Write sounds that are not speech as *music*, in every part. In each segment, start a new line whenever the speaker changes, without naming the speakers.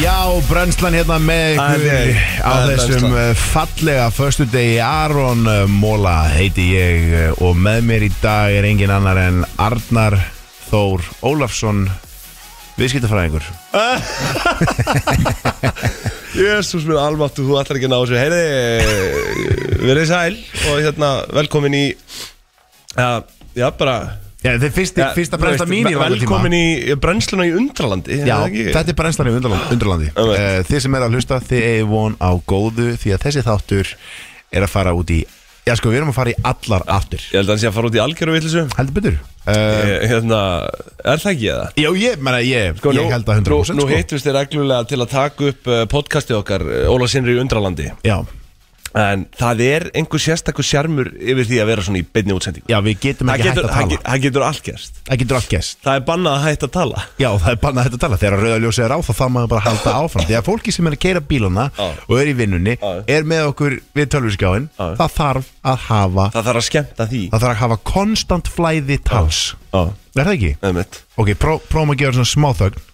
Já, brennslan hérna með
Það er
ykkur
ég.
á
Það er
þessum
brennslan.
eh, fallega förstu degi Aron eh, Móla heiti ég eh, og með mér í dag er engin annar en Arnar Þór Ólafsson viðskiptafræðingur
Jésús minn almáttu, þú ætlar ekki að ná þessu Heyri, verið sæl og hérna, velkomin í Já, já bara
Já, þetta er fyrsti,
já,
fyrsta
þú
brennsla
veist,
mín í
ve-
langa tíma
Velkomin í brennsluna í undralandi
Já, þetta er brennslan í Undraland- Undralandi
Einmitt.
uh, Þið sem er að hlusta, þið eigi von á góðu því að þessi þáttur er að fara út í Já, sko, við erum að fara í allar aftur
Ég held að hann sé að fara út í algjöru villisu
Heldur betur uh,
Hérna, er það ekki eða?
Já, ég, menna, ég,
Sko, nú-
ég held að 100%
nú,
sko.
nú hittumst þér reglulega til að taka upp uh, podcastið okkar uh, Óla Sinri í Undralandi
Já,
En það er einhver sérstakur sjarmur yfir því að vera svona í beinni útsendingu
já, við getum
Það
ekki
getur,
hægt að
það
tala
ge- það getur allt gerst
Það getur allt gæst
Það er bannað að hætta að tala
Já, það er bannað þetta að tala Þegar rauða ljósið er á þá þá maður bara að halda áfram Þegar fólki sem er að keira bílana
Já.
og er í vinnunni
Já.
er með okkur við tölvurskjáin
Já.
það þarf að hafa
Það þarf að skemmta því
það þarf að hafa konstant flæði tals
Já,
Er það ekki?
með mitt
Ok, pró- prófum að gera svona smá þögn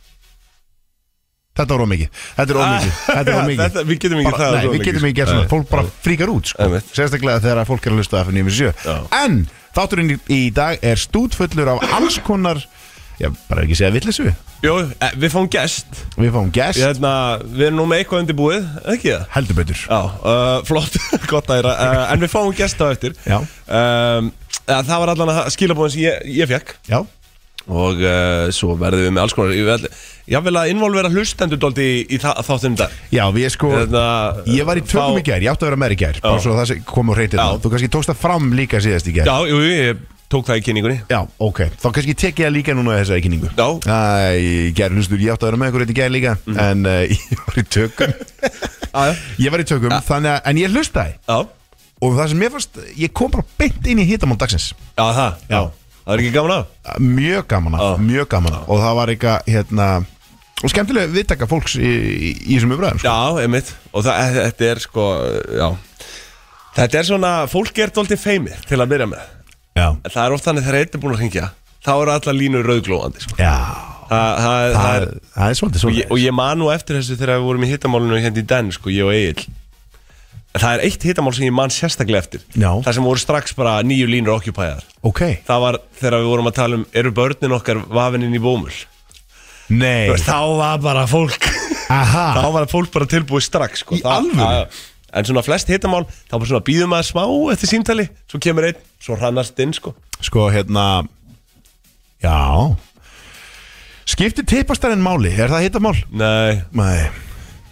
Þetta var ómikið Þetta er ómikið
*laughs*
Þetta er ómikið
Ah. Við getum ekki
bara,
það
nei, við getum ekki gert svona, fólk bara fríkar út sko.
Einmitt.
sérstaklega þegar að fólk er að hlusta af 97
Já.
en þátturinn í, í dag er stútfullur af alls konar já, bara ekki segja villisu við
Jó, eh, við fáum gest
fáum gæst
Ég hérna, Við erum nú með eitthvað undirbúið, ekki það?
heldur betur
Já, uh, flott, *laughs* gott að æra uh, En við fáum gest á eftir
Já.
um, eh, Það var allan að skilabóðin sem ég, ég fekk
já,
Og uh, svo verðum við með alls konar Ég vil að involvera hlustendur dóldi í, í þa- þáttunum dag
já, við sko
Hérna,
ég var í tökum í gær, ég átti að vera með í gær bara svo það sem kom og reytið
Já.
það, þú kannski tókst það fram líka síðast í gær
Já, jú, ég tók það í kynningunni
Já, ok, þá kannski tek ég það líka núna í þessari kynningu
Já. Mhm.
Æ, gær hlustur, ég átti að vera með ykkur eitt í gær líka En uh, *laughs* ég var í tökum
Já, já.
Ég var í tökum, þannig að, en ég hlustaði
Já,
og það sem ég fannst, ég kom bara beint inn í hitamál dagsins
já það
Já.
Það er ekki gaman að
mjög gaman að,
Já.
mjög gaman að og það var eitthvað, hérna og skemmtilega viðtaka fólks í, í, í þessum umræðum sko.
Já, einmitt Og það, þetta er sko, já Þetta er svona, fólk er dóldi feimið til að byrja með
já,
En Það er oft þannig þegar einn er búin að hringja Þá eru allar línur rauðglóðandi sko.
já
það, það, það
það,
er,
það er svolítið
og, ég, og
svolítið
ég man nú eftir þessu þegar við vorum í hittamálinu hérna í den sko, Ég og Egil Það er eitt hittamál sem ég man sérstaklega eftir
Já.
Það sem voru strax bara nýju línur okkupæðar
ok,
Það var þegar við vorum að tala um Eru börnin okkar vafininn í bómul?
nei,
Þá var bara fólk
aha
þá var fólk bara tilbúið strax sko.
Í alvöru?
að, En svona flest hittamál þá bara svona býðum maður smá eftir símtali Svo kemur einn, svo hrannast inn sko.
sko, hérna já skipti tipastarinn máli, er það hitamál?
Nei,
nei,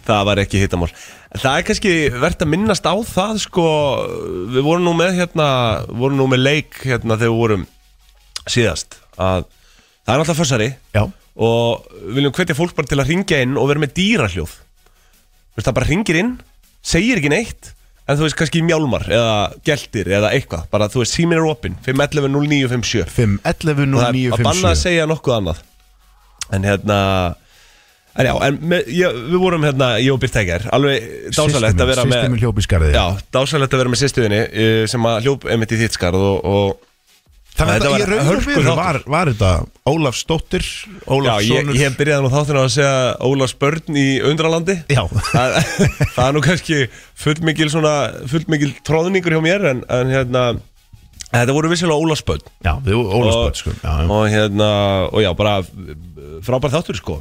það var ekki hittamál En Það er kannski verðt að minnast á það sko. Við vorum nú með hérna vorum nú með leik hérna þegar við vorum síðast að það er alltaf fössari
já
og við viljum hvetja fólk bara til að ringja inn og vera með dýrahljóð Þú veist, það bara ringir inn, segir ekki neitt en þú veist kannski mjálmar eða geltir eða eitthvað, bara þú veist símin er opinn 511-0957
5, 11,
Og
0,
það
9,
er að
5,
banna að segja nokkuð annað en hérna en já, en með, ég, við vorum hérna ég og Birta Eger, alveg dásalegt að vera með
Systemin hljópi skarðið
já, dásalegt að vera með sýstuðinni sem að hljóp einmitt í þitt skarð og, og
Þannig að
Þetta
þetta í
var
raun og
hörku
veru
þáttur.
var, var þetta Ólaf Stóttir,
Já,
Ólaf
ég,
Sónur
ég byrjaði nú þáttina að segja Ólafs börn í undralandi
Já.
það, það er nú kannski fullmikil svona, fullmikil tróðningur hjá mér en, en hérna þetta voru vissilega Ólafs börn
Já, þú Ólaf Stóttir sko já, já.
og hérna, og já, bara eh, frábær þáttur sko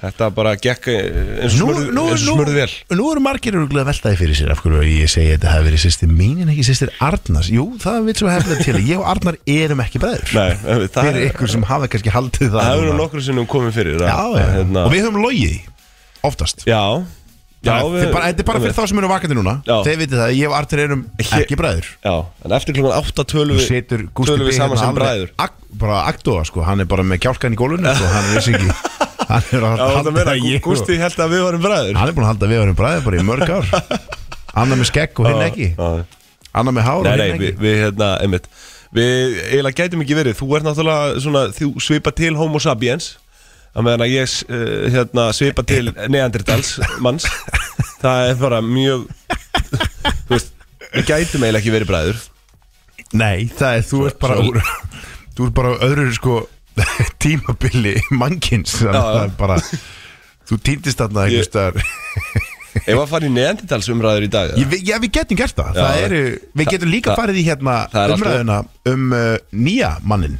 þetta bara gekk eh, eins og smurði, eins og smurði vel
nú eru margir örgulega veltaði fyrir sér af hverju ég segi að þetta hefði verið sýstir mín en ekki sýstir Arnars Jú, það vil svo hefna til Ég og Arnar erum ekki bræður
Nei, eh, það,
Fyrir ykkur sem hafa kannski haldið það
það hefur nú
núna.
nokkru sinnum komið fyrir
Já,
að-
já,
að, hérna,
og við höfum logið því, Oftast
já, já
Þannig að
við-
þið bara- Þetta er bara fyrir þá sem eru vakandi núna
Já.
Þeir vitið það, ég og Arnar erum
Ég-
ekki bræður
já, en eftir klokkan 8 tölum
Nú
við-
setur Gústi
tölum
B
við saman
hérna
sem
alveg
bræður
ag, bara agdóa sko, hann er bara með kjálkan í gólunni sko, hann er vissi
*laughs*
ekki hann er, að
Já, þetta
halda
meina,
að ég-
Gústi held að við varum bræður
hann er búin að halda að við varum bræðið bara í mörg
*laughs*
ár annar með skegg og hinn ekki annar með hár
Nei,
og
nei,
hinn
við,
ekki
við hérna, einmitt Við eiginlega gætum ekki verið Þú ert náttúrulega svona, þú svipa til homo sapiens Það meðan að ég uh, hérna, svipa til neandertals
*laughs*
manns Það er bara mjög Þú veist, við gætum eiginlega ekki verið bræður
nei, það er, þú ert bara
svo-
úr, þú ert bara á öðru sko *laughs* tímabili mannkins þannig
Já,
að
já.
það er bara Þú týndist
Ég-
þarna einhvers staðar
Ef að fara í neandertalsumræður í dag
Ég ve- Já, við getum gert *laughs* það,
Já,
það eru, Við getum líka
það-
farið í hérna
það er allt
umræðuna um uh, nýja mannin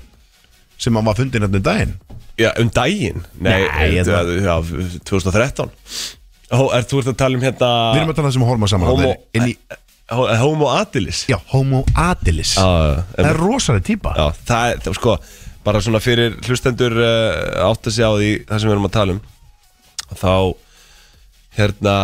sem hann var fundin hérna um daginn
Já, um daginn? Nei,
Nei, hérna. ég-
þetta- já, 2013 Hó, er, Þú ert að tala um hérna
Við erum að tala um horma saman
Homo,
þarna inn í,
Hó- Homo Adilis
Já, homo adilis
Já,
Það
en-
er rosalega típa
já, það, er- það sko bara svona fyrir hlustendur uh, átt að segja á því það sem við erum að tala um þá hérna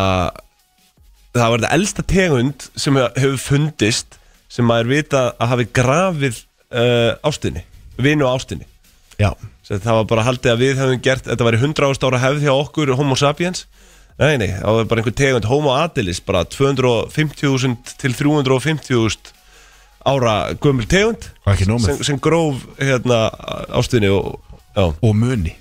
það var þetta elsta tegund sem hefur fundist sem maður vita að hafi grafið uh, ástinni, vinu ástinni
Já,
Sér, það var bara haldið að við hefum gert þetta væri 100 ást ára hefð hjá okkur homo sapiens nei nei, það var bara einhver tegund homo adilis, bara 250.000 til 350.000 ára gömul tegund
það er ekki nómið
sem, sem gróf hérna ástuðinni og, já,
Og muni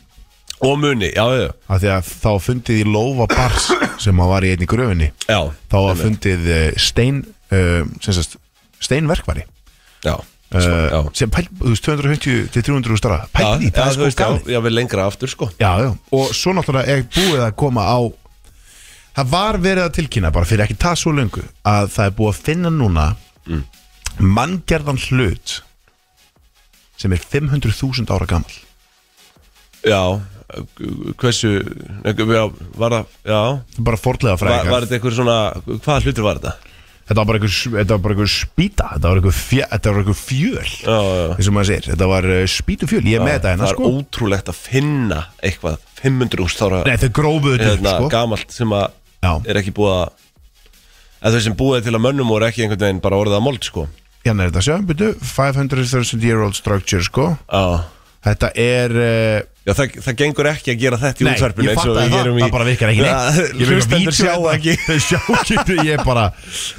og muni, já, já,
af því að þá fundið í lófa bars sem hann var í einni gröfinni
já,
þá var fundið eh, stein uh, sem sagt, steinverkvari
já,
uh,
já.
sem pæl, þú veist, 250 til 300 stara
Já,
pæl í,
já,
það er
þú
sko
veist, já,
galið
já, við lengra aftur, sko
já, já, og svo náttúrulega er búið að koma á það var verið að tilkynna bara fyrir ekki það svo löngu að það er búið að finna núna
Mm.
manngerðan hlut sem er 500.000 ára gammal
Já, hversu, nei, já, var það, já
bara fordlega
Var,
fræðingar
var þetta einhver svona, hvaða hlutur var þetta?
þetta var bara einhver, þetta var bara einhver spýta þetta var einhver, fjö, þetta var einhver fjöl
Já, já, já
eins og maður segir, þetta var uh, spýtufjöl ég er með þetta
Það
hérna
er
sko
ótrúlegt að finna eitthvað 500 úst ára
Nei, þau grófuðu þetta
hérna,
upp, sko
gamalt sem að
Já.
er ekki búið að eða þau sem búið til að mönnum voru ekki einhvern veginn bara orðið að mold, sko
Hérna er þetta, sjá, byrju 500.000 year old structure, sko
Já,
Þetta er uh,
Já, það, það gengur ekki að gera þetta í
Nei,
útvarpinu
ég
eins og
fattaði
við
það,
gerum í-
það bara virkar ekki
*laughs*
neitt
Já,
Ég vil eitthvað
Hlustendur sjá
vídeo hérna.
ekki
*laughs* Þau sjá ekki, þau- ég er bara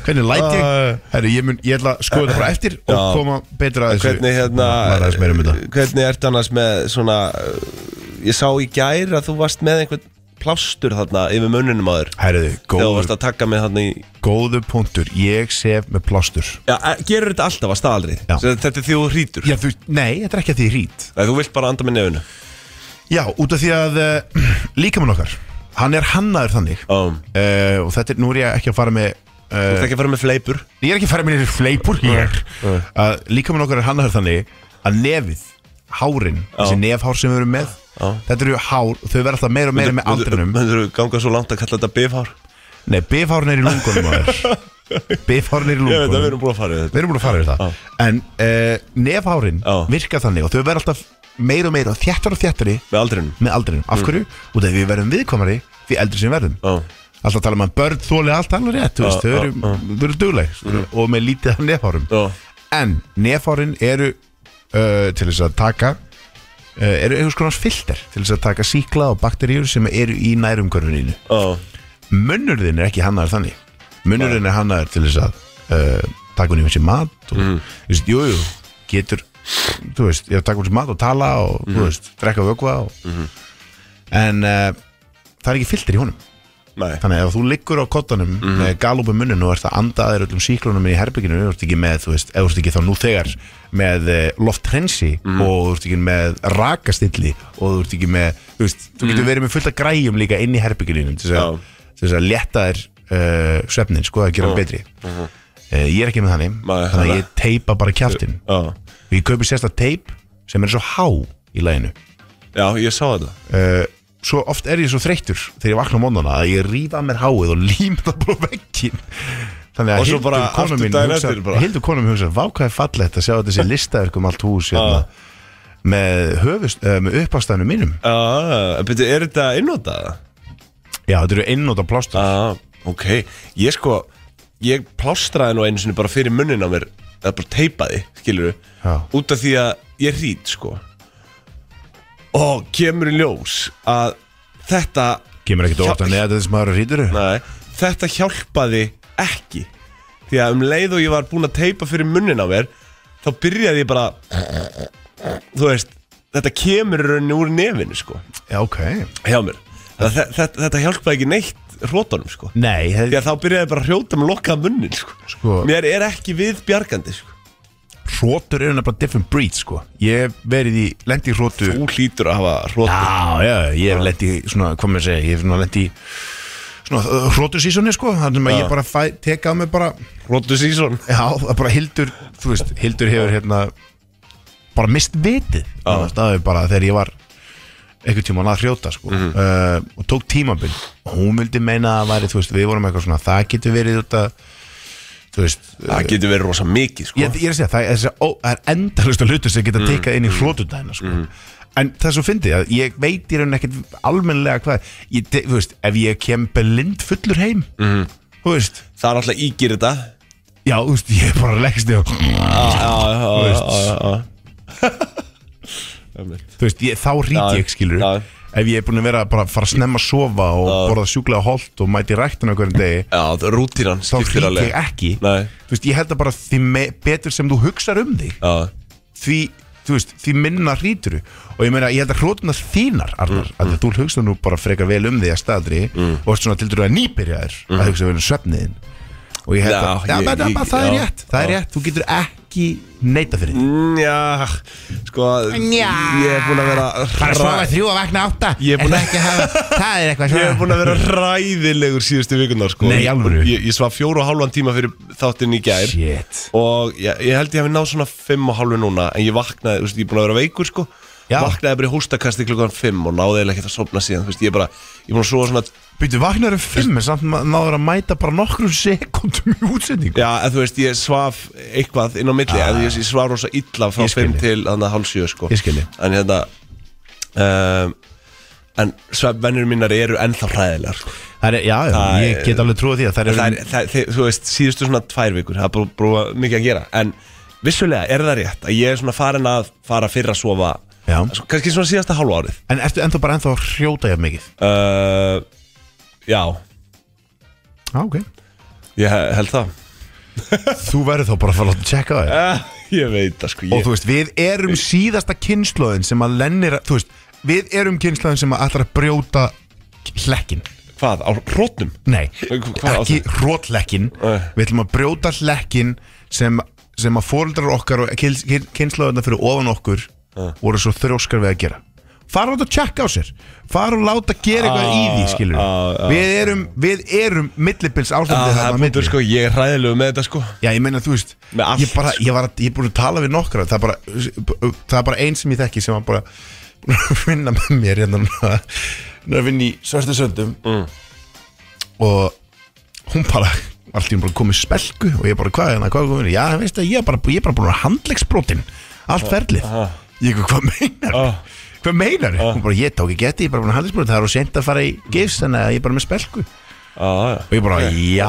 Hvernig læt ég?
Ah.
Herru, ég mun, ég ætla að skoða þetta bara eftir og
Já.
koma betra að þessu
Hvernig hérna
Læra þess meira um þetta
Hvernig ertu annars með svona uh, Ég sá í gær að þú varst með einhvern plástur þarna yfir munnunum aður
Herruðu,
Þegar þú varst
góður,
að taka með þarna í
góður punktur Ég sef með plástur
Já, e- gerur þetta alltaf að staðaldri
Já.
Þetta er því þú hrítur
Já, þú, nei, þetta er ekki að því rít
Nei, Þú vilt bara anda með nefnu
Já, út af því að *clears throat* uh, líkamann okkar Hann er hannaður þannig
um,
uh, Og þetta er, nú er ég ekki að fara með
Þú
uh,
ert ekki að fara með fleipur
Ég er ekki að fara með nýri fleipur hér uh, Líkamann okkar er hannaður þannig Að nefið, hárin Þessi nefhár sem við erum með Þetta eru hár, þau verða alltaf meira og meira með aldrinum
Þú ganga svo langt að kalla þetta bifhár
Nei, bifhárin er í
*laughs*
lungunum maður Bifhárin er í
Ég veit að við
lungunum
erum búin að fara í þetta
Við erum búin að fara yfir það En uh, nefhárin
Já.
virka þannig Og þau verða alltaf meira og meira og Þjættar og þjættari
Með aldrinum Mm.
með aldrinum Af hverju? Út af því við verðum viðkomari Því eldri sem við verðum
Já,
Alltaf tala maður börn þóli allt alveg rétt Þú veist,
Já,
þau
já, Mm.
eru, þau eru dugleg Og með lítið af nefhárum
já,
En nefárin eru uh, til þess að taka uh, eru einhvers konar filter til þess að taka síkla og bakteríur sem eru í nærumkörfuninu.
já
Munnurðin er ekki hannaður þannig. Munnurðin er hannaður til þess að uh, taka hún í þessi mat og, mm. veist, jú, jú, getur þú veist, ég taka hún í mat og tala og, þú veist, drekka vökva og, en uh, það er ekki filter í honum.
Nei, Mhm.
Þannig að ef þú liggur á kottanum með galupu munninu og ert að anda að þér öllum síklunum í herbygginu, þú ert ekki með, þú veist, eða þú ert ekki þá nú þegar með eh, loftrensi
Mhm.
og þú ert ekki með rakastilli og þú ert ekki með, þú veist, þú getur verið með fullt af græjum líka inn í herbygginu til þess að,
Mhm. Já.
til þess að leta þér uh, svefnin, sko, að
Mm-hmm.
gera hann betri. Uh, ég er ekki með þannig,
Nei,
þannig að
nei.
ég teipa bara kjáttin.
já
Ég kaupi sérsta teip sem er svo há í læginu.
Já, ég sá þetta
Eh, svo oft er ég svo þreyttur þegar ég vakna á mónana að ég rífa mér háið og lím það bara á veggin þannig að
Og svo bara aftur daginn eftir bara.
hildur konum hugsa vá hvað er fallegt að sjá þessi listaverk um allt hús hérna, með, höfust, uh, með uppástæðinu mínum
Já, betur, er þetta innótaða?
já þetta eru einnóta plástur
Já, ok Ég sko, ég plástraði nú einu sinni bara fyrir munnin á mér eða bara teipaði, skilur
Já.
út af því að ég rít, sko og kemur í ljós að þetta
kemur ekkert óvart að neða þetta sem maður rýtur
nei, þetta hjálpaði ekki því að um leið og ég var búinn að teipa fyrir munnin á mér þá byrjaði ég bara þú veist, þetta kemur í rauninni úr nefinu, sko
já ok
hjá mér þetta, þetta, þetta hjálpaði ekki neitt rótunum sko
nei
því
hef,
að þá byrjaði ég bara að hrjóta með lokkaða munnin sko.
Sko-
mér er ekki við bjargandi sko.
hrótur eru nefnilega different breed sko Ég hef verið í, lendi í hrótu
Þú hlýtur að hafa hrótt
Já, já, ég hef lendi í svona, hvað maður að segja, ég hef svona lendi í svona hrótu sísoni sko Þannig að
Já.
ég bara fæ, teka á mig bara,
Hróttu sísón
já, það er bara Hildur, þú veist, Hildur hefur hérna bara mist vitið nánast. Það er bara þegar ég var einhvern tímann að hrjóta sko
Mhm.
uh, og tók tímabil og hún vildi meina að það væri, þú veist, við vorum eitthvað svona, það getur verið þetta, þú veist, uh,
Það getur verið rosa mikið sko
ég, ég er að segja, það er, þessi ó, það er endalust að hlutu sem geta mm. tekað inn í hlotundæna sko.
mm.
en það er svo fyndið að ég veit í raun ekkert almennilega hvað ég, te- þú veist, ef ég kem blind fullur heim mm.
Mhm.
þú veist,
Það er alltaf ígir þetta Ah,
já, þú veist, ég bara leggst þig og
Já, já, já, já, já
þú veist, ég, þá
Já,
ríti ég skilur
já.
ef ég er búin að vera bara að fara að snemma að sofa og borða sjúklega holt og mæti ræktina hverjum degi,
Já, það- rútínan
þá
skiptir
ríti
alveg
ég ekki
Nei,
þú veist, ég held að bara því me- betur sem þú hugsar um þig
já,
því, þú veist, því minna hrýtur og ég meina, ég held að hrótunar þínar Arnar, mm, að þú hugsa nú bara frekar vel um því að staðri
Mm.
og ert svona til dæru að nýbyrjaðir að hugsa vel um svefniðin og ég held
Já,
að, já,
ég-
ég,
ég-
það er
já,
rétt það er
já.
rétt, þú getur ekki neita fyrir því
Njá, sko
Njá.
Ég er búin að vera hræ-
þrjú og vakna átta
Ég er búin að-
ekki hafa, það er eitthvað
Ég er búin að vera ræðilegur síðustu vikunar sko
Nei, í alvöru?
Ég, ég svaf fjóru og hálfan tíma fyrir þáttinn í gær
Shit
Og ég, ég held ég hafi náð svona fimm og hálfu núna En ég vaknaði, þú veist, ég er búin að vera veikur sko
Já.
Vaknaði bara í hóstakasti klukkan fimm Og náði eiginlega ekkert að sofna síðan Þú veist, ég er bara, ég er búin að sofa svona
Býtu, vaknar um fimm en samt ma- náður að mæta bara nokkrum sekundum í útsendingu
Já, en þú veist, ég svaf eitthvað inn á milli En ég, ég svaf rosa illa frá
Ah. Ég skil
fimm
þig.
til Þannig að hálfsjö sko
Ég skil þig.
En hérna um, En svefnvennir mínar eru ennþá hræðilegar sko.
Það er, e- já, já,
Það
ég
er-
get alveg trúið því að það er
það er, það, þið, þú veist, síðustu svona tvær vikur það er bara, bara mikið að gera en vissulega er það rétt að ég er svona farin að fara fyrr að sofa
Já.
svo, kannski svona síðasta hálfa árið
En ertu ennþá bara ennþá að hrjóta hjá mikið?
uh, já,
Já, ok
ég he- held það
Þú verður þá bara að fara að láta tjekka það
uh, *laughs* ég veit það sko
Og
ég, Eh.
þú veist, við erum síðasta kynnslóðin sem að lennir að, Þú veist, við erum kynnslóðin sem að ætlar að brjóta hlekkin
hvað, á rótnum
Nei,
Hvað á Eh.
ekki rótlekkin
Nei.
Við ætlum að brjóta hlekkin sem, sem að fóreldrar okkar og kynnslóðina fyrir ofan okkur
Eh.
voru svo þrjóskar við að gera Fara út að tjekka á sér Fara og láta gera eitthvað í því, skilur
ah, ah.
Við erum, við erum millibils
að,
ástandið
það
þarna á
er
milli.
búinur sko, ég er hræðilegu með þetta sko
Já, ég meina, þú veist
Með allt, sko.
Ég, bara, ég, var, að- ég er búin að tala við nokkra Það er bara, það er bara einn sem ég þekki sem var bara búin að *laughs* vinna með mér hérna núna Hún er að vinna í svörstu söndum mm.
Mm.
Og hún bara Allt í hún bara komið spelku Og ég bara, hvað er hérna, hvað er komin Já, það veist að ég er bara, ég er bara búin að handlegsbrotin Allt ferlið Ég, hvað meinar
Ah.
Hvað meinar Hún bara, ég tók ekki geti, ég er bara búin að handlegsbrotin Það er á seint að fara í gifs, þannig að ég er bara með spelku
ah,
og ég bara,
*laughs*
já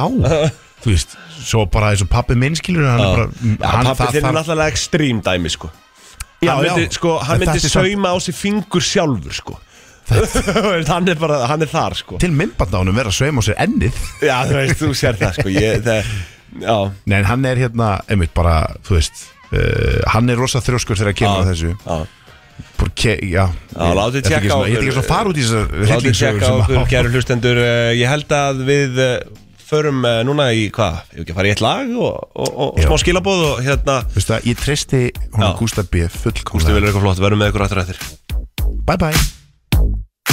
þú veist, svo bara eins og pappi minn skilur hann er bara,
Ah. Já,
hann
pappi þinn er náttúrulega ekstrím dæmi sko
Já,
hann myndi,
já.
sko, hann
En
myndi
þetta er samt-
sauma á sig fingur sjálfur sko Þú veist, *laughs* hann er bara, hann er þar sko
til myndbandánum vera að sveima á sér ennið
Já, þú veist, þú sér það sko ég, það, Já,
nei, en hann er hérna, einmitt bara, þú veist uh, hann er rosa þrjóskur þegar að kemur að þessu
já
Bara ke- já,
Já, látið
Þetta er ekki
tékka á
svona- ég er ekki
okkur-
svona að fara út í þessar
Látið
hryllingssögur
tjekka
sem
á okkur,
að-
kæru hlustendur eh, Ég held að við eh, förum eh, núna í, hvað, ég ekki að fara í eitt lag og, og, og
Já.
smá skilabóð og hérna
Þú veist það, ég treysti hún
Já.
Gústa B
Þú
fullkomlega
vilur eitthvað flott, verðum með ykkur aftur eftir
bye bye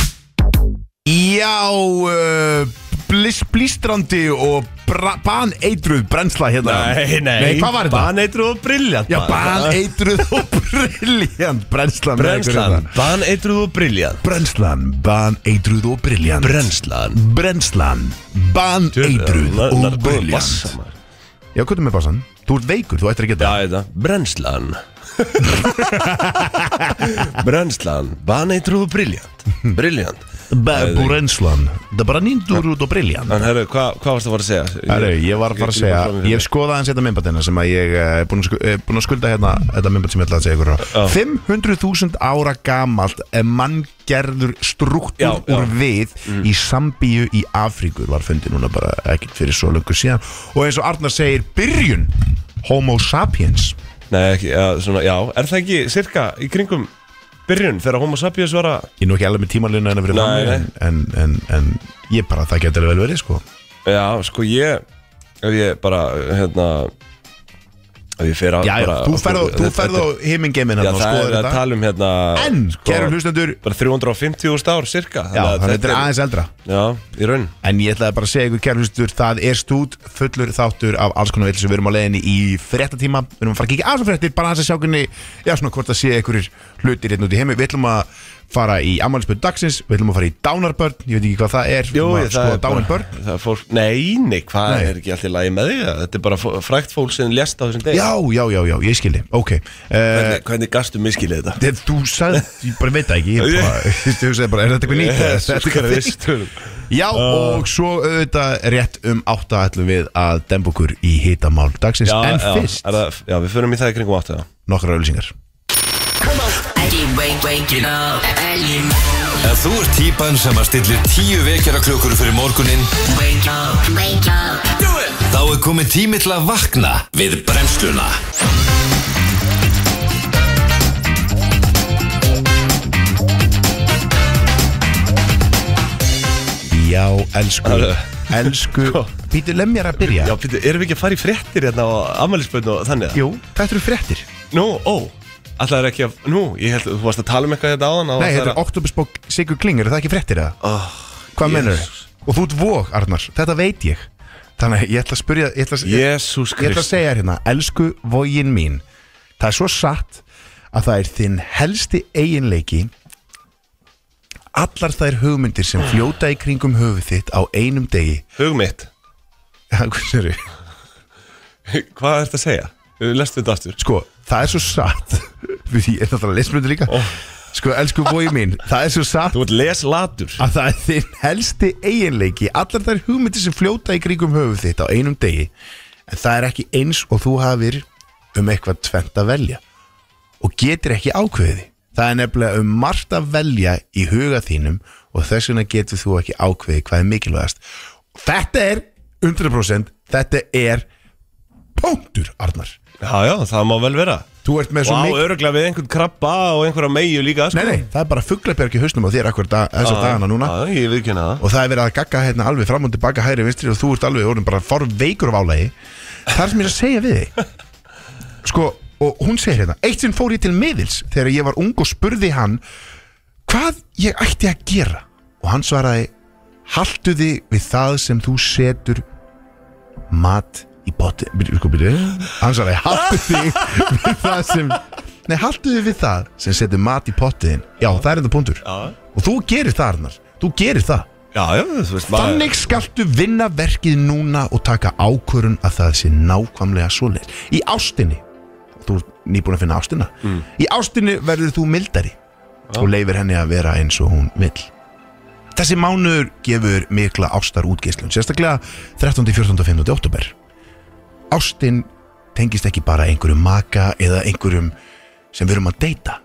Já, uh, blis, blistrandi og bra- baneitruð brennsla hérna
Nei, nei,
Nei, hvað var þetta?
Baneitru og briljant
Já,
maður.
baneitruð og briljant Brennslan með ykkur
Brennslan,
hérna.
baneitru og briljant
Brennslan, baneitruð og briljant
Brennslan
Brennslan, baneitruð
Na- na-
og
góður bassa,
briljant
maður.
Já, hvað er með bassan? Þú ert veikur, þú ættir að
Já,
geta
þetta, brennslan Brennslan, baneitruð og briljant Briljant
Ba- Brennslan, það bara nýnduruð og briljant
En herru, hvað hva varst það að fara að segja?
Herru, ég var að fara að segja, ég hef skoðað hans þetta myndbandina sem að ég eh, er búin að sku- eh, búin að skulda hérna þetta myndband sem ég ætla að segja ykkur frá. 500.000 ára gamalt eh, manngerður
Já,
struktúr
já. Mm.
úr við í Sambíu í Afríku var fundið núna bara ekkert fyrir svo löngu síðan og eins og Arnar segir byrjun Homo sapiens
Nei, ekki, já, svona, já, er það ekki cirka í kringum byrjun þegar homo sapiens var að
ég er nú ekki alveg með tímalinu en að vera
Nei,
fram en, en, en, en ég bara það getur vel verið sko
Já, sko ég, ef ég bara, hérna og ég fer að
Já, já,
bara-
þú ferð á- þú
þetta-
ferð á himingeimin
Já,
hérna og
það er
skoður
að
þetta
tala um hérna
En,
sko,
kæru hlustendur
Bara 350.000 ár, cirka
Já, þannig að þetta er aðeins eldra
Já, í raun
En ég ætlaði bara að segja ykkur kærlustur Það er stút fullur þáttur af alls konar vill sem við erum á leiðinni í fréttatíma Við erum að fara að kíkja aðeins á fréttir bara aðeins að sjá hvernig Já, svona hvort að sé einhverjir hlutir hérna út í heimi Við ætlum að fara í ammælisbörn dagsins Við ætlum að fara í dánarbörn Ég veit ekki hvað það er Við ætlum að skoða dánarbörn
það er fólk, Nei, nei, hvað
Nei.
er ekki alltaf í lagi með því Þetta er bara fó- frækt fólk sem lést á þessum deg
Já, já, já, já, ég skildi Ok uh,
Hvernig, hvernig gastu miskilið þetta?
Þegar þú sagði, ég bara veit það ekki Ég
*laughs*
bara, ég hugsaði bara, er þetta eitthvað nýtt? eða er þetta eitthvað
Þetta
fyrst? Já,
Ah.
og svo auðvitað rétt um átta ætlum við að demba okkur í hitamál dagsins
Já,
En
já,
fyrst,
er það, já, við förum í það í kringum áttu
nokkra auðlýsingar
Ellie wake, waking up. Ellie
Ef þú ert típan sem að stillir tíu vekjara klukkur fyrir morguninn
wake up, wake up.
Þá er komið tími til að vakna við bremsluna
Já, elsku,
Alveg.
elsku Pítur, lemm mér að byrja
Sko. Já, býttu, erum við ekki að fara í fréttir hérna á afmælisbönn og þannig?
Jú, þetta eru fréttir
Nú, ó, alltaf er ekki að, nú, ég held, þú varst að tala um eitthvað hérna áðan
Nei, þetta er Oktobersbók Sigur Kling, er það ekki fréttir eða?
oh,
Hvað mennur þið? Og þú ert vóg, Arnar, þetta veit ég Þannig, að ég ætla að spyrja, ég ætla að,
Jésús
ég ætla að
Krist
segja þér hérna Elsku vógin mín Það er svo satt að það er þinn helsti eiginleiki Allar þær hugmyndir sem fljóta í kringum höfuð þitt á einum degi *laughs*
Hug mitt,
Hversu,
hvað ert að segja? Lestu þetta aftur
Sko, það er svo satt *laughs* Við því, er þetta að lesmyndu líka Sko, elsku bói mín, það er svo satt
Oh. Þú ert leslatur
að það er þinn helsti eiginleiki Allar þær hugmyndir sem fljóta í kringum höfuð þitt á einum degi En það er ekki eins og þú hafir um eitthvað tvent að velja Og getur ekki ákveði Það er nefnilega um margt að velja í huga þínum Og þess vegna getur þú ekki ákveði hvað er mikilvægast Þetta er 100% Þetta er punktur, Arnar
Já, já, það má vel vera
Þú ert með
Og
svo
á
mikið
öruglega við einhvern krabba og einhverja meiu líka sko.
Nei, nei, það er bara fugglabjörg í hausnum á þér akkur dag, þessa dagana núna
Já, ég viðkynna það
og það er verið að gagga hérna alveg fram og tilbaka hægri vinstri og þú ert alveg orðin bara forveikur af álægi það er sem ég er að segja við
*laughs*
þig sko, og hún segir hérna eitt sinn fór ég til miðils þegar ég var ung og spurði hann hvað ég ætti að gera og hann svaraði haltu þið við það sem þú setur mat í bóti byrju, sko, byrju hann svaraði haltu þið við það sem nei, haltu þið við það sem setur mat í pottiðin já, það er þetta punktur
Já.
og þú gerir það, Arnar þú gerir það
Já, já, þú veist maður-
Þannig skaltu vinna verkið núna og taka ákvörun að það sé nákvæmlega svoleið. Í ástinni, þú er nýbúin að finna ástina, í ástinni verður þú mildari og leifir henni að vera eins og hún vill. Þessi mánuður gefur mikla ástar útgeislun, sérstaklega 13. 14. 15. oktober. Ástin tengist ekki bara einhverjum maka eða einhverjum sem við erum að deyta.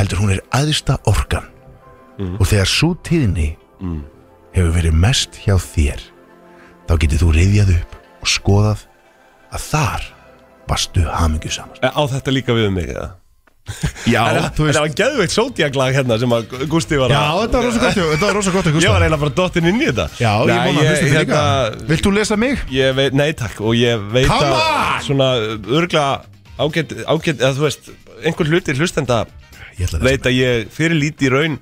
Heldur hún er aðista orkan og þegar svo tíðni hefur verið mest hjá þér þá getur þú reyðjað upp og skoðað að þar varstu hamingu saman
Á þetta líka við um mig, eða?
Já,
En það var geðveikt sótjaglag hérna sem að Gústi var
Já,
að
þetta var rosa gott, þetta var rosa gott að
Ég
Gústa
var eiginlega bara dottinn inn í þetta
Já, ég
Nei,
vona að hlusta þig líka
hérna,
Vilt þú lesa mig?
Ég veit, nei takk, og ég veit
Come
að
on!
Svona örgla ágætt, ágætt, eða þú veist Einhver hluti hlustenda
Ég ætla að lesa
veit að ég fyrir líti í raun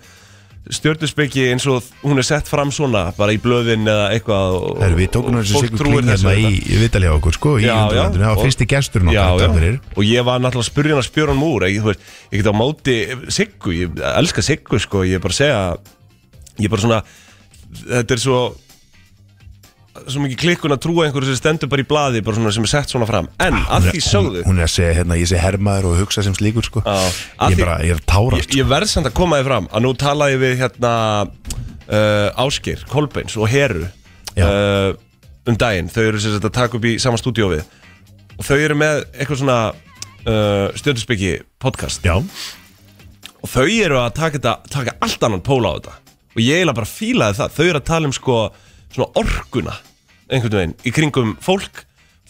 Stjörnuspeki eins og hún er sett fram svona Bara í blöðin eða eitthvað og-
Herru, við tókum
og
þessu
fólk
sigur
trúir
kling
þessu
hérna
þetta.
í, í vitalja okkur, sko, í
Já, já.
Undurlandinu Það
Og-
var fyrsti gesturinn
Já,
okkar
já,
þetta fyrir
og ég var náttúrulega að spyrja hann að spjóra hann úr ég, þú veist, ég get á móti Siggu, ég elska Siggu sko, ég er bara að segja ég er bara svona, þetta er svo svo mikið klikkun að trúa einhverju sem stendur bara í blaði, bara svona sem er sett svona fram en að
Hún
því
er-
sögðu
Hún er að segja, hérna, ég sé hermaður og hugsa sem slíkur, sko
Já. Að
Ég
því-
er bara, ég er að tárast sko.
ég, ég verð samt að koma þið fram að nú tala ég við hérna uh, Áskir, Kolbeins og Heru
Já.
uh, um daginn þau eru sem sagt að taka upp í sama stúdíó við og þau eru með eitthvað svona uh, stjórnusbyggi podcast
Já,
og þau eru að taka, þetta, taka allt annan pól á þetta og ég eiginlega bara fílaði það þau eru að tala um sko svona orkuna einhvern veginn í kringum fólk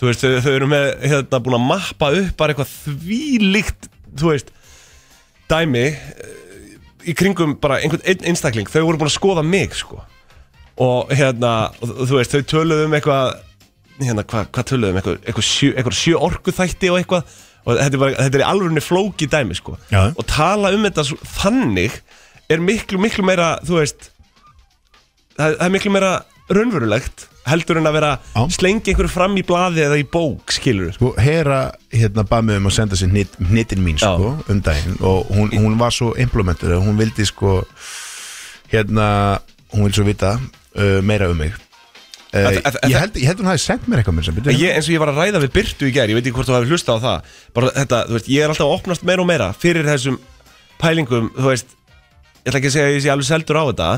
þú veist þau, þau eru með hérna búin að mappa upp bara eitthvað þvílíkt þú veist dæmi eh, í kringum bara einhvern einn einstakling þau voru búin að skoða mig sko og hérna og þú veist þau töluðu um eitthvað hérna, hvað hva töluðum, eitthvað, eitthvað, sjö, eitthvað sjö orku þætti og eitthvað og þetta er, bara, þetta er í alvörunni flóki dæmi sko
Já.
og tala um þetta svo, þannig er miklu, miklu meira, þú veist það, það er miklu meira raunverulegt heldur en að vera
Já.
slengi einhverju fram í blaði eða í bók, skilur
Sko, Hera hérna bað mig um að senda sér hnit, hnittin mín
Já.
sko, um daginn og hún, hún var svo implementur að hún vildi sko hérna, hún vildi svo vita uh, meira um mig uh,
Að- að- að-
ég, held, ég held hún hafi sendt mér eitthvað mér sem,
En Ég, eins og ég var að ræða við Byrtu í gær, ég veit ekki hvort þú hefði hlustað á það bara þetta, þú veist, ég er alltaf að opnast meira og meira fyrir þessum pælingum þú veist, ég ætla ekki að segja að ég sé alveg seldur á þetta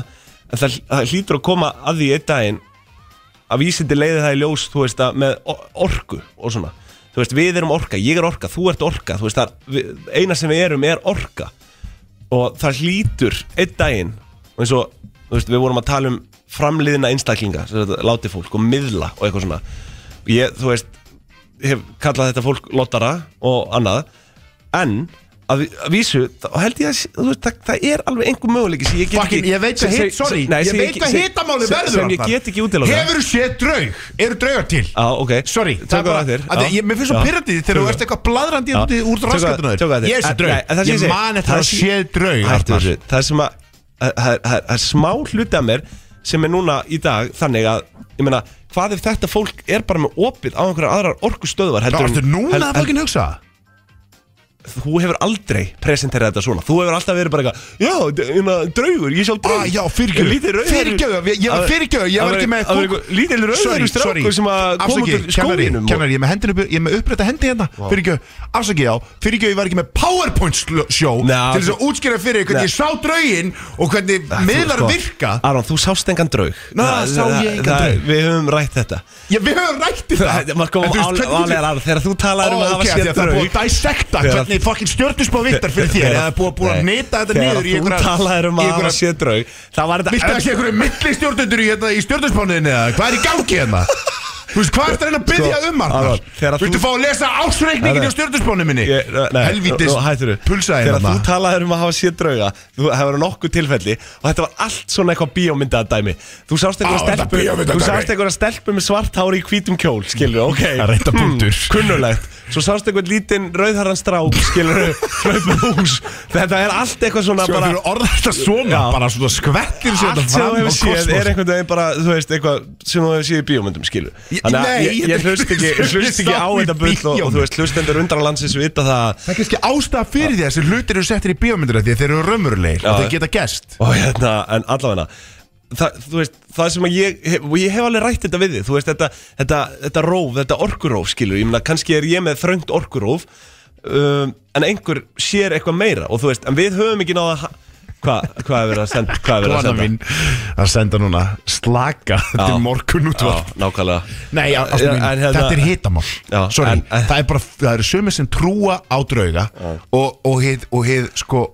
en það, það hlýtur að koma að því einn daginn að vísindi leiði það í ljós, þú veist, að með o- orku og svona, þú veist, við erum orka ég er orka, þú ert orka, þú veist, það, er- við, eina sem við erum er orka og það hlýtur einn daginn og eins og þú veist, við vorum að tala um framliðina einstaklinga sem sagt, láti fólk og miðla og eitthvað svona og ég, þú veist, hef kallað þetta fólk lottara og annað en að, vi- að vísu þá held ég að sé- þú veist, það, það er alveg einhver möguleiki sem ég get
Fucking,
ekki
ég veit
sem-
að
sem-
hit, sorry,
sem- nei,
ég
sem
veit að
sem-
hitamáli
sem-
verður
sem ég
þarna.
get ekki útilokað
Hefur séð draug, eru draugar til
á, ok
Sorry, það er bara,
að þér
að því, ég, mér finnst svo pyrrandið þegar þú ert eitthvað bladrandi
Já.
úti úr
Tökum-
raskatuna
tökum það
þér
til.
Ég er sér
En- nei, en það
draug,
sem
ég
segi,
man eftir
það
að
sé-
séð draug
Hættu
Arnar.
þessu, það er sem að að- það er- það er það er smá hluti af mér sem er núna í dag þannig að ég meina, hvað ef þetta fólk er bara með opið á einhverjar aðrar orkustöðvar
Þá
heldur en-
ertu núna
hel-
að
hel-
fokkin hugsa það?
þú hefur aldrei presenterað þetta svona þú hefur alltaf verið bara eitthvað já, d- hérna, draugur, ég sjálf draug
Ah, já, fyrirgjöðu.
Lítið rauður-
Fyrirgjöðu, ég- ég-
Að-
fyrirgjöðu, ég var
að
ekki með
að vera
fókus.
einhver lítill rauður
Sorry, sorry.
strákur sem að koma út úr
Afsakið, kennari,
skóginum og-
kennari, ég er með hendina upp, ég er með upprætta hendi hérna Fyrir ekki, afsakið á, fyrir ekki, ég var ekki með PowerPoint sl- show
Ná,
Til þess að
þú-
útskýra fyrir ykkur,
Nei.
ég sá draugin og hvernig
Þú,
miðlar
sko,
virka
Aron, þú sást engan draug
Ná, sá ég
það-
engan
það-
draug?
Við höfum rætt þetta
Já, við höfum rætt í það
Það- maður kom
En þú veist,
al-
hvernig getur-
alveg að- Þegar þú talar um
Ó,
að hafa
ok, af því
sér
að Það er
draug
búið að dissecta
Þegar-
hvernig fucking stjörnusbá vittar fyrir þér eða Það er búið að búið að
Nei.
nýta þetta niður í
Þegar þú talaðir um að hafa
einhverja
séð draug Það var
Viltu
þetta
ekki einhverju milli stjórnundur í, hérna, í stjórnusbánuðinni eða hvað er í gangi hérna? Þú veist, hvað er það að byggja
Sko,
um
Aron, þegar þú-
Arnar? Viltu fá að lesa ásreikningin
Nei,
í stjórnusbánuð minni?
Ég- nei,
Helvítis,
nú- nú hættur við.
pulsaði
Þegar
hérna
þú talaðir um að hafa séð drauga Þú hefur nokkuð tilfelli Og þetta var allt svona eitthvað bíómyndaða dæmi Þú sást
Á, þetta
einhverja stelpu
bíómyndadæmi.
Þú sást einhverja stelpu með svart hári í hvítum kjól Skilur,
*laughs*
ok
Það er reyndar punktur.
Kunnulegt Svo sást einhvern lítinn rauðharran strák
*laughs*
Skilur, hlaupum hús Þetta er allt eitthvað svona
Svo
bara
þú orðar þetta svona,
Já.
bara svona skvettir sér
Allt
þetta
sem þú
fram á
hefur séð er
kosmos
einhvern veginn bara, þú veist, eitthvað sem þú hefur séð í bíómyndum, skilur
Ég-
Þannig að
nei,
ég,
þetta
ég
er-
hlust ekki, hlust ekki á
Sá í
þetta bull og, og þú veist, hlustendur undra landsins vita það
Það er kannski ástæða fyrir því að þessi hlutir eru settir í bíómyndir af Því að þeir eru raumurulegir
Já.
og
eh.
þeir geta gest
og hérna, en allavega Þa, þú veist, það sem að ég hef, og ég hef alveg rætt þetta við þið, þú veist, þetta, þetta, þetta róf, þetta orkuróf, skilur, ég meina kannski er ég með þröngt orkuróf um, en einhver sér eitthvað meira og þú veist, en við höfum ekki náða hvað hva er verið að senda, hvað er verið að
Kona
senda
mín að senda núna slaka til morgun útvarp
Já, nákvæmlega
Nei, já,
Já,
ástu mín,
en hérna-
þetta er hitamál
Já,
Sorry,
en- en-
það er bara, það eru sömur sem trúa á drauga og, og hið, og hið, sko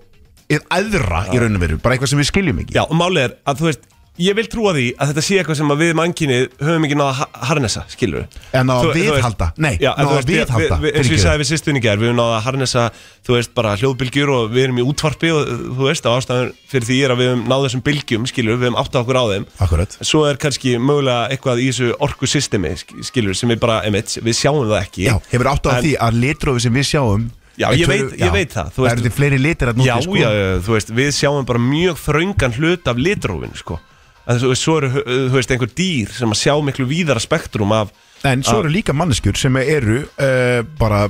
hið aðra í raunum veru, bara eitthvað sem við skiljum ekki
Já, og málið er að þú veist Ég vil trúa því að þetta sé eitthvað sem að við mannkynið höfum ekki náða að harnessa, skilur við
En náð að viðhalda. Nei, náð að viðhalda,
Eins og
fyrirgefðu.
ég sagði við sýstunni gær, við höfum náða að harnessa þú veist, bara hljóðbylgjur og við erum í útvarpi og þú veist, á ástæðan fyrir því er að við höfum náð þessum bylgjum, skilur við, við höfum áttað okkur á þeim
Akkurat
Svo er kannski mögulega eitthvað í þessu orkusystemi, skilur við, sem við bara, emitt, við sjáum það ekki
Já, hefur átt á
En-
því að litrófi sem við sjáum
Já,
er
ég
tölu-
veit- ég
já,
veit það, þú
Það
veist-
eru þið fleiri litir að
já,
núti, sko
já, já, þú veist, við sjáum bara mjög þröngan hlut af litrófinu, sko En þú veist, svo eru, uh, þú veist, einhver dýr sem að sjá miklu víðara spektrum af
En svo
Ah.
eru líka manneskjur sem eru uh, bara,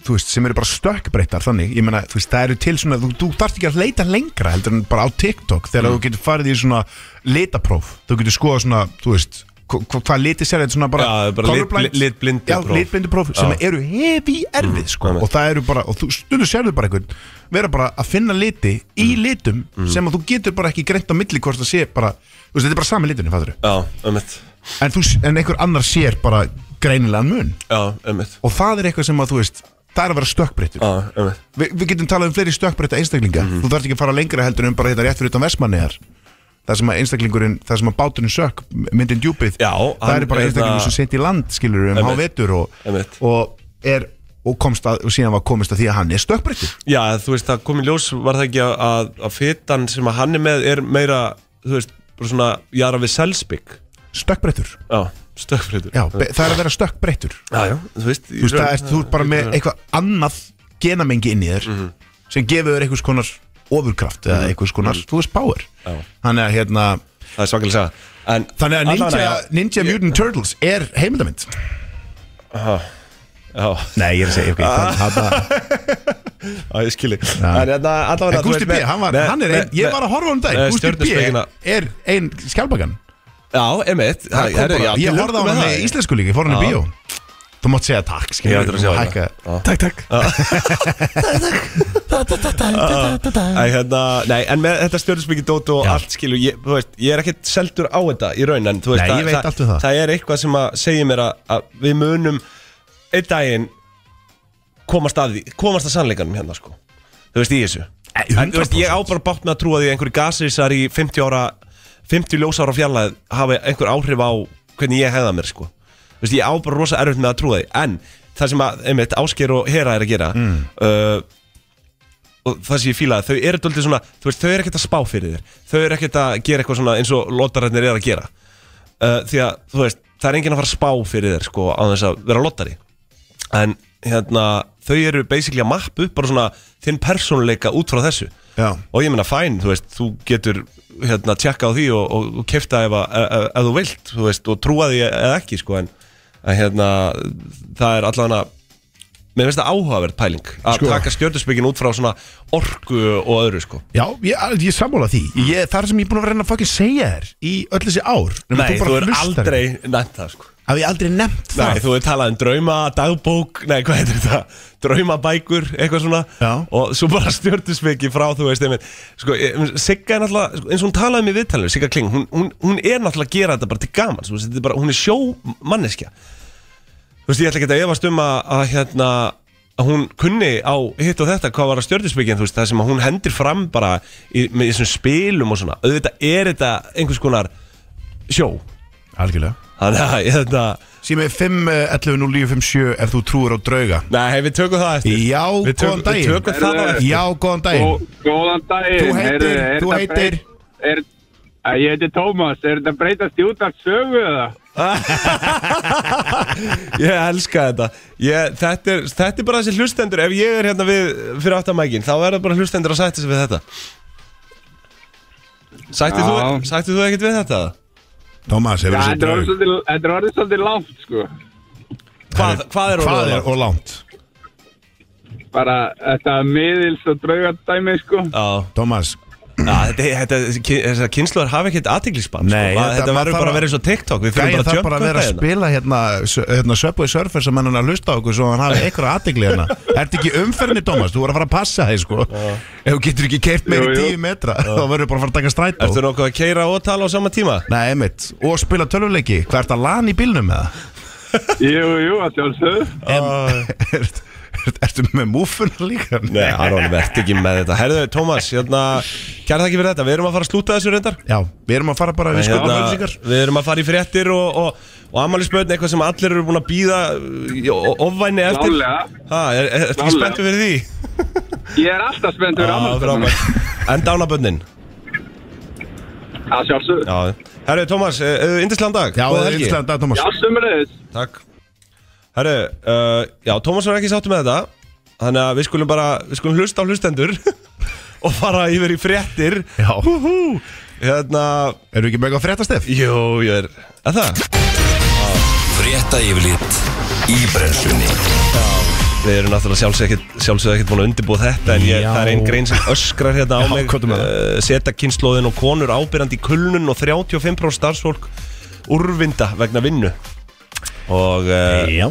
þú veist, sem eru bara stökkbreyttar þannig, ég meina, þú veist, það eru til svona, þú, þú þarft ekki að leita lengra heldur en bara á
Mm.
TikTok þegar þú getur farið í svona litapróf, þú getur skoða svona, þú veist, hva- hva- hvað liti sér þetta svona bara,
Já, bara lit-
colorblind-
lit- litblindupróf.
Já, litblindupróf sem
Já. Mm,
eru hefi erfið, sko,
einmitt.
og það eru bara, og þú stundur sérðu bara einhvern, vera bara að finna liti í
Mm.
litum sem að þú getur bara ekki greint á milli hvort það sé bara, þú veist, þetta er bara sami liturinn, fattur
Já, ömmit
en, þú, en einhver annar sér bara greinilegan mun
Já, ömmit
og það er eitthvað sem að þú veist það er að vera stökkbreyttur
Já, ömmit
Vi, við getum talað um fleiri stökkbreytta einstaklinga
Mhm.
þú þarf ekki að fara lengra heldur en bara hérna rétt fyrir utan versmanniðar það sem að einstaklingurinn það sem að báturinn sökk myndin djúpið
Já,
það
hann
er
er
bara
hérna-
einstaklingur
það-
sem sent í land skilur um
Einmitt.
hávetur og,
Einmitt.
og er og komst að og síðan var komist að því að hann er stökkbreyttur
Já, þú veist, það kom í ljós var það ekki að, að, að fitan sem að hann er með er meira, þú veist, bara svona jara við selsbygg
stökkbreyttur
já, stökkfrétur
Já, be- það er að vera stökkbreyttur
já, já, þú veist
Þú veist, það er, þú ert bara með eitthvað annað genamengi inn í þér
Mhm.
sem gefur þér einhvers konar ofurkraft eða einhvers konar, þú veist, power
Já.
Þannig að hérna
Mhm. það er svakalega saga en,
Þannig að Ninja,
Allavega,
Ninja Mutant Turtles er heimildamind
já,
Nei, ég er að segja, ok, það
*laughs*
er það
já, ég skilji en hérna, allavega
En Gusti B, hann var, hann er ein, ég var að horfa um dag
Nei,
Gusti B
stjörnuspekina.
er ein skjálpagan
já, emitt
Ég horfði á hann með íslensku líka, ég fór hann í
Já.
bíó Þú mátt segja takk,
Ég
skilur
ætla að sjá þetta. Já. Ah.
Takk, takk *laughs*
Æ, hérna, nei, en með þetta stjórnismikið dót og
Já.
allt skilur, ég, þú veist, ég er ekkert seldur á þetta í raun en þú veist,
Nei, ég veit allt um það.
það er eitthvað sem að segja mér að, að við munum einn daginn komast að því, komast að sannleikanum hérna sko, þú veist, í þessu
Nei,
en, þú veist, ég á
100%.
bara bátt með að trúa því að einhverju gasisar í 50 ára 50 ljósára fjarlæð hafi einhver áhrif á hvernig ég hefða mér sko Þú veist, ég á bara rosa erfitt með að trúa því en það sem að, einmitt, Ásker og Hera er að gera
Mm.
uh, og það sem ég fílaði, þau eru daldið svona þú veist, þau eru ekkert að spá fyrir þér þau eru ekkert að gera eitthvað svona eins og lotararnir eru að gera uh, því að, þú veist, það er enginn að fara að spá fyrir þér sko, á þess að vera lotari en, hérna, þau eru basically að mappu, bara svona þinn persónuleika út frá þessu
Já.
og ég meina, fæn, þú veist, þú getur hérna, tjekka á því og, og, og kefta ef, að, ef, ef þú vilt, þú veist, og trúa því eða ekki, sko, en en, hérna, það er allavega mér finnst það áhugaverð pæling að
Sko.
taka stjörnusbyggin út frá svona orku og öðru, sko
Já, ég, ég sammála því ég, Það er sem ég er búin að vera að fucking segja þér Í öll þessi ár nema
Nei,
bara
þú er
hlustar.
aldrei nefnt það, sko
Haf ég aldrei nefnt
Nei,
það
þú er talað um drauma, dagbók, nei, hvað heitir þetta, draumabækur, eitthvað svona
Já.
Og svo bara stjörnusbyggi frá, þú veist, einmitt Sko, ég- Sigga er náttúrulega, sko, eins og hún talaði um í viðtalinu, Sigga Kling Hún, hún, hún er náttúrulega að gera þetta bara til gamans, þú veist, þetta er bara, hún er sjómanneskja Þú veist, ég ætla ekki að efast um að, að hérna að hún kunni á hitt og þetta hvað var að stjörnusbyggin, þú veist, það sem að hún hendir fram bara í, með þessum spilum og svona auðvitað er þetta einhvers konar sjó,
Algjörlega
þannig að hérna,
Sími eh, 511957 ef þú trúir á drauga
nei, við tökum það eftir
Já,
Við tökum-
góðan daginn
Við tökum það á eftir
Já, góðan
Gó-
daginn
Góðan daginn
Þú heitir-
Heyrðu, er
þú
þetta
heitir?
breyt- er, að Ég heiti Tómas, er þetta breytast í út af sögu eða?
*laughs*
Ég elska þetta ég, þetta, er, þetta er bara þessi hlustendur Ef ég er hérna við fyrir áttamækin Þá er það bara hlustendur að sætti sig við þetta Sætti þú,
Já.
sætti þú ekkert við þetta?
Tómas, hefur
Já,
þessi
þetta er orðið
draug
svolítið- þetta er orðið svolítið lágt sko
Hvað, hvað er
Hvað er
orðið?
og langt?
bara þetta miðils og draugadæmi sko
Já,
Tómas,
já, þetta, þetta, þessar kynsluðar hafa ekkert aðtiklisbann sko.
Nei,
Hvað-
þetta-
Þetta
maður
verður
þarf
bara að
að-
vera eins og TikTok Við
gæði
fyrir bara
það
að
bara að vera að
jumpa
spila hérna, s- hérna Söpvei Surfer sem hann er að hlusta á okkur svo hann
*laughs*
hafi eitthvað aðtegli hérna Ertu ekki umferðinni, Tómas? Þú voru að fara að passa þeir sko Ef þú getur ekki keirt meiri
Jú, jú.
10 metra þá verður bara að fara að taka strætó
Ertu nokkuð að keira og tala á sama tíma?
Nei, einmitt, og spila tölvuleiki Hvað ert að lana í bílnum með það?
Jú, jú, að sjálfsögðu
Ert, ert, *laughs* ertu með múfuna líka?
Nei, Aron, verð ekki með þetta Herðu, Tómas, hérna, kæra þakki fyrir þetta Við erum að fara að slúta þessu reyndar
Já, við erum að fara bara við skuldum
hérna,
auðlýsingar
við erum að fara í fréttir og, og, og amalisböðn, eitthvað sem allir eru búin að býða uh, ofvæni eftir
Klálega.
ha, er, er, Eh, Ertu ekki
Klálega.
spenntu fyrir því?
Ég er alltaf spennt fyrir
Já,
afmælisdaginn.
frábært. En dánaböðnin
Að sjálfsögðu
Herru, Tómas, uh, indislan dag
Já,
Góða
það er
helgi.
yndislega dag, Tómas
Já, sömurðis
Takk Herru, uh, já, Tómas var ekki sáttu með þetta Þannig að við skulum bara, við skulum hlusta á hlustendur *laughs* Og fara yfir í fréttir
Já,
Hú, hérna
eru ekki með eitthvað fréttastef?
Jú, ég er, að það?
Frétta yfirlit í brennslunni
Við erum náttúrulega sjálfsög ekkert, sjálfsög ekkert búin að undirbúa þetta En ég,
Já.
það er einn grein sem öskrar hérna á
Já,
mig
hvað er með
uh, Seta kynnslóðin og konur ábyrjandi í kulnun Og 35% starfsfólk úrvinda vegna vinnu Og uh,
Já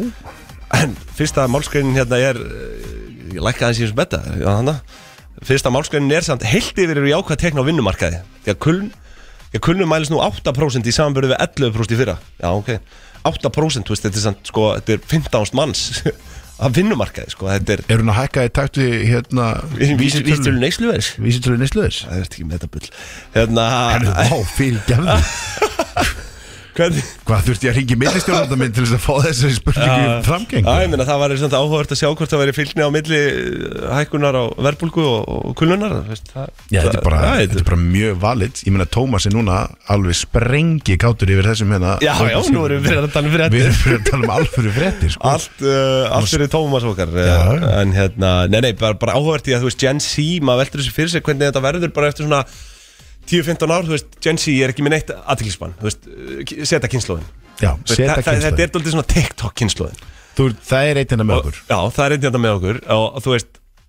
en fyrsta málskreinin hérna er uh, Ég lækka aðeins í þessum betta já, þarna. Fyrsta málskreinin er samt Heilt yfir eru jákvæð tekna á vinnumarkaði Því að kuln, já, kulnun mælist nú 8% í samanbörðu við 11% í fyrra Já, ok 8% þú veist, þetta er samt sko Þetta er 15 manns *laughs* af vinnumarkaði sko Þetta er
Er hún að hækka í takt við hérna
vísitölu neysluverðs
Vísitölu neysluðis
*laughs* Það er ekki með þetta bull Hérna
Vá, fyrir gefðu
Hvernig?
Hvað þurfti ég að ringi millistjórnanda minn til þess að fá þessari spurningu
Já.
framgeng?
Já, ég meina það var samt áhugavert að sjá hvort það væri fylgni á milli eh, hækkunar á verðbólgu og, og kulnunar þú veist, það,
Já, þetta er bara,
það,
þetta er bara mjög valid Ég meina Tómas er núna alveg sprengi kátur yfir þessum hérna
Já, já, nú erum við fyrir að tala um fréttir
Við erum fyrir að tala um alfyrir fréttir sko.
Allt, uh, allt fyrir Tómas okkar
Já, já.
uh, En hérna, nei, nei, bara, bara áhugavert í að þú veist Gen Z, maður veldur þessu fyrir sig hvernig þetta verður bara eftir svona 10-15 ár, þú veist, Gen Z er ekki með neitt aðtilsmann, þú veist, eh, seta kynnslóðin
Já,
Þú veist,
seta
það- það- Þetta
kynslu
er doldið svona TikTok kynnslóðin
Þú- Það er eitt hérna með
Og-
okkur
Já, það er eitthvað með okkur og þú veist,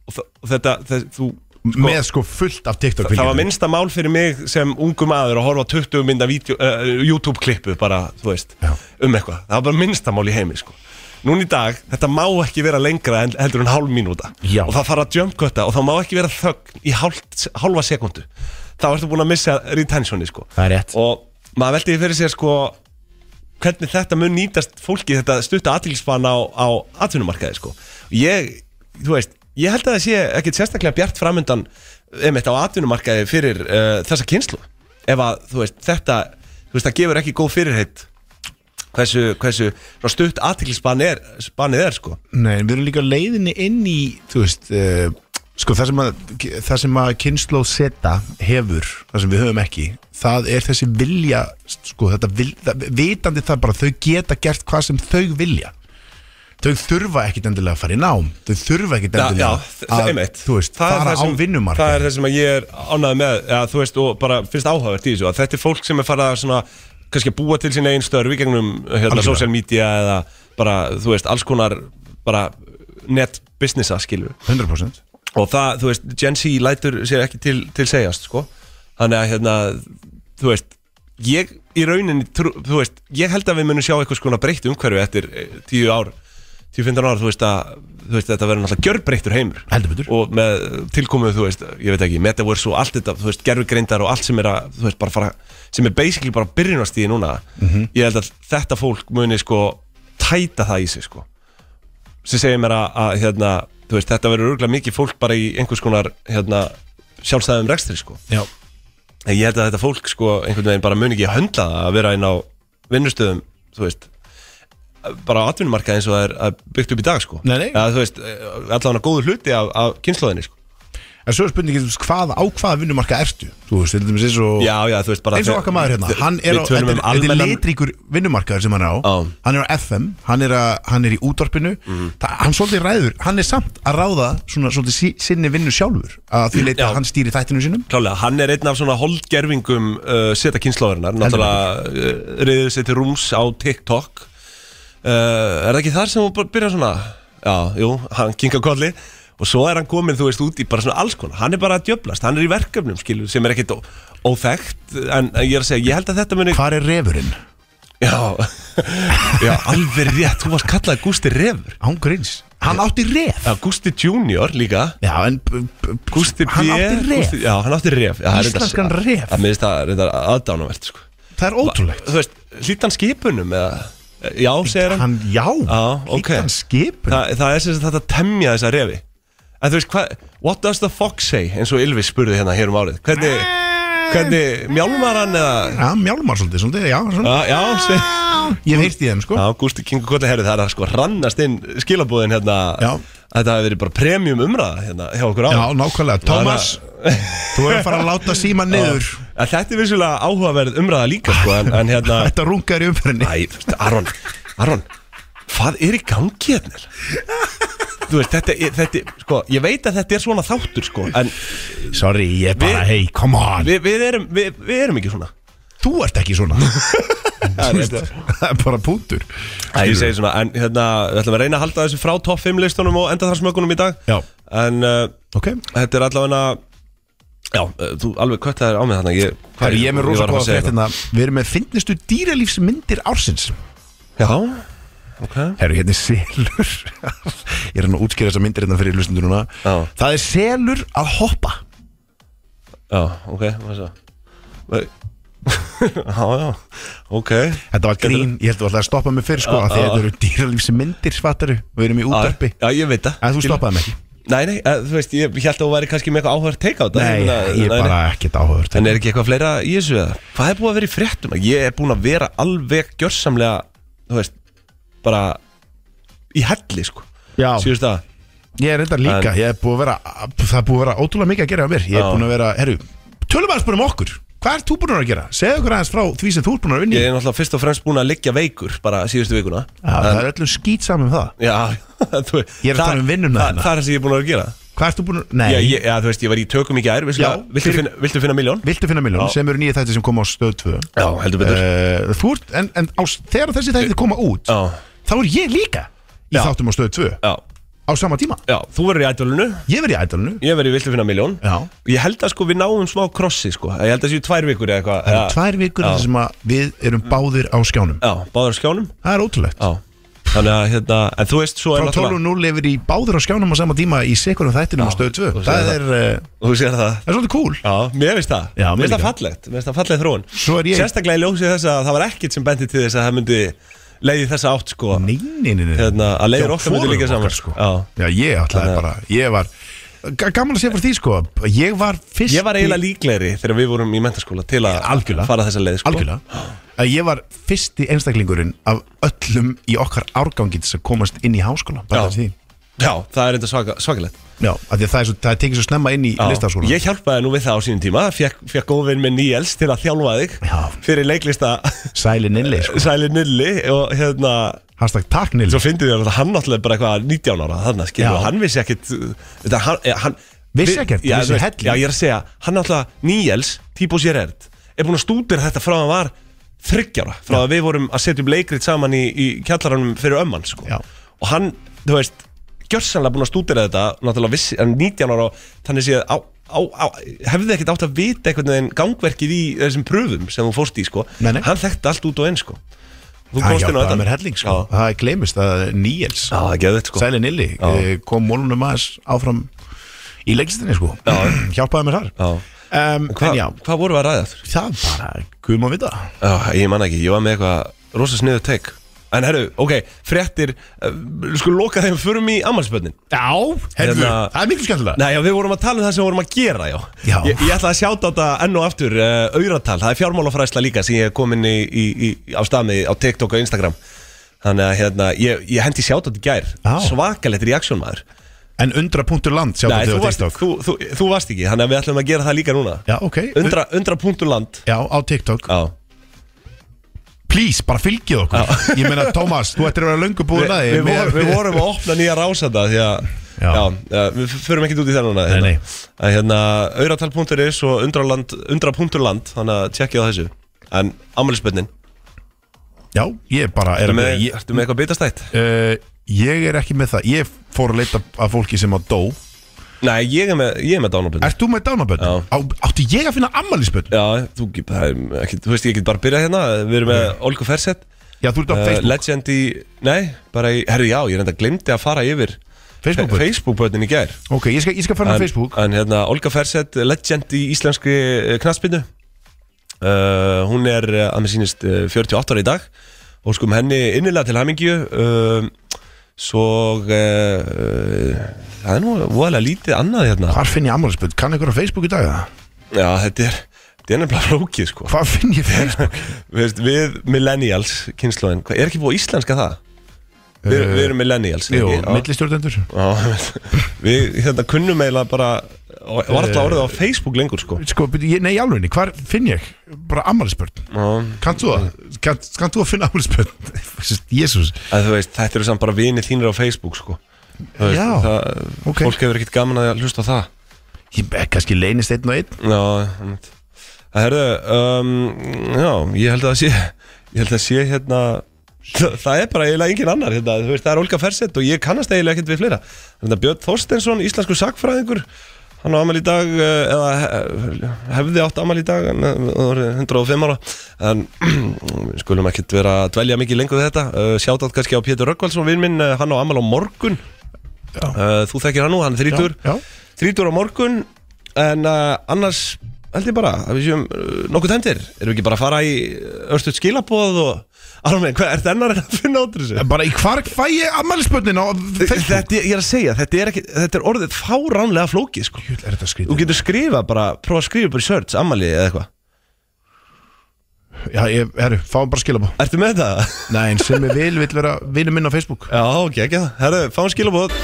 og þa- þetta, þess, þú sko,
Með sko fullt af TikTok
Það var
fylgjendum.
minnsta mál fyrir mig sem ungu maður að horfa á 20 mynda vídeo, uh, YouTube klippu bara, þú veist,
Já.
um eitthvað Það var bara minnsta mál í heimi, sko Núna í dag, þetta má ekki vera lengra en, heldur en hálf mínúta
Já.
Og það fara að jumpcutta og það má ekki vera þögn í hálft, hálfa sekundu Þá ertu búin að missa retentioni, sko
Það er rétt
Og maður veldi fyrir sér, sko Hvernig þetta mun nýtast fólki þetta stutta aðtilspann á, á atvinnumarkaði, sko Ég, þú veist, ég held að það sé ekkit sérstaklega bjart framundan einmitt á atvinnumarkaði fyrir uh, þessa kynslu ef að, þú veist, þetta þú veist, það gefur ekki góð fyrirheit hversu, hversu svona stutt aðtilspann er, spannið er, sko
Nei, en við erum líka á leiðinni inn í þú veist uh, sko það sem að, það sem að kynnsló seta hefur, það sem við höfum ekki það er þessi vilja sko þetta vil, það, vitandi það bara að þau geta gert hvað sem þau vilja þau þurfa ekkit endilega að fara í nám þau þurfa
Já,
ekkit
já,
endilega
það
að,
er mitt
þú veist,
er
fara á vinnumarka
Það er það sem að ég er ánægð með ja, Þú veist, og bara finnst áhugavert í þessu að Þetta er fólk sem er farið að svona kannski að búa til sín einn störf í gegnum hérna,
Algjörlega.
social media eða bara, þú veist, alls konar bara net businessa skilur
100%
og það, þú veist, Gen Z lætur sér ekki til, til segjast, sko þannig að, hérna, þú veist ég í rauninni, trú, þú veist ég held að við munum sjá eitthvað skona breytt umhverfi eftir eh, 10 ár, 10-15 ár þú veist að, þú veist, þetta verður náttúrulega gjörbreyttur heimur
Heldur betur.
og með tilkomið, þú veist, ég veit ekki metaverse og allt þetta, þú veist, gerfugreindar og allt sem er að, þú veist, bara fara, sem er basically bara byrjunastíði núna,
Mhm.
ég held að þetta fólk muni, sko, tæta það í sig, sko sem segir mér að, að hérna, þú veist, þetta verður örgulega mikið fólk bara í einhvers konar hérna, sjálfstæðum rekstri sko.
já,
en ég held að þetta fólk sko, einhvern veginn bara mun ekki höndla það að vera inn á vinnustöðum þú veist bara á atvinnumarka eins og það er að byggt upp í dag sko.
Nei, nei.
Eða, þú veist, allavega góður hluti af, af kynnslóðinni sko.
en svo er spurningin þú veist, hvað, á hvaða vinnumarka ertu þú veist, til dæmis eins og
já, já, þú veist bara
eins og okkar maður hérna hann er á,
við tölum
þetta er-
um
þetta er
almennan
litríkur vinnumarkaður sem hann er á
Já.
hann er á FM, hann er, að, hann er í útvarpinu það, hann svolítið ræður, hann er samt að ráða svona svolítið sí, sinni vinnu sjálfur að því leita
Já.
að hann stýri þættinu sínum
Klálega, hann er einn af svona holdgerfingum uh, seta kynnslóðurinnar Náttúrulega uh, reyðið sér til rúms á TikTok uh, Er það ekki þar sem hún bara byrjar svona? Já, jú, hann kinka kolli Og svo er hann komin, þú veist, út í bara svona alls konar Hann er bara að djöblast, hann er í verkefnum, skilur Sem er ekkit ó- óþekkt En en ég er að segja, ég held að þetta muni
hvar er refurinn?
Já, já, alveg rétt, þú varst kallað Gústi Refur
Án grins, hann átti ref
Já, Gústi Junior líka
já, en b- b- b-
Gústi B
hann átti ref,
Gústi, Já, hann átti Ref já, það er reyndar-
Íslenskan Ref.
Það minnst það reyndar aðdánumvert, sko
það er ótrúlegt
Þú veist, hlýtt hann skipunum eða Já, segir hann,
hann, já,
Já, ok.
hann skip
Þa, Það er sem sagt þetta að temja þessa refi En þú veist, hvað, what does the fox say eins og Ylvis spurði hérna hér um árið Hvernig, hvernig mjálmar hann eða
já, mjálmar svolítið, svolítið, já, svona
Já, já, se,
ég hef heyrt í þeim, sko
já Gústi Kingu Kolli herri það er að sko rannast inn skilabúðin hérna
Já.
Þetta hefur verið bara premium umræða hérna hjá okkur á
já, nákvæmlega, Tómas þú er að fara að láta síma niður
En Þetta er vissulega áhugaverð umræða líka sko, en, en hérna
*laughs* Þetta rungar í umferðinni
Æ, þú veist, Aron, Aron, hvað er í gangi hérna? Þú veist, þetta, er- þetta, er- sko, ég veit að þetta er svona þáttur, sko, en
Sorry, ég er bara,
Við-
hey, come on
við, við, erum, við, við erum ekki svona.
Þú ert ekki
*laughs*
svona Þú veist, Það er bara punktur
Æ, ég segi svona, en hérna, við ætlum að reyna að halda þessu frá topp 5 listunum og enda þar smökunum í dag.
Já.
En uh,
Ok
þetta er allavega, já, uh, þú alveg köttaðir á mig þarna, ég... hvað
Herri, ég er með rosa
var að fara
góða
að segja
fréttina hérna. Við erum með finnistu dýralífsmyndir ársins
eitthvað. Já, ok.
Herru, hérna er selur *laughs* Ég er hann að útskýra þessa myndir hérna fyrir hlustundur núna
Já.
Það er selur að hoppa
Já, ok, hvað er það?
*laughs*
Já, já, ok.
Þetta var grín, ég held að það að stoppa mig fyrir sko
Já,
af Því að
já.
þetta eru dýralífsmyndir, svattaru Við erum í útarpi
Já, ég veit það.
En þú stoppaði mig ekki
Nei, nei, eh, þú veist, ég held að hún væri kannski með eitthvað áhverð teika á þetta hérna,
Nei, ég er bara ekkert áhugavert
En er ekki eitthvað fleira í þessu eða? Hvað er búið að vera í fréttum? Ég er búin að vera alveg gjörsamlega, þú veist, bara í helli, sko
Já.
Síðust að
Ég er þetta líka, ég er búið að vera Það er búið að vera ótrúlega mikið að gera á mér Ég er
Já.
búin að vera, herru, tölum aðeins bara um okkur Hvað ert þú búin að gera? Segðu okkur aðeins frá því sem þú ert búin að vinni
Ég
Já,
er náttúrulega fyrst og fremst búin að liggja veikur bara síðustu vikuna
Það er öllum skýt saman um það
Já, *laughs* þú veist
Ég er að
það-
tala um vinnuna
það-
þína.
Það er það sem ég er búin að vera að gera
Hvað ert þú búin að, nei,
Já, ég, já, þú veist, ég var í tökum í gær, vissulega.
Já,
viltu,
fyrir-
finna, viltu finna miljón?
viltu finna miljón
Já.
sem eru nýja þætti sem koma á stöð 2
Já, heldur betur
uh, Þú ert, en, en á, þegar þessi þætti koma út
Já,
Þá er ég líka í
Já.
þáttum á stöð 2
já,
Á sama tíma,
já, þú verður í ædolinu,
ég verið í ædolinu
ég verður í viltu finna miljón
Já,
Ég held að sko við náum smá krossi sko Ég held að séu tvær vikur eða eitthvað
það
Já.
eru tvær vikur
Já. Mm.
þar sem að við erum báðir á skjánum
Já, báður á skjánum
Það er ótrúlegt
Já Þannig að hérna, en þú veist svo er
frá 12 og 0 yfir í báður á skjánum á sama tíma í sekurum þættinum á stöð 2
þú
það
segir
er, eh,
Þú sér það
það er svolítið cool
Já, mér finnst það
Já,
Mér
mér
finnst það
líka.
fallegt, mér finnst það falleg þróun
Svo er ég-
Sérstaklega í ljósi þess að það var ekkit sem bendi til þess að það myndi leiði þessa átt sko
Nei, nei, nei, nei.
Hérna, að leiðir
Já,
okkar myndu
hvorum
líka saman,
okkar, sko.
já.
Já, ég ætlaði bara, ég var g- Gaman að segja fyrir því sko Ég var fyrst
Ég var eiginlega líklegri þegar við vorum í mentaskóla til að
Algjörlega.
fara þessa leið sko
Algjörlega að Ég var fyrsti einstaklingurinn af öllum í okkar árgangi til þess að komast inn í háskóla bara
Já.
þess því
Já, það er enda svaka, svakalegt
Já, af því að það er, svo, það er tekið svo snemma inn í
Já.
listaskóla
Ég hjálpaði nú við það á sínum tíma Fekk, fekk góðvinn með Níels til að þjálfa þig
Já.
Fyrir leiklista
Sælin innli sko
Sæli Nilli Og hérna
Hashtag takk Nils
Svo fyndið þér að hann náttúrulega bara eitthvað 19 ára Þannig að skilja
Já.
Hann vissi ekkit þetta, hann, eh, hann,
Vissi
við-
ekkert,
já,
vissi
þú veist,
helling.
já, ég er að segja Hann náttúrulega Níels Tíbo Sérert Er búin að stúdira þetta frá að hann var Þryggjára Frá að við vorum að setja upp leikrit saman í, í kjallaranum fyrir ömman sko.
Já.
Og hann, þú veist Gjörsanlega búin að stúdira þetta Náttúrulega vissi, en 19 ára og Þannig séð á, á, á, hefði ekkert átt að vita einhvern veginn gangverkið í þessum pröfum sem hún fórst í sko
Nei, nei.
hann þekkti allt út og einn sko Þú
Það
komst inn á
hjálpaði
endann.
mér helling sko
Já.
Það er gleymist að Níels
Já, það er geðveikt, sko.
Sæli Nilli
Já.
eh, kom mólunum aðeins áfram í leiklistinni sko Hjálpaði mér þar
Já.
um,
Hva,
En já,
Hvað vorum við að ræða aftur?
það bara guðum að vita
Já, ég man ekki, ég var með eitthvað rosa sniðu teik En herru, ok, fréttir uh, Sko loka þeim förum í ammalspönnin
Já, herðu,
Hérna-
það er miklu skemmtilega
Nei, já, við vorum að tala um það sem við vorum að gera, já
Já.
Ég, ég ætla að sjáta þetta enn og aftur uh, Auratal, það er fjármálafræðsla líka sem ég kom inn í, í, í, á staði á TikTok og Instagram Þannig að hérna, ég, ég hendi sjáta þetta í gær
Já.
Svakalegt reaksjón maður
En undra punktur land sjá
Nei, þú
þetta á
varst,
TikTok
þú, þú, þú varst ekki, þannig að við ætlum að gera það líka núna
Já, ok
Undra, undra punktur land
Já, á TikTok
Já,
Please, bara fylgið okkur *laughs* Ég meina, Tómas, þú ættir að vera löngu búin að
við,
því
við, vorum, við vorum að opna nýja rásanda því að
Já.
Já. eh, við förum ekkert út í það núna hérna.
nei.
Að hérna, Auratal.is og undraland, undra.land Þannig að tjekkið á þessu En ammælisbönnin,
Já, ég bara er
ertu
að
með,
ég,
ertu með eitthvað bitastætt?
uh, ég er ekki með það Ég fór að leita að fólki sem að dó
Nei, ég er með, ég er með dánabönn
Ert þú með dánabönd?
Já.
Áttu ég að finna ammælisbönd?
Já, þú, get- það er ekki, þú veist ég get bara að byrja hérna Við erum með Olgu Fersett
Já, þú ert á
uh,
Facebook
Legend í, nei, bara í, herri já, ég reynda glemdi að fara yfir
Facebook-börn?
Facebookbönnin í gær
Ok, ég skal, ég skal fara
en,
á Facebook
En hérna, Olga Ferseth, legend í íslenskri knastbyndu uh, Hún er eh, að mér sýnist eh, 48 ára í dag Og skum henni innilega til hamingju uh, Svo uh, Það er nú voðalega lítið annað hérna
Hvar finn ég ammælisbönd? Kann einhver á Facebook í dag? eða?
Já, þetta er, þetta er nefnilega flókið sko
Hvar finn ég Facebook?
*laughs* Við, veist, við millennials, kynnslóðin hvað- Er ekki búið að íslenska það? Við, við erum millennials
Eh, Jú,
ekki? Já.
millistjórnendur
Já, *laughs* við hérna kunnum eiginlega bara varla orðið á Facebook lengur sko
Eh, Sko, byrju, ég- nei, í alvegni, hvar finn ég? Bara ammælisbönd
Já,
Kannt þú að, kannt, kannt þú að finna *laughs* afhaldspönd? Jésús,
að þú veist, þetta eru samt bara vinið þínir á Facebook sko. Þú
Já,
það,
ok.
fólk hefur ekkert gaman að hlusta á það
ég eh, kannski leynist einn og einn
já, einmitt. það herðu um, já, ég held að það sé ég held að sé hérna það, það er bara eiginlega engin annar hérna. þú veist, það er Olga Fersett og ég kannast eiginlega ekkert við fleira hérna, Björn Þorstensson, íslensku sakfræðingur hann á amal í dag eh, eða he- hefði átt amal í dag en eh, það voru 105 ára en *clears throat* við skulum ekkert vera að dvelja mikið lengur við þetta sjátt átt kannski á Pétur Röggvaldsson vinn minn, eh, hann á amal á morgun
Já.
Eh, þú þekkir hann nú, hann er þrítur
Já, já.
þrítur á morgun en uh, annars held ég bara að við séum uh, nokkuð tæmdir Erum við ekki bara að fara í örstuð skilabóð og *laughs* Armin, hvað ert ennar að finna út úr þessu?
Bara í hvar fæ ég ammælisbönnin á Facebook?
Þetta, ég er að segja, þetta er, ekki, þetta er orðið fáránlega flókið sko.
Jöfnvel er þetta
Þú
skrítið
getur skrifað bara, prófa að skrifa bara í search, ammali eða eitthvað
Já, ég, herru, fáum bara skilabó
Ertu með þetta?
Nei, en sem ég vil, vil vera vinur minn á Facebook
Já, ok, ekki það Herru, fáum skilabóð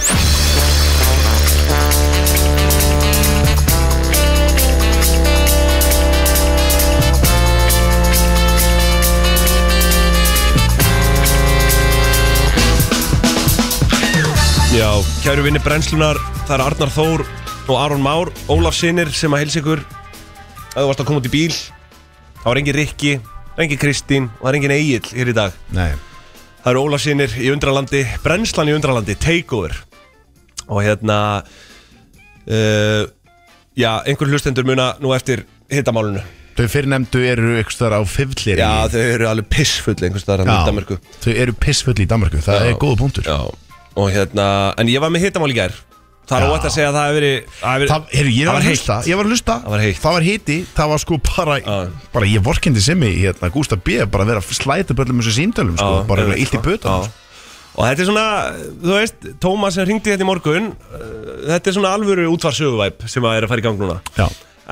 Já, kæru vinni brennslunar Það er Arnar Þór og Aron Már Ólaf Sinir sem að helsa ykkur að þú varst að koma út í bíl Það var engin Rikki, það er engin Kristín og það er engin Egil hér í dag
Nei,
Það eru Ólaf Sinir í Undralandi Brennslan í Undralandi, Takeover Og hérna uh, Já, einhver hlustendur muna nú eftir hittamálinu
þau fyrrnemdu eru ykkur þar á fivlir
Já, þau eru alveg pissfull einhvers staðar hann í Danmarku
Þau eru pissfull í Danmarku, það
Já.
er góða punktur
Já, og hérna En ég var með hittamál í gær Það er
Já.
óætt að segja að það hefur verið Það, hefur
Það, heyrðu, ég
það
var
var
að
heitt
hlusta, ég var að hlusta
Það var heitt.
Það var hiti, það var sko bara
Já.
Bara ég vorkendi sem ég, hérna, Gústa B Bara að vera að slæta upp öllum þessu símtölum sko,
Já,
Bara
einmitt,
eitthvað illt í
sko.
bötum
Já.
sko.
Og þetta er svona, þú veist, Tómas sem ringdi þetta í morgun uh, Þetta er svona alvöru útvarsöguvæp sem að er að fara í gang núna
Já,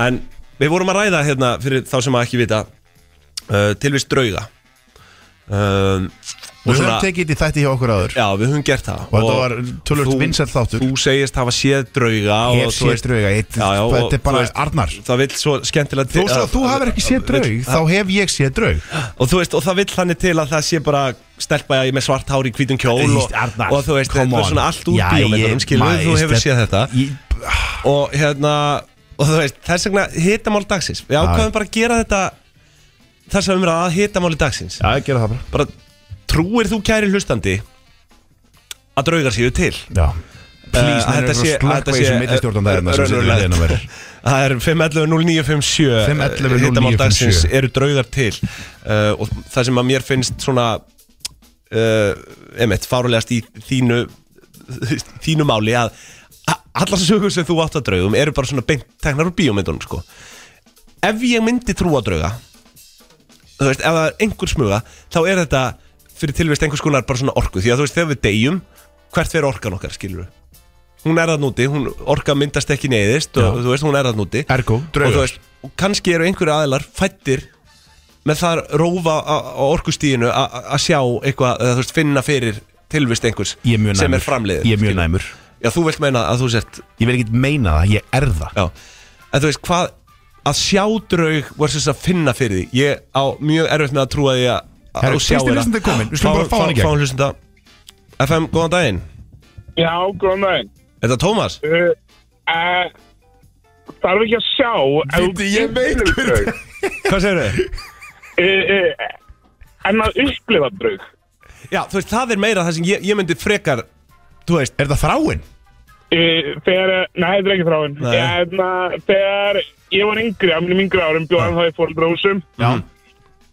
En við vorum að ræða hérna fyrir þá sem að ekki vita uh, tilvist drauga um,
og við höfum tekið þetta í þætti hjá okkur áður
Já, við höfum gert það
Og þetta var tölvöld
þú-
vinsæll þáttur
Þú segist hafa séð drauga
Ég
og
hef
þú
séð
veist-
drauga, eitt-
Já, já, og
þetta er bara
þú veist-
Arnar
Það vil svo skemmtilega
Þú, svo, þú hafur ekki séð draug, þá hef ég séð draug
Og þú veist, og það vill þannig til að það sé bara stelpa með svart hár í hvítum kjól og,
Arnar,
og þú veist,
come
þetta er
on.
svona allt úr
Já, ég-
bíómyndunum, skilur
maður,
þú hefur
þetta-
séð þetta
Ég-
og hérna og þú veist, þess vegna hitamál dagsins við ákvæðum bara að gera þetta þess að umræða að hitamáli dagsins
Já, ég gera það bara
bara trúir þú kæri hlustandi að draugar séu til
Já
Eh,
Please,
að
það er
þetta sé-
eitthvað
að þetta
slökkveið
sé-
sem millistjórnanda er sem hérna setur
raunverulegt.
leiðin að vera
það er 511-0957
511
eh, hitamál
0957.
dagsins eru draugar til uh, og það sem að mér finnst svona uh, emitt, fárulegast í þínu þínu máli að a- allar sögur sem þú átt að draugum eru bara svona beint teknar úr bíómyndunum sko ef ég myndi trúa drauga þú veist, ef það er einhver smuga þá er þetta fyrir tilvist einhvers konar bara svona orku því að þú veist, þegar við deyjum hvert fer orkan okkar, skilur við hún er það núti, hún orka myndast ekki neyðist og
Já.
þú veist, hún er það núti
Ergo,
og þú
draugar
veist, og kannski eru einhverju aðilar fættir með þar rófa á á orkustíginu a- a- að sjá eitthvað, eða þú veist, finna fyrir tilvist einhvers
Ég er mjög næmur
sem er framleiðin
Ég er mjög
skilurðu.
næmur
Já, þú vilt meina að þú sért
Ég vil ekki meina það, ég er það
Já, en þú veist hvað að sjá draug versus að finna fyrir því ég á mjög erfitt með að trúa því að að
Herru,
þú sjáir
fyrsti
það.
hlustandi er kominn. Við skulum bara fá hann í gegn.
Fáum hlustenda FM, góðan daginn
Já, góðan daginn.
Er þetta Tómas?
Uh, uh, þarf ekki að sjá...
Viti, ég veit
hver...
Hvað segir þau?
Uh, uh, en að upplifa draug.
Já, þú veist, það er meira það sem ég, ég myndi frekar Þú veist,
Er það þráin?
Uh, þegar... Nei, þetta er ekki þráin.
Nei.
En að þegar ég var yngri, á mínum yngri árum, bjóðan þá í fórhaldrósum.
Já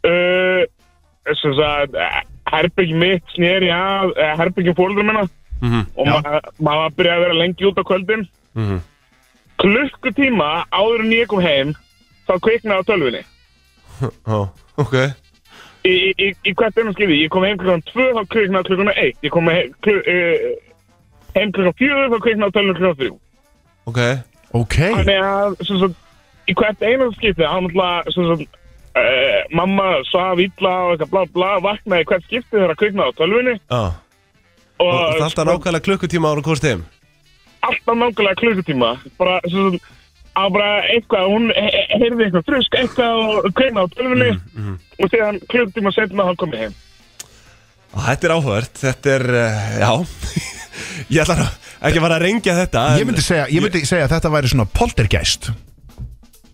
Uh, sem sagt, herbyggjum mitt sneri af herbyggjum fórhaldrum minna. og
Já.
ma maður var að byrja að vera lengi út á kvöldin.
Mhm.
Klukkutíma áður en ég kom heim, þá kviknaði á tölvunni.
ó, ok
í, í, í, í hvert ennum skipti, ég kom heim klukkan 2 þá kviknaði klukkan 1 ég kom heim, klu, uh, heim klukkan 4 þá kviknaði tölunum klukkan 3
Ok,
Ok
þannig að sem sagt, í hvert einu skipti þá náttúrulega sem sagt, uh, mamma svaf illa og eitthvað bla bla vaknaði í hvert skipti þegar að kviknaði á tölvunni
já
og,
Og það er alltaf nákvæmlega klukkutíma ára kosti heim
alltaf nákvæmlega klukkutíma bara sem sagt, að bara eitthvað, hún he- he- heyrði eitthvað frusk eitthvað og kviknaði á tölvunni og síðan klukkutíma setna þá kom ég heim
Og þetta er áhugavert, þetta er, uh, já *laughs* Ég ætla nú ekki að fara að rengja þetta
Ég myndi segja, ég myndi segja að þetta væri svona poltergeist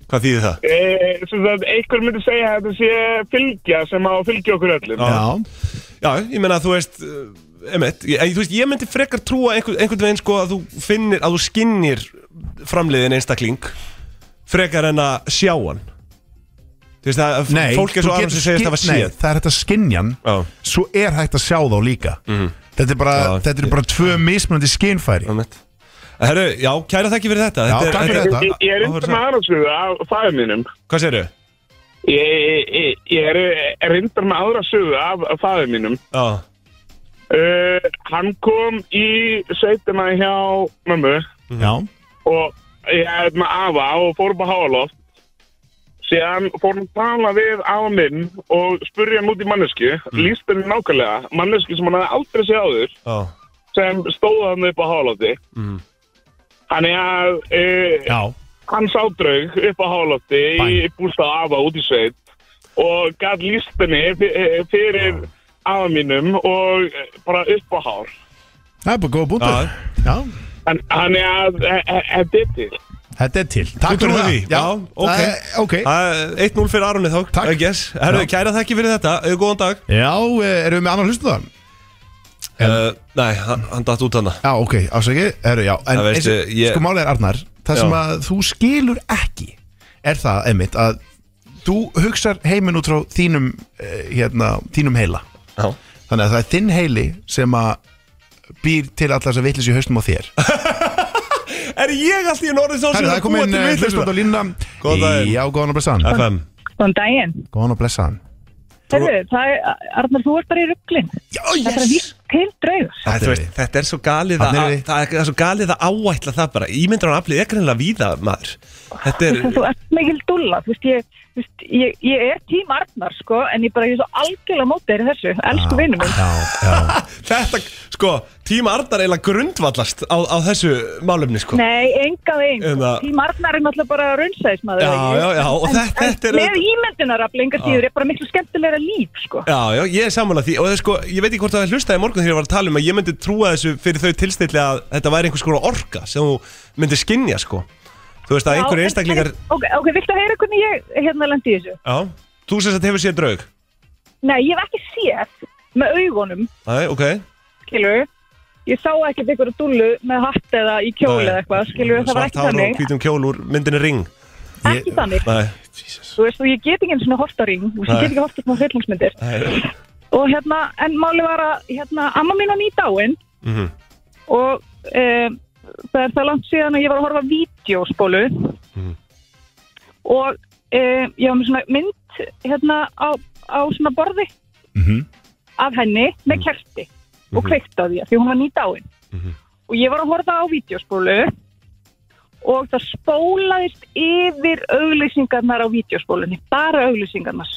Hvað þýðir það?
Eh, sem sagt, einhver myndi segja að þetta sé fylgja sem á að fylgja okkur öllum
Já. Já, ég meina að þú veist emitt, ég, þú veist, ég myndi frekar trúa einhvern, einhvern veginn sko að þú finnir að þú skinnir framleiðin einstakling frekar en að sjá hann Þú veist að
Nei
fólk er
þú
svo aðeins
getur
sem segist að það var
skyn- Nei,
séð
það er hægt að skinja hann
Já. Mhm.
Svo er hægt að sjá þá líka Þetta er bara,
Já.
þetta er bara tvö mismunandi skinfæri
Einmitt. Herru, já, kæra þakki fyrir þetta
Já,
þetta
takk fyrir
þetta er-
þetta.
Ég, ég er undir með aðragsögu af fæðum mínum
Hvað segirðu?
Ég, ég, ég- ég er, er undir með aðra sögu af, af fæðum mínum
Já,
uh, Hann kom í sveitina hjá mömmu
Já,
og ég hefði með afa og fór upp á háaloft síðan fór hann að tala við afa minn og spurði hann út í mannesku mm. líst henni nákvæmlega, mannesku sem hann hefði aldrei séð áður
já,
sem stóð hann upp á hálótti
Mhm.
þannig að uh,
já,
hann sá draug upp á hálótti í bústað afa út í sveit og gaf líst henni fyr- eh, fyrir afa mínum og eh, bara upp á hál
það er bara góða
Já.
búndur Já,
þannig að eh, eh, þetta er til
þetta er til Takk
trúir
fyrir það
því? Já, ok.
það er- ok
Það er 1-0 fyrir Arunni þá
Takk.
I guess. Herru, kæra þakki fyrir þetta, eða góðan dag
Já, eh, erum við með annan hlustu það?
uh, Nei, hann, hann datt út hana
Já, ok, ásækið, eru, já En
Það veistu,
eins og-
ég-
sko málið er Arnar Það sem
Já.
að þú skilur ekki Er það, einmitt, að Þú hugsar heiminn út frá þínum eh, Hérna, þínum heila
Já,
Þannig að það er þinn heili sem að Býr til allar þess að vitlis í haustum á
*laughs*
þér
Er ég alltaf í norðin sá sem er
Herri, það er
að búa
komin eh,
til
hlustum á
vitleysuna?
línna
Góðan daginn.
Já, góðan og blessaðan
FM
Góðan daginn.
Góðan og blessaðan
Herru, það er, Arnar, þú ert bara í rugglinn.
Já,
Það er bara víst til draug.
Það, þú veist,
við.
þetta er svo galið að,
Þarna
að,
er við.
það er svo galið að áætla það bara Ímyndur hann aflið er greinlega víða maður Þetta
*laughs*
er,
Þú veist, þú ert mikil dulla. Þú veist, ég, þú veist, ég, ég er tím Arnar, sko, en ég bara, ég er svo algjörlega mótið í þessu.
Ah,
Elsku vinnum minn.
Já,
*laughs*
já
þetta, sko, tíma Arnar eiginlega grundvallast á, á þessu málumni, sko
Nei, enga veginn.
En
sko.
það-
Tím Arnar er náttúrulega bara raunsaðismæður.
Já, já, já, og þetta- þetta er- Ah.
Með ímyndunarafli, enga síður, er bara miklu skemmtilegra líf, sko.
Já, já, ég er samanlega því og það er sko, ég veit ekki hvort að það hlustaði í morgun þegar ég var að tala um að ég myndi trúa þessu fyrir þau tilstilli að þetta væri einhvers konar orka sem þú myndi skinja, sko Þú veist að
Já,
einhverju
en-
einstaklingar
Ok, ok, viltu að heyra hvernig ég hérna lendi í þessu?
Já, þú sem sagt hefur séð draug
Nei, ég hef ekki séð með augunum
Æ, ok
skilur ég sá ekkert einhverju dullu með hatt eða í kjóli
Nei.
eða eitthvað, skilur, það var
Svart
ekki
hár og
þannig
hvítum kjól úr myndinni Ring
ekki þannig,
Nei,
þú veist, og ég get ekki einu svona hort á ring, þú veist,
Nei.
ég get ekki hort á svona hryllingsmyndir
nei,
og hérna, en máli var að hérna, amma mín var nýdáin
Mhm.
og um, það er það langt síðan að ég var að horfa á vídeospólu
Mhm.
og um, ég var með svona mynd hérna á, á svona borði
Mhm.
af henni með
Mhm.
kerti og kveikt á því af því hún var nýdáin og ég var að horfa á vídeospólu og það spólaðist yfir auglýsingarnar á vídeospólunni, bara auglýsingarnar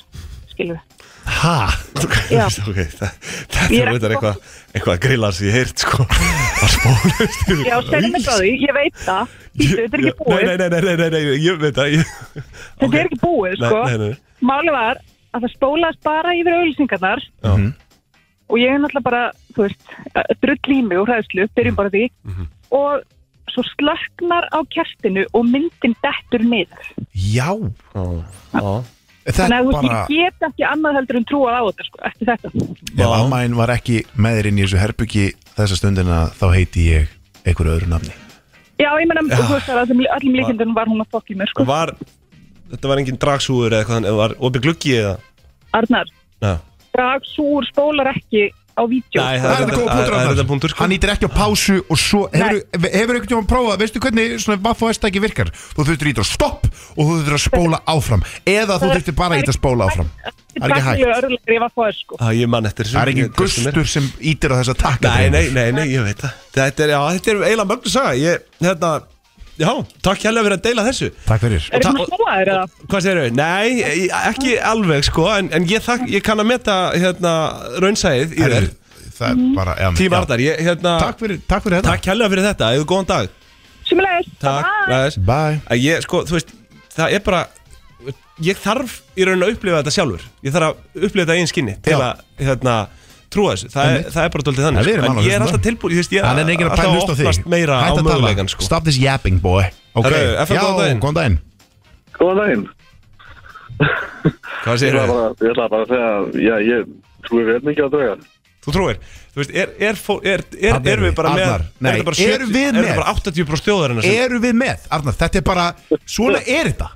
skilur
*laughs*
Ha?
við Já.
ok, það, það
Ég
er
er
veitar
ekki-
eitthvað eitthvað að grilla sem ég heyrt, sko að spólast yfir
Já, segðu mig frá því, ég veit það Býtu, Þetta er ekki búið,
Nei, nei, nei, nei, nei, nei, ég veit það ég-
þetta
ok.
er ekki búið
Nei,
sko.
nei, nei.
Máli var að það spólaðist bara yfir auglýsingarnar
Já.
Mhm.
og ég er náttúrulega bara, þú veist eh, drull í mig og hræðslu, byrjum bara á því
Mhm.
og svo slöknar á kertinu og myndin dettur niður
Já
Já.
Þetta
Þannig að þú veist, ég
bara
get ekki annað heldur en trúað á þetta sko, eftir þetta
Ef ammæn var ekki með þér inn í þessu herbyggi þessa stundina þá heiti ég einhverju öðru nafni
Já, ég meina, þú veist að öllum, öllum líkindunum var hún að fokk í mér sko.
var þetta var engin dragsúður eða eitthvað þannig, var opið gluggi eða
Arnar,
Nei,
dragsúr spólar ekki á vídeo
Nei,
Það er
reyndar-
þetta góða
það
punktur
er
Arnar.
þetta punktur, sko.
Hann ítir ekki á pásu og svo hefur, hefur einhvern tímann prófað Veistu hvernig svona vaff og estæki virkar Þú þurftur ítir að stopp og þú þurftur að spóla áfram Eða þú þurftur bara að ítir að spóla áfram Það er ekki hægt
örlega ég var fóður sko
að ég mann eftir þessu
Það er ekki
Ég treysti mér.
gustur sem ítir á þess að taka
Nei, nei, nei, nei, ég veit það Þetta er, já, þetta er eiginlega mögnu saga Ég, hérna, já, takk hérlega fyrir að deila þessu
Takk fyrir
Er
ta-
það svona þér eða?
Hvað segir þau? Nei, ég- ekki alveg, sko En, en ég, þak, ég kann að meta, hérna, raunsæðið í þér
Herri, Það er bara já,
Tím
já.
Ardar, ég, hérna
Takk fyrir, takk fyrir þetta
Takk hérlega fyrir þetta, eða góðan dag
Sumulegis
Takk, ræðis
Bye
að ég, sko, þú veist, það er bara ég þarf í raun að upplifa þetta sjálfur ég þarf að upplifa þetta einn skinni til
Já.
að, hérna, trúa þessu það er,
Einmitt.
það er bara doldið
Ja,
þannig
við
sko.
erum
en
alveg
ég er
hlusta.
alltaf tilbúin, ég veist, ég
Hann er
er
neikinn að pæla
alltaf
hlust á
opnast
þig
meira á
Hætt að tala.
mögulegan, sko
Stop this yapping boy Ok,
Herru, FM,
já,
góðan daginn.
góðan daginn
Góðan daginn.
hvað
Ég
segir
ætla
þau?
bara, ég ætla bara að segja að já, ég trúi vel mikið á draugar.
Þú trúir, þú veist, er, er, fó- er, er,
Þarna
er
erum
við
við.
bara með
Arnar, nei,
er þetta bara
erum
70
við
er
með?
þetta bara 80 brúst þjóðarinnar sem
Eru við með, Arnar, þetta er bara Svona er þetta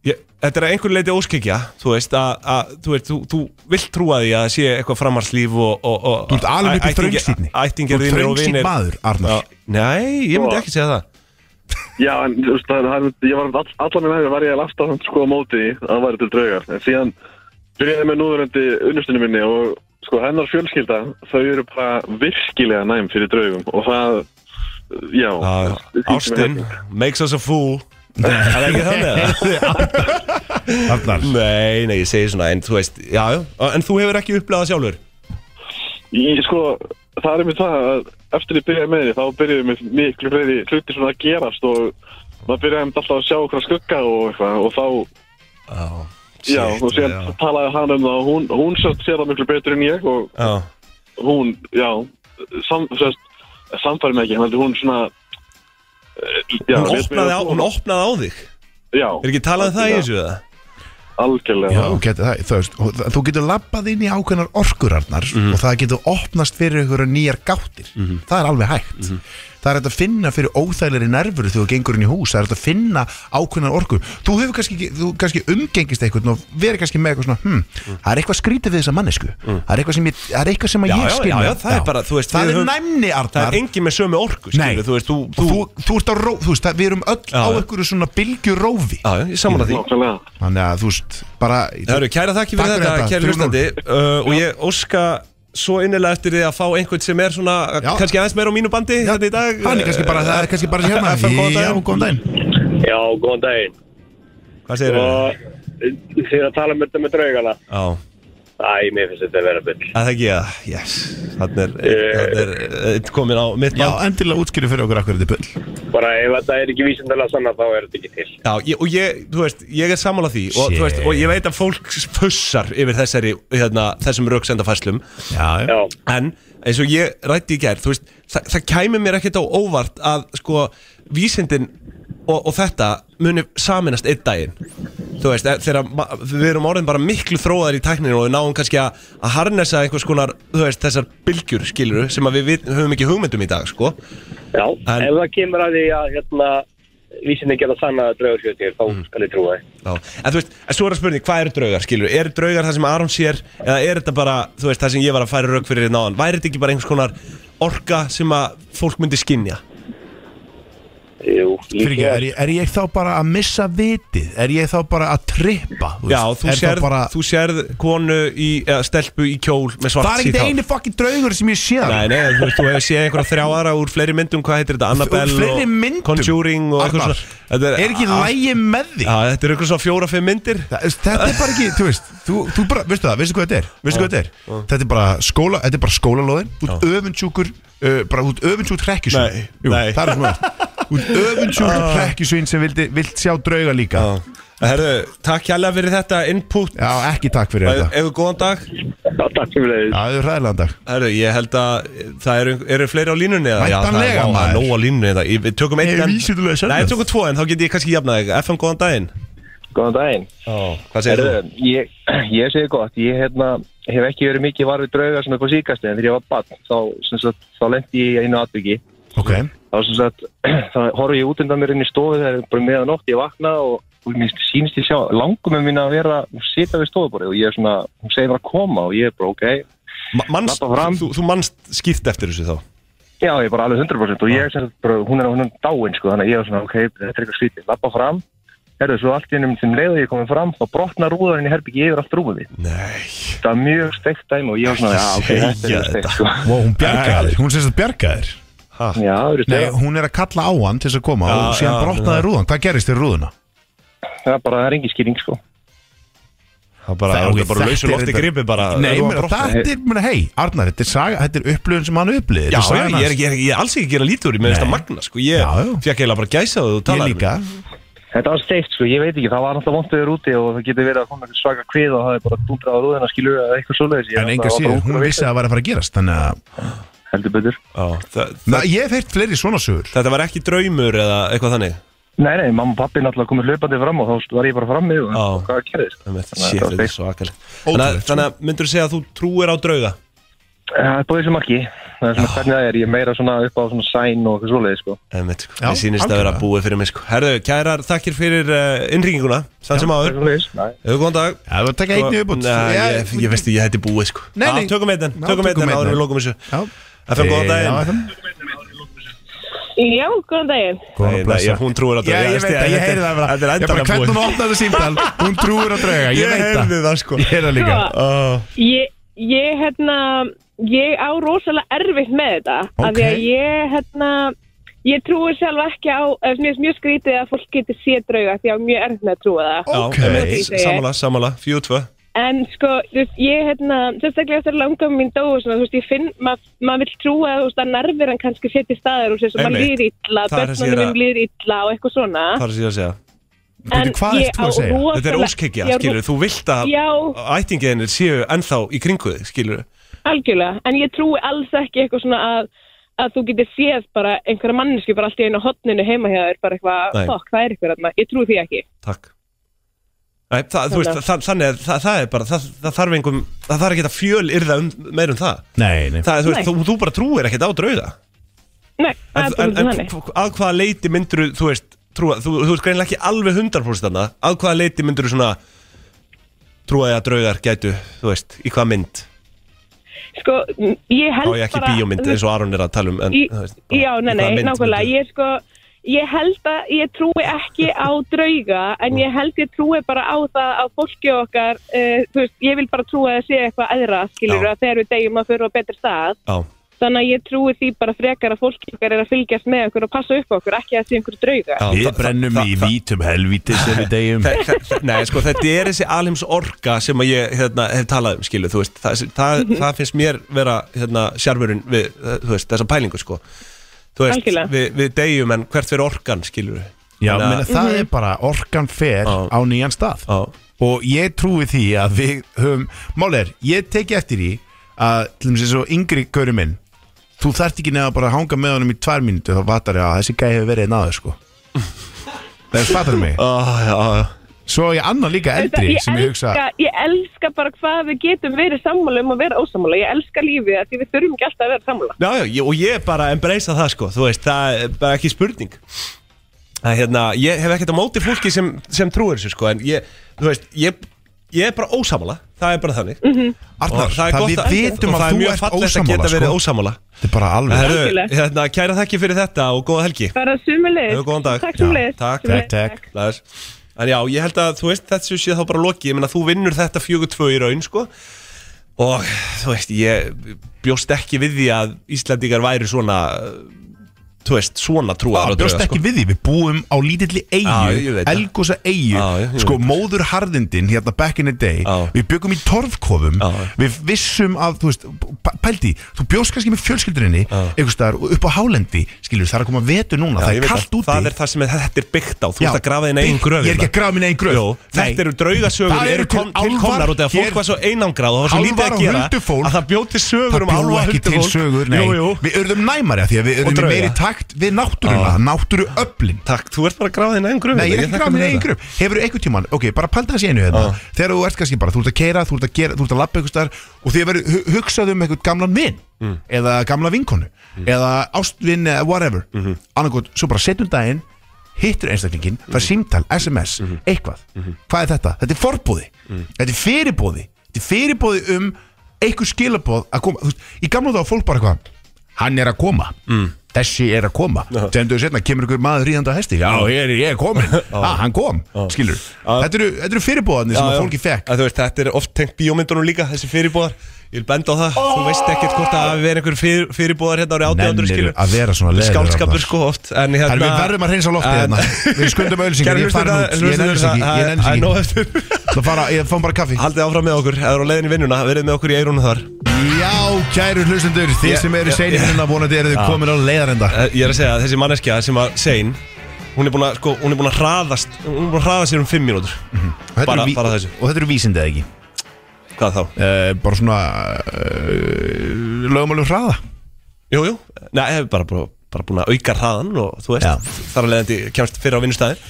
Ég- þetta er að einhverju leiti óskikja Þú veist að, að þú, veist, þú, þú vilt trúa því að það sé eitthvað framharslíf og, og, og
Þú ert alveg upp í
ættingja-
þröngsýnni.
Ættingjar
Þú ert
þínir og
þröngsýnn
vinir
maður, Arnar.
Já, Nei, ég myndi ekki segja það
Já, en þú veist, það, það, ég var all, allan með hefur var ég að lasta hann sko á móti því að það væri til draugar. En síðan byrjaði með núverandi unnustinu minni og sko hennar fjölskylda, þau eru bara virkilega næm fyrir draugum og það, já.
Já,
við sýndum
Ástin
hérna.
makes us a
*laughs*
fool Er það ekki þannig *laughs* eða?
*laughs*
Arnar
Nei, nei, ég segi svona En þú veist, já, já, en þú hefur ekki upplegað sjálfur
Ég, sko, það er mér það að eftir ég byrjaði með því, þá byrjaði mér miklu fleiri hluti svona að gerast og maður byrjaði einmitt alltaf að sjá okkur skugga og eitthvað og þá
Já,
Já, og síðan talaði hann um það og hún, hún sérst sér það miklu betur en ég og
Já,
hún, já, sam, sérst, samfæri mig ekki, hann heldur hún svona eh, já, lét
hún,
mig
opnaði á,
að-
hún opnaði á þig
Já,
Er ekki talað um það í þessu eða?
algjörlega
Já, þú getur það, þú, veist, og það- þú getur labbað inn í ákveðnar orkurarnar
Mhm.
og það getur opnast fyrir ykkur nýjar gáttir það er alveg hægt
Mhm.
það er hægt að finna fyrir óþægilegri nervur þegar þú gengur inn í hús, það er hægt að finna ákveðnar orkur þú hefur kannski, ekki- þú kannski umgengist eitthvað og verið kannski með eitthvað svona hm, það er eitthvað skrítið við þessa mannesku það er eitthvað sem ég, það er eitthvað sem
Mhm. Já,
ég
já,
skil
já,
með.
já, það er bara, þú veist,
það
við
er
höfum-
næmni
Það
Arnar
er engin með sömu orku, skilur, þú veist, þú,
þú, þú, þú ert á ró, þú veist, það- við erum öll
Já,
á
já.
einhverju svona bylgjurófi
Já, já, ég saman að því
Nákvæmlega
þannig að þú veist, bara
Það eru kæra þakki fyrir
Takk fyrir
þetta,
þetta,
kæri
3-0.
hlustandi
*laughs*
uh, Og ég óska svo innilega eftir því að fá einhvern sem er svona
Já.
Kannski aðeins meira á mínu bandi hérna í dag
Hann er kannski bara, það er kannski bara sér hérna
FM, góðan
Já,
daginn.
góðan daginn
Já, góðan daginn.
Hvað segir það?
Og þið að tala um þetta með draugana.
Já,
Æ, mér finnst þetta að vera byll.
að það ekki, já, yes Þannig er, þannig er, er komin á mitt
Já,
band
endilega útskýri fyrir okkur akkur þetta er bull
Bara ef þetta er ekki vísindalega sanna, þá er þetta ekki til.
Já, ég, og ég, þú veist, ég er sammála því og, þú veist, og ég veit að fólk pussar yfir þessari, hérna, þessum röksendafæslum
Já, já
Já,
en eins og ég rætti í gær þú veist, þa það kæmi mér ekkert á óvart að sko, vísindin og, og þetta muni saminast einn daginn þú veist, eh, þegar ma- við erum orðin bara miklu þróðar í tækninu og við náum kannski að, að harnessa einhvers konar, þú veist, þessar bylgjur skiluru, sem að við, við höfum ekki hugmyndum í dag sko.
já.
En-
ef það kemur að því að hérna, vísindin geta sanna að draugur séu til, þá
Mm.
skal ég trúa þið.
Já. En þú veist, en svo er að spurning, hvað eru draugar, skilur? Eru draugar það sem Aron sér, eða er þetta bara, þú veist, það sem ég var að færa rauk fyrir náðan? Væri þetta ekki bara einhvers konar orka sem að fólk myndi skinja?
Jú,
Fyrir ekki, er, ég- er ég þá bara að missa vitið? Er ég þá bara að trippa? Þú
Já,
veist?
þú
Er þá
sérð,
bara,
þú sérð konu í, eða stelpu í kjól með svart
Það er ekkert eini fucking draugur sem ég sé
Nei,
það
nei, en þú veist, þú hefur séð einhverja þrjá aðra úr fleiri myndum, hvað heitir þetta, Annabelle
fleiri myndum?
Conjuring og eitthvað
Arnar,
svona Þetta
Er ekki
Ah,
lægi með því?
Já, þetta er eitthvað svona fjóra-fimm myndir
Það- Þetta er bara ekki, þú veist Þú, þú bara, veistu það, veistu hvað þetta er? Veistu hvað þetta er?
Ah.
Þetta er bara skóla, þetta er bara skólalóðin Þú ert öfundsjúkur, uh, bara þú ert öfundsjúkur hrekkjusvín
Nei,
Jú,
nei.
það er svona Þú ert öfundsjúkur hrekkjusvín sem vildi, vilt sjá drauga líka
Ah. Já. Herðu, takk hérlega fyrir þetta input
Já, ekki takk fyrir þetta
Eða góðan dag
Já, takk sem við leiðis
Já, það er hræðilegan dag
Herru, ég held að það eru, eru fleiri á línunni eða? Já, það er-
Væntanlega,
vá, það er
maður.
nóg á línunni eða? Ég- Við tökum einn
Ég er
en-
vísindalega sannur.
Nei, við tökum tvo en þá get ég kannski jafnað þig FM, góðan daginn
Góðan daginn.
oh. Hvað segir þú?
Herðu, ég, ég segi gott, ég hérna, hef ekki verið mikið var við drauga svona hvað síkast en þegar ég var barn þá, sem sagt, þá lendi ég í einu atbyggi
Ok,
þá, sem sagt, *clears throat* þá horfði ég út undan mér inn í stofu þegar bara meðan nótt ég vakna og, og mér sínst ég sjá langum með mín að vera hún sita við stofuborðið og ég er svona hún segir mér að koma og ég er bara ok
Ma- Manst,
Labba fram.
þú, þú manst skýrt eftir þessu þá
já ég er bara alveg 100% og ég sem sagt, bara, hún er hún er dáin sko þannig að ég er svona ok þetta er eitthvað slítið lappa fram Herðu, svo allt í um ennum sem leiðu ég komið fram, þá brotna rúðarinn í herbyggi yfir allt rúðið.
Nei
Það var mjög steikt dæmi og ég var svona, já, ok,
Segja
þetta er steikt,
þetta.
sko.
Vó, hún bjargaði, hún sést að bjargaði
Já, það eru
Nei,
steikt.
hún er að kalla á hann til þess að koma
Já,
og
já,
síðan brotnaði
já.
rúðan, hvað gerist þér rúðuna?
Það er bara, það er engin skýring, sko.
Það bara,
Það-
það,
ok,
er bara
þetta
lausu
er
lofti
þetta-
gripi bara
Nei,
rúðan
meni,
brotnaði.
þetta er, meni, hei, Arnar, þetta er, saga, þetta er upplöfun sem hann upplýði
Já, já, ég er, ég, er, ég er alls ekki að gera lítur í með þetta magna sko. Ég
Já, já.
fekk eiginlega bara gæsa þú
Ég
talaði
líka,
Þetta var steikt, sko, ég veit ekki, það var alltaf vondt yfir úti og það getur verið að koma eitthvað svaka kvið og það er bara dundrað á rúðina, skilur eða eitthvað svoleiðis. Ég
en
var
enga
bara-
síður,
var bara
hún
ungur
vissi að það var að fara að gerast Þannig að,
og Heldur betur.
á, það,
na, ég hef heyrt fleiri svona sögur
Þetta var ekki draumur eða eitthvað þannig
Nei, nei, mamma og pappi náttúrulega komið hlaupandi fram og þá var ég bara frammi og
Já.
og hvað gerðist.
Einmitt,
Þannig að
Shit,
þetta var
þetta er
steikt.
svo akkalegt Þannig að-
Ótrúlegt, sko.
þannig að myndur þú segja að þú trúir á drauga
Eh, Búið sem ekki. það er svona hvernig það er, ég er meira svona upp á svona sæn og eitthvað svoleiði sko.
Emitt, sko.
Já,
Mér sýnist að vera
algjörlega.
búið fyrir mig sko. Herðu, kærar, þakkir fyrir uh, innringinguna Sann sem áður, hefur góðan dag Sko,
Það var að taka einni upp
Nei, ég, ég veist, ég hætti búið sko
Nei, nei.
Já, Tökum einn,
Já,
tökum
tökum
einn
einn.
áður en við lókum þessu
Já,
FM, góðan daginn
Já, góðan daginn.
Nei, nei, ég- Hún trúir á
Já,
drauga
ég veit
Þetta-
það, ég heyri það bara
Þetta er
Ég bara,
endanlega
hvernig
búið
hún opnaði þetta símtal Hún trúir að drauga, ég veit það
heyrði það sko
Ég er það líka
Sko,
Ó,
Ég, ég, hérna, ég á rosalega erfitt með þetta. Af því
Ok.
að ég, hérna, ég trúi sjálf ekki á, eða mér finnst mjög skrítið að fólk getur séð drauga því að mjög erfitt með að trúa það.
Ok.
Já, emitt,
Segi ég.
samanlega, samanlega, fjú tvö
En sko, þú veist, ég, hérna, sérstaklega eftir að langa mín dóu, svona, þú veist, ég finn, maður ma vill trúa að, þú veist, að nervir hann kannski setja í staðar og sér sem maður
Einmitt.
líður illa,
Það er það sem ég er
börnunum
að-
minn líður illa og eitthvað svona.
Það er að síðan að segja
Bíddu, Hvað
Ah. ég
ert þú
á
að segja?
rosalega-
Þetta er óskikja,
ég á ro-
skilur Þú vilt að
Já,
ættingiðinir séu ennþá í kringu þig, skilur
Algjörlega, en ég trúi alls ekki eitthvað svona að, að þú getur séð bara einhverja mannesku bara allt í einu á hotninu heima hjá þér bara eitthvað,
Nei.
fokk, það er eitthvað þarna, ég trúi því ekki.
Takk Nei, það, þú veist, það, þannig að það, það er bara það, það þarf engum, það þarf ekki að fjöl yrða um, meir um það,
Nei, nei
það er, þú, veist,
Nei.
þú, þú bara trúir ekkert á drauga
Nei, það er
en,
bara
en,
þannig.
hv- að hvaða leiti myndur þú veist, trúa, þú, þú veist greinlega ekki alveg 100% þarna, að hvaða leiti myndur þú svona trúaði að draugar gætu, þú veist, í hvaða mynd
Sko, m- ég
þá
held
er
bara...
ég ekki bíómynd eins og Aron er að tala um en,
Í,
þú veist,
já, nei,
bara í hvaða
nei,
mynd
nákvæmlega,
myndirðu-
ég sko, ég held að ég trúi ekki á drauga, en ég held ég trúi bara á það að fólki okkar, uh, þú veist, ég vil bara trúa að það sé eitthvað aðra, skilur,
Já.
að þegar við degjum að fyrir á betri stað.
Já,
Þannig að ég trúi því bara frekar að fólk okkar er að fylgjast með okkur og passa upp á okkur, ekki að það sé einhverju drauga.
já,
Við
það-
brennum
það-
í
það-
vítum helvítis þegar við degjum
*laughs* Þe- þe- þe- Nei, sko, þetta er þessi alheims orka sem að ég hérna, hef talað um, skilu, þú veist það, það, það finnst mér vera hérna, sjármurinn við, eh, þú veist, þessa pælingu, sko þú veist,
Algjörlega.
við, við deyjum en hvert fyrir orkan, skilur
Já, menn það
Mhm.
er bara orkan fer
Já.
á nýjan stað
Já.
og ég trúi því að við höfum Mál er, ég teki eftir í að til þess að yngri kauri minn þú þarft ekki nefn að bara hanga með honum í tvær mínútu þá vatar ég að þessi gæði hefur verið einn aður
*laughs*
sko Það er fattar mig
oh, já, já.
Svo ég annar líka eldri
ég,
sem ég hugsa
elska, ég elska bara hvað við getum verið sammála um að vera ósammála. Ég elska lífið af því við þurfum ekki alltaf að vera sammála.
Já, já, ég- og ég bara embracea það, sko þú veist, það er bara ekki spurning að, hérna, ég hef ekkert á móti fólki sem, sem trúir þessu, sko en ég, þú veist, ég, ég er bara ósamála það er bara þannig
Mhm.
Arnar, það, við vitum
og
að
það er
þú
mjög
ert
fallegt að
ósamála
geta verið
sko.
ósamála
Þetta er bara alveg
Herru,
Algjörlega.
hérna, kæra þakki fyrir þetta og góða helgi
Bara sumulegis.
Hefur góðan dag.
Takk sumulegis.
Já, takk,
Takk, takk
Læs. En já, ég held að þú veist, þessu sé þá bara loki Ég meina, þú vinnur þetta 4-2 í raun, sko Og þú veist, ég bjóst ekki við því að Íslandingar væri svona Þú veist, svona trúaðar
Já,
á
bjóst
drauga, sko.
ekki við því, við búum á lítilli
Já, ég
eyju,
veit það.
elgosa
Já, ég-
eyju
ég
sko
veit það.
móður harðindin hérna back in the day,
Já.
við byggum í torfkofum
Já.
við vissum að, þú veist p- pældi, þú bjóst kannski með fjölskyldurinni einhvers staðar og upp á hálendi skilur, það er að koma vetur núna,
Já,
það
ég
er
veit
kallt úti
Það er það sem er, þetta er byggt á Þú
Já,
veist að grafa þín eigin
bygg-
gröf hérna.
Ég er ekki að grafa mín eigin gröf
Jó, þetta eru draugasögur
Það
eru
eru til
kom, til
álfar
komnar út af að
hér-
fólk var svo einangrað og það var svo lítið
Álfar og
að gera
huldufólk.
að það bjóti
Það
sögur um
bjóð
álfa
ekki til sögur, nei
Jú, jú,
Við urðum næmari að því að við urðum
drauga. Ah.
í meiri takt við náttúruna, náttúru öflin
takk, þú ert bara að grafa þín eigin gröf
Nei, ég er ekki gráð minn eigin gröf Hefur þú einhvern tímann, ok, bara pælda þessi einu
Ah.
hérna Þegar þú ert kannski bara, þú ert að keira, þú ert að gera, þú ert að labba einhvers staðar Og þið verður hu- hugsað um einhvern gamlan vin
Mm.
Eða gamla vinkonu Eða ástvin, eða whatever mm
Mhm.
-hmm. svo bara setjum daginn Hittur einstaklingin,
Mhm.
fær símtal, SMS, eitthvað Hvað er þetta? Þetta er forbúði Þetta er fyrirbúði Þetta er fyrirbúði um einhver skilabóð að koma Þú veist, Í gamla þá fólk bara eitthvað Hann er að koma Þessi er að koma Tendur þú setna, kemur ykkur maður ríðandi að hesti Já, ég er, ég er komin
*laughs*
*laughs* ah, Hann kom, skilur Þetta eru, þetta eru fyrirbúðanir
Já,
sem að
já.
fólki fekk
að þú veist, þetta er oft tengt bíómyndunum líka þessi fyrirbúðar, ég vil benda á það þú veist ekkert hvort að hafi verið einhver fyrir, fyrirbúðar hérna árið 1800
Nennirðu
skilur
að vera svona leiður,
skálskapur
Arnar?
sko oft en
Það er
hérna
við verðum að reynsa loftið
En-
hérna Við skundum auðlýsingar,
Kæru
ég er farin
hlustendur,
út Ég nennis
hlustendur,
ekki,
það-
ég nennis
það er nóg
ekki
eftir.
Það fara, ég fann bara kaffi
haldið áfram með okkur, eða á leiðin í vinnuna verið með okkur í eirunum þar
Já, kæru hlustendur, þið
Ég-
sem eru
ég-
seinir hérna vonandi eru þið komin á leiðarenda
Eh, ég er að segja að þessi manneskja sem var sein hún er búin að, sko, hún er búin að hraðast hún er búin að hraða sér um 5 mínútur
Og Mhm. þetta
bara-
eru ví-
bara þessu.
Og þetta eru vísindið eða ekki
hvað þá?
Eh, Bara svona eh, Lögumálum um hraða
Jú, jú, Nei, ég hef bara, bara, bara búin að auka hraðan og þú veist,
Já.
þar að leiðandi kemst fyrir á vinnustæðin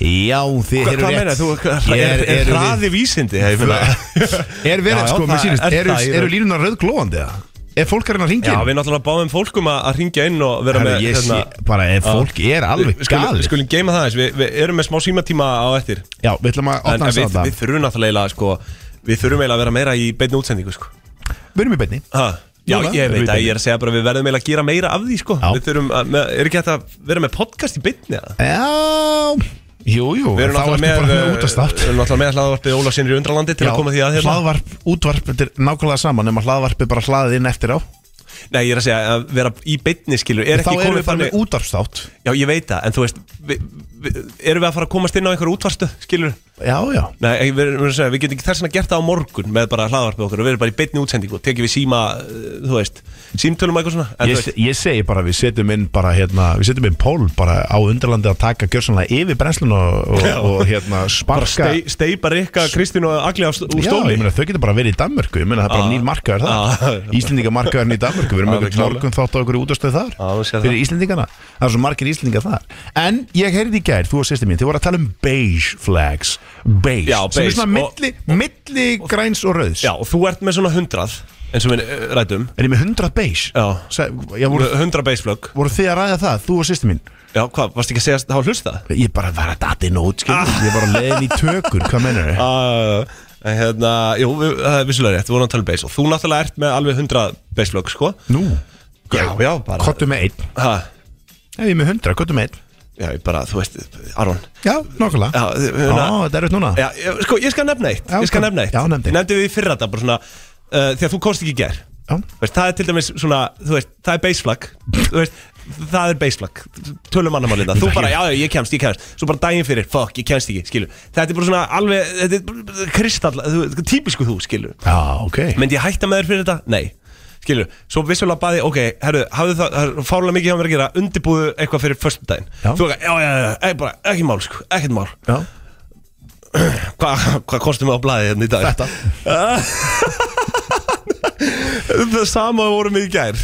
Já, þið
Hvað
eru
hvað meina,
rétt
þú, hvað-
Ég
er, er
eru við-
hraði vísindi? Ég meina-
*laughs* Er verið,
Já, já,
sko, mér
það
sýnist,
er
eru,
það í raun.
eru línunar rauðglóandi eða? Ef fólk er hann að ringja
Já, við náttúrulega báðum fólkum að, að ringja inn og vera
Herra,
með hérna,
ég sé bara ef fólk er alveg
Við skulum,
galið
við skulum geima það eins, við, við erum með smá símatíma á eftir
Já, við ætlum að
En
opna
en
þess
við,
að það
við þurfum náttúrulega eiginlega, sko, Við þurfum eiginlega að vera meira í beinni útsendingu sko.
Við erum í beinni
ha, Já,
Núna,
ég
við
veit að
beinni.
ég er að segja bara að Við verðum eiginlega að gera meira af því sko.
Já.
Við þurfum að, með, er ekki hægt að vera með podcast í beinni eða?
Já, jú, jú
Við erum
Þá ertu
náttúrulega
bara
með, eh,
með útastátt
við erum náttúrulega með hlaðvarpið Óla sinni í undralandi til að koma því að hérna
hlaðvarp, útvarp, þetta er nákvæmlega saman nema hlaðvarp er bara hlaðið inn eftir á
Nei, ég er að segja að vera í beinni skilur Er
Þá
ekki
erum
komið
við bara
þannig
með útvarpstátt
Já, ég veit það, en þú veist vi, vi, Erum við að fara að komast inn á einhverju útvarstu, skilur
Já, já,
Nei, ég verður að segja, við getum ekki þess að gert það á morgun Með bara hlaðvarpið okkur og við erum bara í beinni útsendingu og Tekið við síma, uh, þú veist, símtölum og eitthvað svona en, þú
ég,
veist,
se- ég segi bara við setjum inn bara hérna, við setjum inn pól bara á undirlandi að taka gjörsanlega yfir brennslun og, og, og *laughs* hérna
Bara
sparka
stei, steipa Rikka, Kristín og Agli á st- úr
Já,
stóli
ég meina þau getur bara verið í Danmörku, ég meina það er bara
Ah.
nýr markaður
Ah. *laughs*
það Íslendinga markaðurinn í Danmörku, við erum
Ah,
með
klálega.
morgun þátt á okkur útastöð þar
Ah, þú sér það.
Fyrir Íslendingana, það er svo margir Íslendingar þar En ég heyrði í gær, þú og sýsti mín, þið voru að tala um beige flags Beige,
Já, beige.
sem er svona
Og-
milli, milli græns og rauðs
Já, og þú ert með svona hundrað eins og við uh, ræddum
Er ég með 100 beige?
Já.
Sæ, sko. ég voru,
Hundrað baseflögg
voru þið að ræða það, þú og sýsti mín
Já, hvað, varst ekki að segja að hafa hlust það?
Ég bara var að dati nót, skil Ég var að leiðin í tökur, hvað
*laughs*
menur þau?
Uh, hérna, jú, við, það er vissulega rétt, við vorum að tala um base og þú náttúrulega ert með alveg 100 baseflögg, sko
Nú,
Já, já, bara
kottu með einn
ha,
Ef ég er með 100, kottu með einn
Já, ég bara, þú veist, Aron
Já, nokkulega
Já, þið- hérna-
Ó, þetta er upp núna
Já, ég- sko, ég skal nefna eitt,
Já,
ég skal
kom-
nefna eitt
já, nefndi.
Nefndi við í fyrra þetta, bara svona uh, Þegar þú komst ekki í ger
Já.
veist, Það er til dæmis svona, þú veist, það er baseflag Þú veist, það er baseflag Tölum annar málið það, þú bara, já, já, ég kemst, ég kemst Svo bara daginn fyrir, fuck, ég kemst ekki, skilur Þetta er bara svona alveg, þetta er bara kristall þú- Típisku þú, skilur
Já, ok
Myndi ég hætta með þér fyrir þetta? Nei Skilur, svo vissulega baði, ok, herru, hafðu það, það fárlega mikið hjá mér að gera, undirbúðu eitthvað fyrir föstudaginn.
Já.
Þú ekki, já, já, já, já, bara, ekki mál, sko, ekkert mál.
Já,
Hvað *clears throat* hva kostum við á blæði hérna í dag?
þetta
*laughs* *laughs* Það sama vorum við í gær.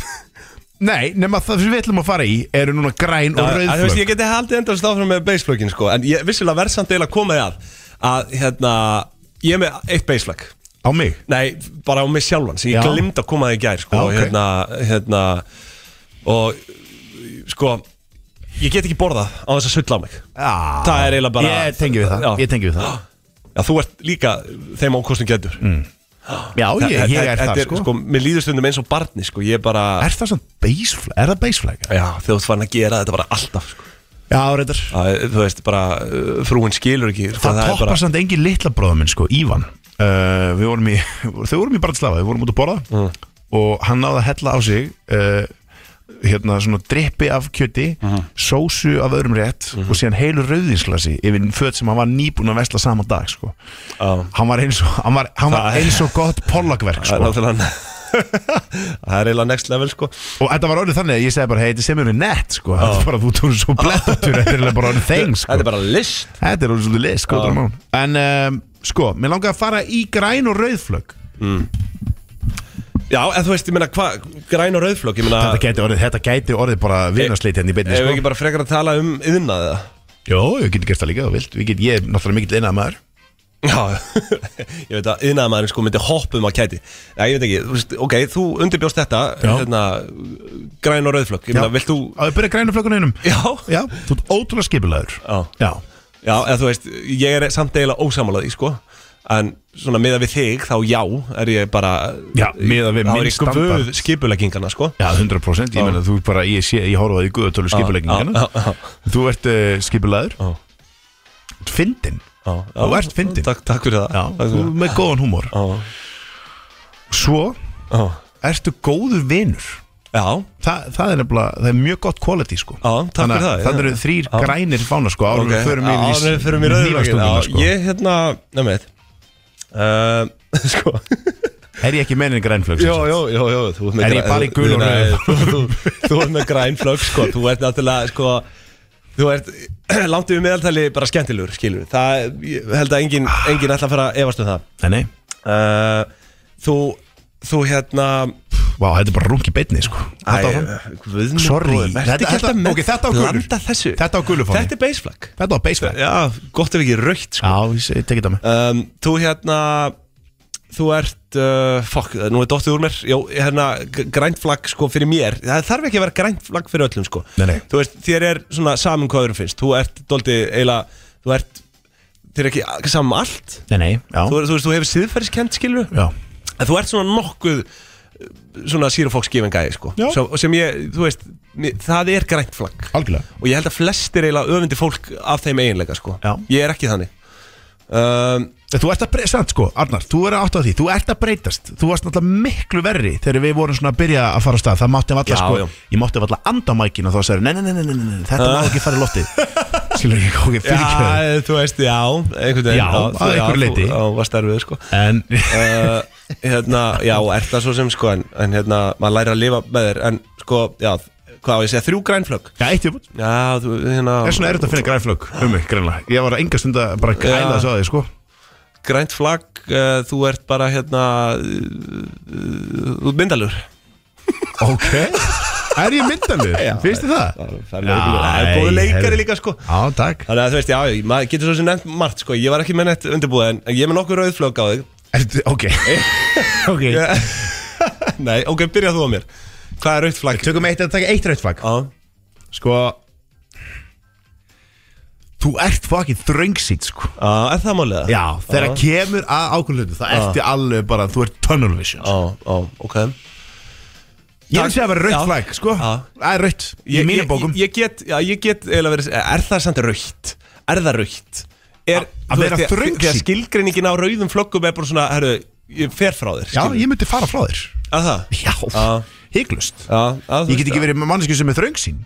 Nei, nema það sem við ætlum að fara í eru núna græn og
Að, þú veist,
rauðflögg
ég geti haldið endast áfram með baseflögin, sko, en ég vissulega verð samt eiginlega komið að, að, hérna, ég er með eitt baseflög.
Á mig
Nei, bara á mig sjálfan sem ég
Já.
glimta að koma það í gær sko,
Já, ok.
hérna, hérna og sko ég get ekki borðað á þess að sulla á mig
Já,
Það er eiginlega bara-
Ah, Ég tengi við það,
Já.
ég tengi við það
Já, þú ert líka þeim ákostum getur mm.
Já, ég, ég er það sko
Mér líður stundum eins og barni sko, ég bara
Er það svona beisflag, er það beisflag?
Já, þegar þú ert farin að gera þetta bara alltaf sko.
Já, reyndar
að, Þú veist, bara uh, frúin skilur ekki sko,
Það
er
toppar
bara,
samt engin litla bróða minn sko, Ívan uh, Við vorum í, þau vorum í Bratislava, við vorum út að borða Og hann náði að hella á sig uh, Hérna svona drippi af kjöti Sósu af öðrum rétt Og síðan heilur rauðinsglasi Yfir föt sem hann var nýbúin að vesla sama dag sko
á,
hann var eins og, hann var, hann var
Það-
eins og gott *laughs*
*laughs*
pollagverk
Það er
sko.
náttúrulega Það er eiginlega next level sko
og þetta var orðið þannig að ég segi bara hei, þetta sem eru nett sko. þetta er bara þú tónir svo blettur þetta er eiginlega bara
*laughs*
orðið þeng sko.
Þetta er bara list
þetta er orðið svolítið list sko, ah. en um, sko, mér langaði að fara í græn og rauðflögg
Hmm. Já, en þú veist, ég meina, hvað, græn og rauðflokk Ég meina,
þetta gæti orðið, þetta gæti orðið bara vinarsleit hérna í beinni
Ef við
sko.
ekki bara frekar að tala um yðnaðið það?
jó, ég geti gert það líka, þú vilt Við get, ég er náttúrulega mikill einað maður
Já, *laughs* ég veit að yðnaðmaðurinn sko myndi hoppa um að kæti Nei, ég veit ekki, þú veist, ok, þú undirbjóst þetta
Já.
hérna, Græn og rauðflökk Ég meina, vilt þú
að við byrja græn og flöggunum einum
Já,
já, þú ert ótrúlega skipulagur
Já.
já,
já eða þú veist, ég er samt eiginlega ósamálaði, sko En svona miða við þig, þá já, er ég bara
Já, miðað
Þá
við minn
er ég guð
standard.
skipuleggingana, sko
já 100% ég meina þú bara, ég, sé, ég horfa að því guðatölu skipuleggingana
Já, já,
Þú ert uh, skipulaður
Já.
Fyndin
já, já.
Þú ert fyndin.
Takk, takk fyrir það
Já,
takk
þú
fyrir
ert með góðan húmor
það.
Svo
Já, já.
ertu góður vinur
Já,
Þa, það er nefnilega, það er mjög gott quality sko
Já, takk fyrir
Þannig að
það,
Þannig
já.
eru þrýr
Já.
grænir fána sko Árum okay. förum
Já, áður en við förum í
við
rauðvökina
nývastunguna sko
Ég hérna, nefnum við uh, *laughs* Sko
Er ég ekki mennin grænflög sem
Jó,
sagt?
jó, jó, jó þú ert með
Er ég
græn-
bara í gul og
Nei,
rauð?
þú- þú- Þú ert með græn flögg, sko Þú ert náttúrulega, sko Þú ert *clears throat* langt yfir meðaltali bara skemmtilegur, skilur við. Það, ég held að enginn engin ætla að fara að efast um það
Nei, nei,
uh, Þú, þú hérna
vá, þetta er bara rung í beinni sko Þetta var hann
Guðmund
Sorry, þetta- þetta- ok, þetta á gulur.
Landa þessu
Þetta á gulu fáni
Þetta er baseflag
Þetta var baseball
Já, gott ef ekki raukt, sko
Já, ég segi- ég tekið það með
um, Þú hérna þú ert uh, Fuck, nú er dottið úr mér Jó, hérna, g- grænt flagg sko fyrir mér Það þarf ekki að vera grænt flagg fyrir öllum sko
Nei, nei.
Þú veist, þér er svona saman hvað þér finnst Þú ert doldið eiginlega Þú ert, þér er ekki saman um allt
Nei, nei, já,
þú, er- þú veist, þú hefur siðferðiskend skilur
já.
En þú ert svona nokkuð uh, Svona sírufóksgifingæði sko
Já.
Svo, Sem ég, þú veist, mér, það er grænt flagg
algjörlega
og ég held að flestir eiginlega öfundi fólk af þeim eiginlega sko
Já.
ég er ekki þannig um,
En Þú ert að breytast, sant sko, Arnar, þú verður átt á því Þú ert að breytast, þú varst náttúrulega miklu verri Þegar við vorum svona að byrja að fara á stað Það mátti valla
Já,
sko,
já.
ég mátti valla andamækin Og þá sagði, nei, nei, nei, nei, nei, nei, þetta
Ah.
má
*laughs*
ekki fara í loftið Skilur ekki, ok,
já, eh,
fyrirgjöðu
þú veist, já einhvern veginn
Já,
þú-
að einhverju
já,
leyti.
þú- já, var starfið sko
En,
uh, hérna, já, er það svo sem sko en, en hérna, maður læri að lifa með þér en sko, já, hvað á ég að segja, þrjú grænflögg
já, eitt viðbútt
já, þú, hérna
Þess vegna er þetta að finna grænflögg um mig, greinlega Ég var að enga stund að bara gæla
Já.
þessu að því, sko
grænt flagg, uh, þú ert bara hérna uh, uh, þú ert myndalur
Ok, er ég myndanlið? Finnst þið það?
það er góð leikari líka sko
Já, takk
Þannig að þú veist, já, ég- maður getur svo sem nefnt margt, sko, ég var ekki með neitt undirbúið, en ég er með nokkuð rauðflögg á þig.
Ertu-
*laughs*
Ok, ok
Nei, ok, byrja þú á mér. Hvað er rauðflögg?
Tökum eitt að taka eitt rautt flagg
Já,
Sko Þú ert fucking þröngsýtt sko
já, er það málega?
Já, þegar kemur að ákveðin hlutu Það ertu alveg bara, þú ert tunnel vision sko.
Já, já, ok.
Ég er að segja að vera
Já.
rautt flagg, sko
Já.
Það er rautt, í mínum bókum
Ég, ég get, já, ég get, eða verið, er það samt rauðt? Er það rauðt? Er,
að
þú
vera
veist, þegar-
þröngsýnn.
Þegar skilgreiningin á rauðum flöggum er bara svona, herru, ég fer frá þér.
Já, ég myndi fara frá þér
Að það?
Já,
Já.
hygglust
Já, já, þú
Ég get
veist,
ekki verið með mannesku sem er þröngsýn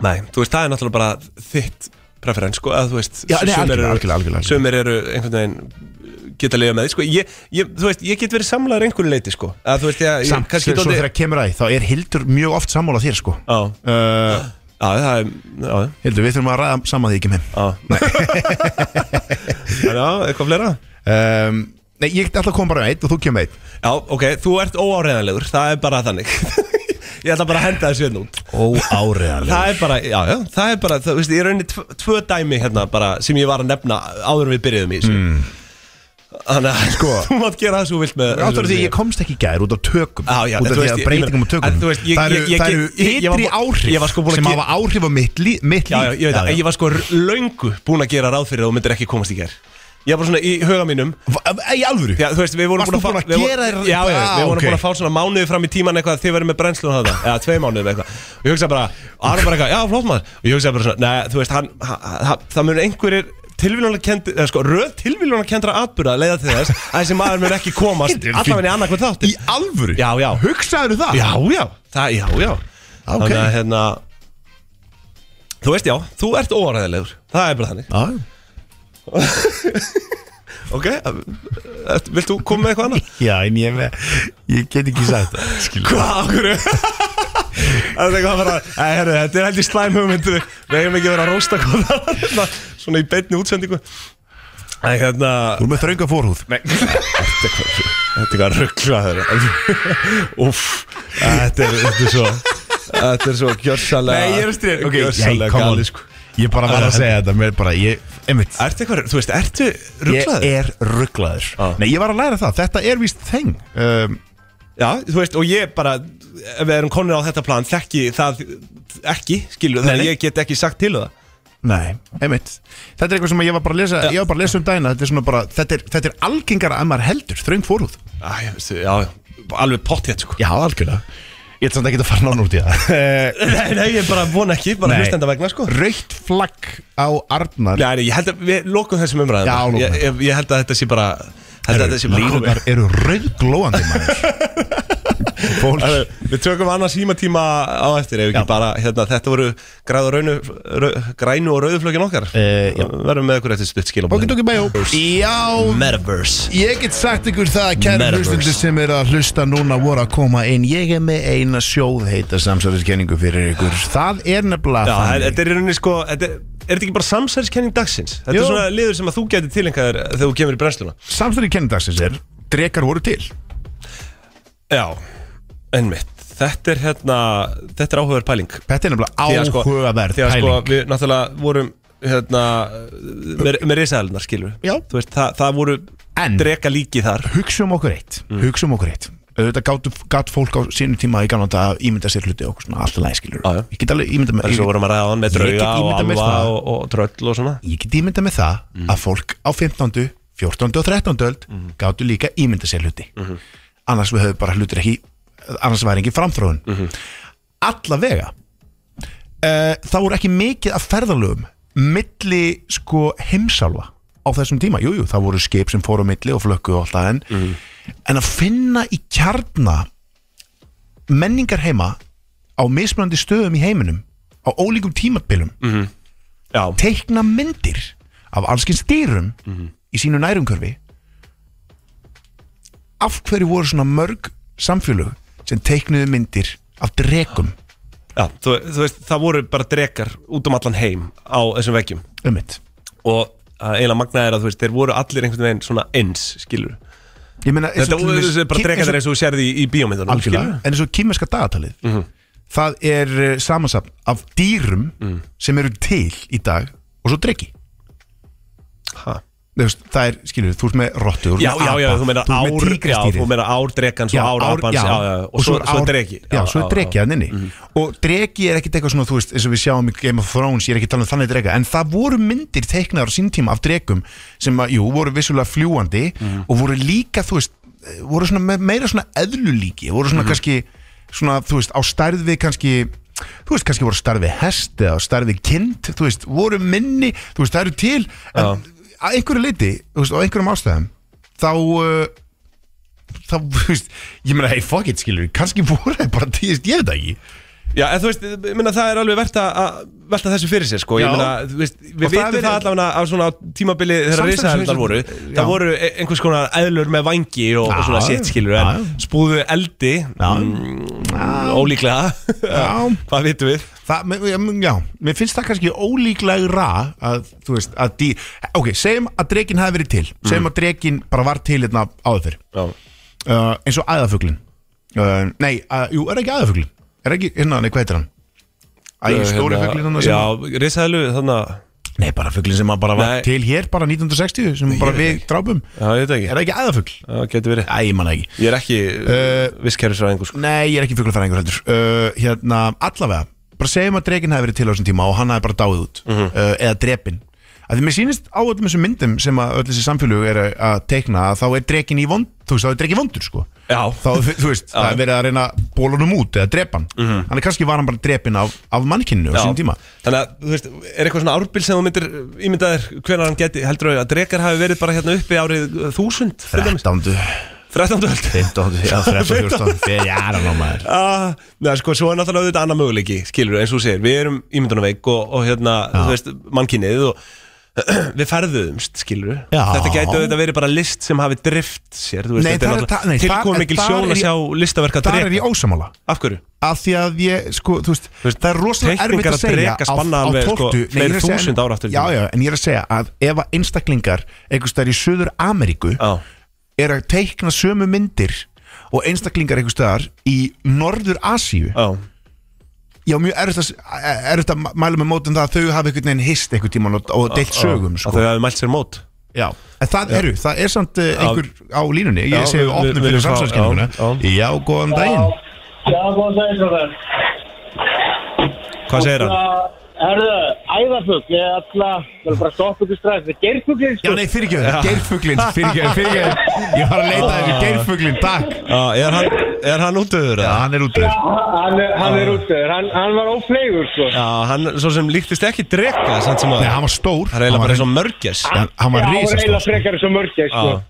Nei, þú veist, það er náttúrulega bara þitt preferens, sko, að þú veist
Já,
sumir
nei, algjörlega,
eru-
algjörlega, algjörlega.
Sumir eru einhvern veginn uh, geta að lifa með því, sko ég, ég, Þú veist, ég get verið samlaður einhverju leiti, sko að þú veist, ég, ég
Samt,
kannski
svo
dálítið-
þegar kemur að því Þá er Hildur mjög oft sammála þér, sko
Já,
uh,
já, það er, já,
Hildur, við þurfum að ræða saman því ekki með
já Nei Já, eitthvað fleira?
um, Nei, ég ætla að koma bara með eitt og þú kemur með eitt
Já, ok, þú ert óáreðanlegur, það er bara þannig *laughs* Ég ætla bara að henda þessu hérna út
Óáreðanlega
Það er bara, já, já, það er bara, þú veist, ég raunin tvö, tvö dæmi hérna bara sem ég var að nefna áður en við byrjuðum í þessu Þannig að
Mm. Sko.
*laughs* þú mátt gera það svo vilt með
Áttur því að ég komst ekki í gær út af tökum
Já, já, en
Út af
þú
því
veist,
að
ég-
breytingum á tökum
en þú veist, ég-
Það eru,
ég- ég-
það eru
ég- ég var
ytri
bú-
áhrif
ég var sko búin að
Sem
ge-
hafa áhrif á mitt, lí, mitt
Já,
líf
já, ég veit það, en ég var sko r- löngu búin að gera ráð fyrir að þú myndir ekki komast í gær Ég var bara svona í huga mínum
var eh, Í alvöru
Já, þú veist, við vorum
Varst
búin að,
þú
fá-
búin að
við vorum-
gera þér-
Já, já,
Ah,
við vorum
ok.
búin að fá svona mánuði fram í tíman eitthvað að Þið verðum með brennslu og það, eða tvei mánuði með eitthvað Og ég hugsaði bara, Aron bara eitthvað, já, flott maður Og ég hugsaði bara svona, neða, þú veist, hann, hann, hann Það mun einhverjir tilvílunarkendi Eða sko, röð tilvílunarkendra atbyrða leiða til þess Að þessi maður mun ekki komast Allavega í annað hvað
Í
þáttir
alvöru
Já, já.
Hugsaðu það
Já, já, það, já, já
Ok.
Þannig að, hérna Þú veist, já, þú ert óræðilegur Það er bara þannig
Já,
*laughs* Ok, eh, vilt þú koma með eitthvað annað?
já en ég, ég get ekki sagt það skilur.
Hvað,
*laughs*
okkur Það er eitthvað bara Æ, herru, þetta er heldur slæm hugmynd Við við eigum ekki að vera að rósta hvað það var hérna, Svona í beinni útsendingu Æ, hérna
Þú er með þrönga fórhúð *laughs*
Þetta er eitthvað ruggla *laughs* Úff Æ, Þetta er þetta er svo Þetta er svo gjörsalega
Nei, ég er að stríða. Ok, nei,
Gjörsalega
come on.
gali sko
Ég bara var að segja þetta Mér bara, ég, einmitt
Ertu eitthvað, þú veist, ertu Ah. rugglaður?
Ég er rugglaður
Já.
Nei, ég var að læra það Þetta er víst þeng um,
Já, þú veist, og ég bara ef við erum konir á þetta plan, þekki það ekki, skilur, þannig að ég get ekki sagt til um það
Nei, einmitt Þetta er eitthvað sem ég var bara að lesa Ég var bara að lesa um dagina Þetta er svona bara Þetta er, þetta er algengara að maður heldur Þröng fórhúð
Æ, ég veist, já,
*laughs*
já, alveg pottétt sko
Já, algjörlega Ég ætla samt ekki að fara nánu út í það
*laughs* Nei, nei, ég bara von ekki, bara
Nei.
hlustenda vegna sko
Raukt flagg á Arnar
Nei, nei, ég held að við lokum þessum umræðum
Já, lokum.
ég, ég, ég held að þetta sé bara held að þetta sé bara
Línunar eru rauðglóandi maður Fólk
Herru, Við tökum annars símatíma á eftir ef ekki bara, hérna, þetta voru græð og raunu, rau, grænu og rauðuflökin okkar
Eh, já.
Verðum með ykkur eftir stutt
Bókin
skilabóðin
tók í bæjó Já,
Metaverse
*laughs* ég get sagt ykkur það að Kæri
Metaverse.
hlustundur sem er að hlusta núna voru að koma inn Ég er með eina sjóð heita samsæðiskenningu fyrir ykkur Það er nefnilega
Já, það-
Ah, þannig.
þetta er í rauninni sko þetta er, er þetta ekki bara samsæriskenning dagsins? Þetta
Jú.
er svona liður sem að þú getur tilengar þegar þú kemur í brennsluna
samstæðið kennindagsins er drekar voru til
Já, einmitt Þetta er hérna, þetta er áhugaverð pæling
þetta er
Því að
nefnilega
sko-
áhugaverð
Því að sko,
pæling
við náttúrulega vorum hérna, með, með risaðalinnar skilur
Já.
Þú veist, það, það voru
En
dreka líki þar
hugsa um okkur eitt hugsa um okkur eitt auðvitað gátt, gátt fólk á sínum tíma í gamla þetta að ímynda sér hluti og okkur svona alltaf læskilur
Já, já.
ég get alveg ímynda með
Þessu
ég,
vorum að ræða hann með
Ég get
drauga og
ímyndað mér
alva
það.
og, og tröll og svona
ég get ímynda með það að fólk á 15. 14. og 13. öld gáttu líka ímynda sér hluti annars við höfum bara hlutir ekki annars væri ekki framþróun allavega uh, þá voru ekki mikið af ferðalögum milli sko heimsálfa á þessum tíma, jújú, jú, það voru skip sem fóru á milli og flökku og alltaf en en að finna í kjarna menningar heima á mismunandi stöðum í heiminum á ólíkum tímabilum
Mhm. Já,
teikna myndir af allskins dýrum í sínu nærumkörfi af hverju voru svona mörg samfélög sem teiknuðu myndir af dregum
já þú, þú veist, það voru bara drekar út um allan heim á þessum veggjum
um mitt
og að eiginlega magnaði er að þú veist, þeir voru allir einhvern veginn svona eins, skilur
ég meina eins
Þetta
og til
voru
dæmis-
þessi bara
ki- eins og-
drekar eins og þú sérði í, í bíómyndunum,
algjörlega,
skilur
en eins og kýmerska dagatalið
Mhm.
það er uh, samansapn af dýrum
Mm.
sem eru til í dag og svo dregi
Ha.
Þú veist, það er, skilur, þú ert með rottu þú ert
Já,
með
já, já,
apa,
þú meinar
ert með
ár, já,
tígristýrið.
þú meinar ár drekan, svo
Já,
ár
ár-
apans,
já.
já, já, já, og svo, svo
ár-
dreki
Já, svo er dreki að nynni
Mhm.
Og dreki er ekkit eitthvað svona, þú veist, eins og við sjáum í Game of Thrones Ég er ekki að tala um þannig dreka En það voru myndir teiknaðar á sín tíma af drekum Sem að, jú, voru vissulega fljúandi Og voru líka, þú veist, eh, voru svona me- meira svona eðlulíki Voru
Mhm.
svona kannski, svona, þú veist, á stærð við kannski Þú veist, kannski voru starfi hest eða starfi kind, þú veist, voru minni, þú veist, það eru til en að einhverju leiti, þú veist, á einhverjum ástæðum þá uh, þá, *laughs* þú veist, ég meina, hey, fuck it, skilur kannski voru það bara tíðist, ég veit það ekki
Já, en þú veist, ég meina, það er alveg verðt að að velta þessu fyrir sér, sko, ég
Já.
meina, þú veist, við
Og það
vitum
er-
það allavega á svona á tímabili þegar
Samstarfs-
risaðarindar voru,
Já.
það voru e- einhvers konar eðlur með vangi og, og svona
Já,
sitt, skilur,
já.
en spúðu eldi, mm, ólíklega,
já,
*laughs* hvað vitum við?
það, me- já, já, mér finnst það kannski ólíklegra að, þú veist, að dý ok, segjum að drekin hafi verið til segjum að drekin bara var til hérna áður fyrir
Mm. Já,
uh, eins og æðafuglin uh, nei, uh, jú, er ekki æðafuglin er ekki, hérna, nei, hvað heitir hann Æ, stóri fuglin hann sem
hérna, Já, risaðlu, þannig að,
Nei, bara fuglin sem að bara var
Nei.
til hér bara 1960 sem bara
veit
við drápum
já, ég veit
Er
ekki,
það ekki æðafugl?
það getur verið,
Æ, ég man það ekki
ég er ekki
Eh,
visskerfisræðingur, sko,
Nei, ég er ekki fuglafræðingur heldur uh, Hérna, allavega Bara segjum að dreginn hafi verið til á þessum tíma og hann hafi bara dáið út
Mhm.
uh, Eða drepinn Af því mér sýnist á öllum þessum myndum sem að öll þessi samfélög er að- að teikna að þá er dreginn í vond, þú veist, þá er dreginn vondur sko
Já.
Þá,
*laughs*
þú veist, það er verið að reyna bólunum út eða drepan mm -hmm. Þannig kannski var hann bara drepinn af, af mannkinnu á
Mhm. Já.
sín tíma
Þannig að, þú veist, er eitthvað svona árbil sem þú myndir ímyndaðir hvenar hann geti, heldur að drekar hafi verið bara hérna uppi árið 1000 til dæmis?
13.
13. öld
15.
*laughs*
Já, 13. 14. Þegar ég er að ná maður
Ah, neða, sko, svo er náttúrulega þetta annar möguleiki, skilur, eins og þú segir, við erum ímyndunarveik og, og hérna, þú veist, mannkynnið og *clears throat* við ferðuðumst, skilur
Já.
Þetta gæti auðvitað verið bara list sem hafi drift sér, þú veist,
Nei,
þetta
þar er- þar- nei,
náttúrulega tilkomið
þar-
mikil
þar
sjón
er
að
ég-
sjá listaverka
Þar er
dreka.
ég ósamála
Af hverju?
að því að ég, sko, þú veist,
Þú veist,
það er rosalega
teikningar
erfitt að
að
segja
dreka spanna alveg, sko,
nei, ég er
fleiri
að segja-
þúsund ára aftur í
já,
tímann.
já, en ég er að segja að ef að einstaklingar einhvers staðar í Suður Ameríku
Já.
er að teikna sömu myndir og einstaklingar einhvers staðar í Norður Asíu
Já,
já, mjög erfitt að, e, erfitt að mæla með mótum það að þau hafi einhvern veginn hist einhvern tíman og, og deilt sögum,
Að
sko
þau hafi mælt sér mót
já, en það eru, það er samt eh, einhver á línunni,
Já,
ég segi
við-
við opnum
við- við
fyrir
erum frá-
samsælskenninguna
já,
já, góðan daginn
Já, góðan daginn, strókar.
Hvað segir hann?
Herðu, æðarfugg, ég er alltaf, ég vil bara stoppa ykkur strax, þetta er geirfuglinn, sko.
Já, nei, fyrirgjöðu, geirfuglinn, fyrirgjöðu, fyrirgjöðu Ég var að leita að þessu geirfuglinn, takk
Já, er hann, er hann útöður?
Já,
eða?
hann er útöður
Hann, er- hann er útsegur, hann, hann var óflegur, sko.
Já, hann svo sem líktist ekki dreka, samt sem að
Nei, hann var stór
Það er eiginlega bara eins og
hann
mörgjess
var- hann- Hann var
Já, hann var
risastór
eiginlega
sko.
frekar þessu mörgja, sko.
Já,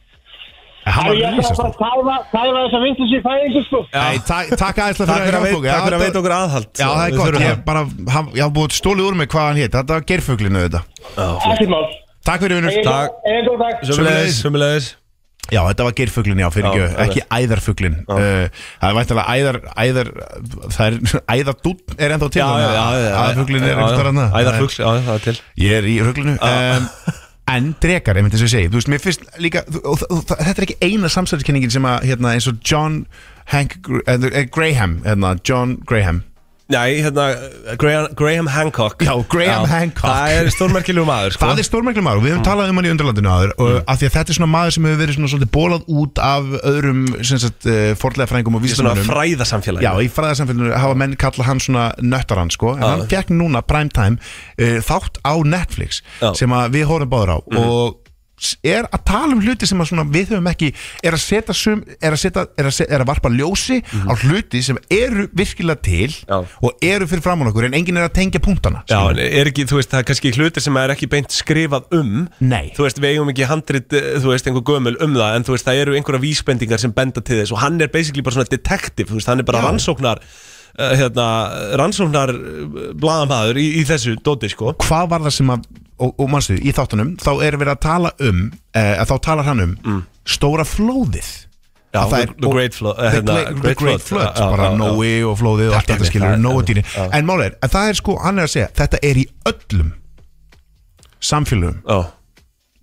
Hann
Þannig ég
var
ætla bara
risastór
að kæfa, kæfa þessa vittlis í fæðingu, sko.
Nei, ta- Takk aðeins fyrir
Takk fyrir
að
að veit-
hjálpa
takk fyrir að veita okkur
okkur
aðhald
Já, það er
Við
gott,
þurfum
ég
það.
bara, hann- ég hafa búið stólið úr mig hvað hann hétt Þetta var geirfuglinn auðvitað
Ekkert mál.
Takk fyrir vinnur
Takk.
Eginn góð dag.
Sömulegis,
Sömuleiðis.
sömulegis
Já, þetta var geirfuglinn, já, fyrir
Já,
ekki Æðarfuglinn Uh, Það er væntalega æðar, æðar Það er, æðardún er ennþá til
Já, já, já
Æðarfuglinn er
einhvers
einhverstaðar annað
Æðarfugl, já, það er til
Ég er í rugglinu um, En drekar, einmitt eins og ég segi Þú veist, mér finnst líka og, og, og, Þetta er ekki eina samsæðiskenningin sem að hérna, eins og John Hank Gr- eh, eh, Graham hérna, John Graham
Nei, hérna, Graham, Graham Hancock
Já, Graham Hancock.
Það er stórmerkilegu maður, sko
Það er stórmerkileg maður og við höfum talað um hann í undirlandinu aður og
Mm.
af því að þetta er svona maður sem hefur verið svona svolítið bólað út af öðrum sem sagt, fordlega frængum og
Svona
vísindamönnum
fræðasamfélagi
Já, í fræðarsamfélaginu hafa menn kallað hann svona nöttarann sko, en
Já.
hann fekk núna primetime uh, þátt á Netflix
Já. Mhm.
sem að við horfum báður á og s- er að tala um hluti sem að svona við höfum ekki er að setja sum, er að, setja, er að, setja, er að varpa ljósi á hluti sem eru virkilega til
Mhm. Já.
og eru fyrir framann okkur en enginn er að tengja punktana
Já,
skilurðu.
en er ekki, þú veist, það er kannski hlutir sem er ekki beint skrifað um
Nei.
Þú veist, við eigum ekki handrit, eh, þú veist, einhver gömul um það En þú veist, það eru einhverja vísbendingar sem benda til þess Og hann er basically bara svona detektiv, þú veist, hann er bara
Já.
rannsóknar uh, Hérna, rannsóknar Eh, blaðamæður í, í þessu dóti, sko
hvað var það sem að og, og mannstu, í þáttunum, þá er verið að tala um eh, að þá talar hann um stóra flóðið
Mm. Já,
Að það
the- the great flood, eh,
the,
hérna,
great, the
great
great
flood,
flood,
já,
bara
já, já.
Nói og flóðið og allt
Þetta
þetta
er
skilur
mitt, það er-
Nói dýni, en mál er, að það er sko hann er að segja, þetta er í öllum samfélögum
Já,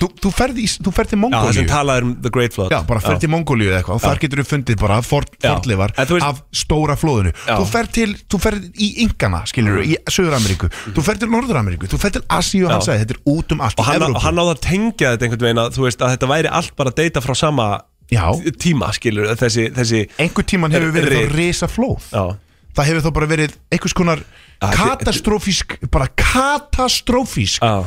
þú, þú ferð í, þú ferð til
já það
Mongóliu
sem talað er um The Great Flood
Já, bara ferð til Mongóliu eða eitthvað og þar getur þú fundið bara for,
Já.
fornleifar
En þú veist-
af stóra flóðinu
Já.
Þú ferð til, þú ferð í Ingana, skilur í Suður-Ameríku, þú ferð til Norður-Ameríku þú ferð til Asíu og hann
Já.
sagði, þetta er út um allt
Og
í
hann,
Evrópu."
og hann á það að tengja þetta einhvern veginn að, þú veist, að þetta væri allt bara data frá sama
Já.
t- tíma, skilur, þessi, þessi
einhver tíman hefur
Er-
verið
rit.
þá risa flóð
Já,
það hefur þá bara verið einhvers konar
þi-
katastrófísk bara katastrófísk
já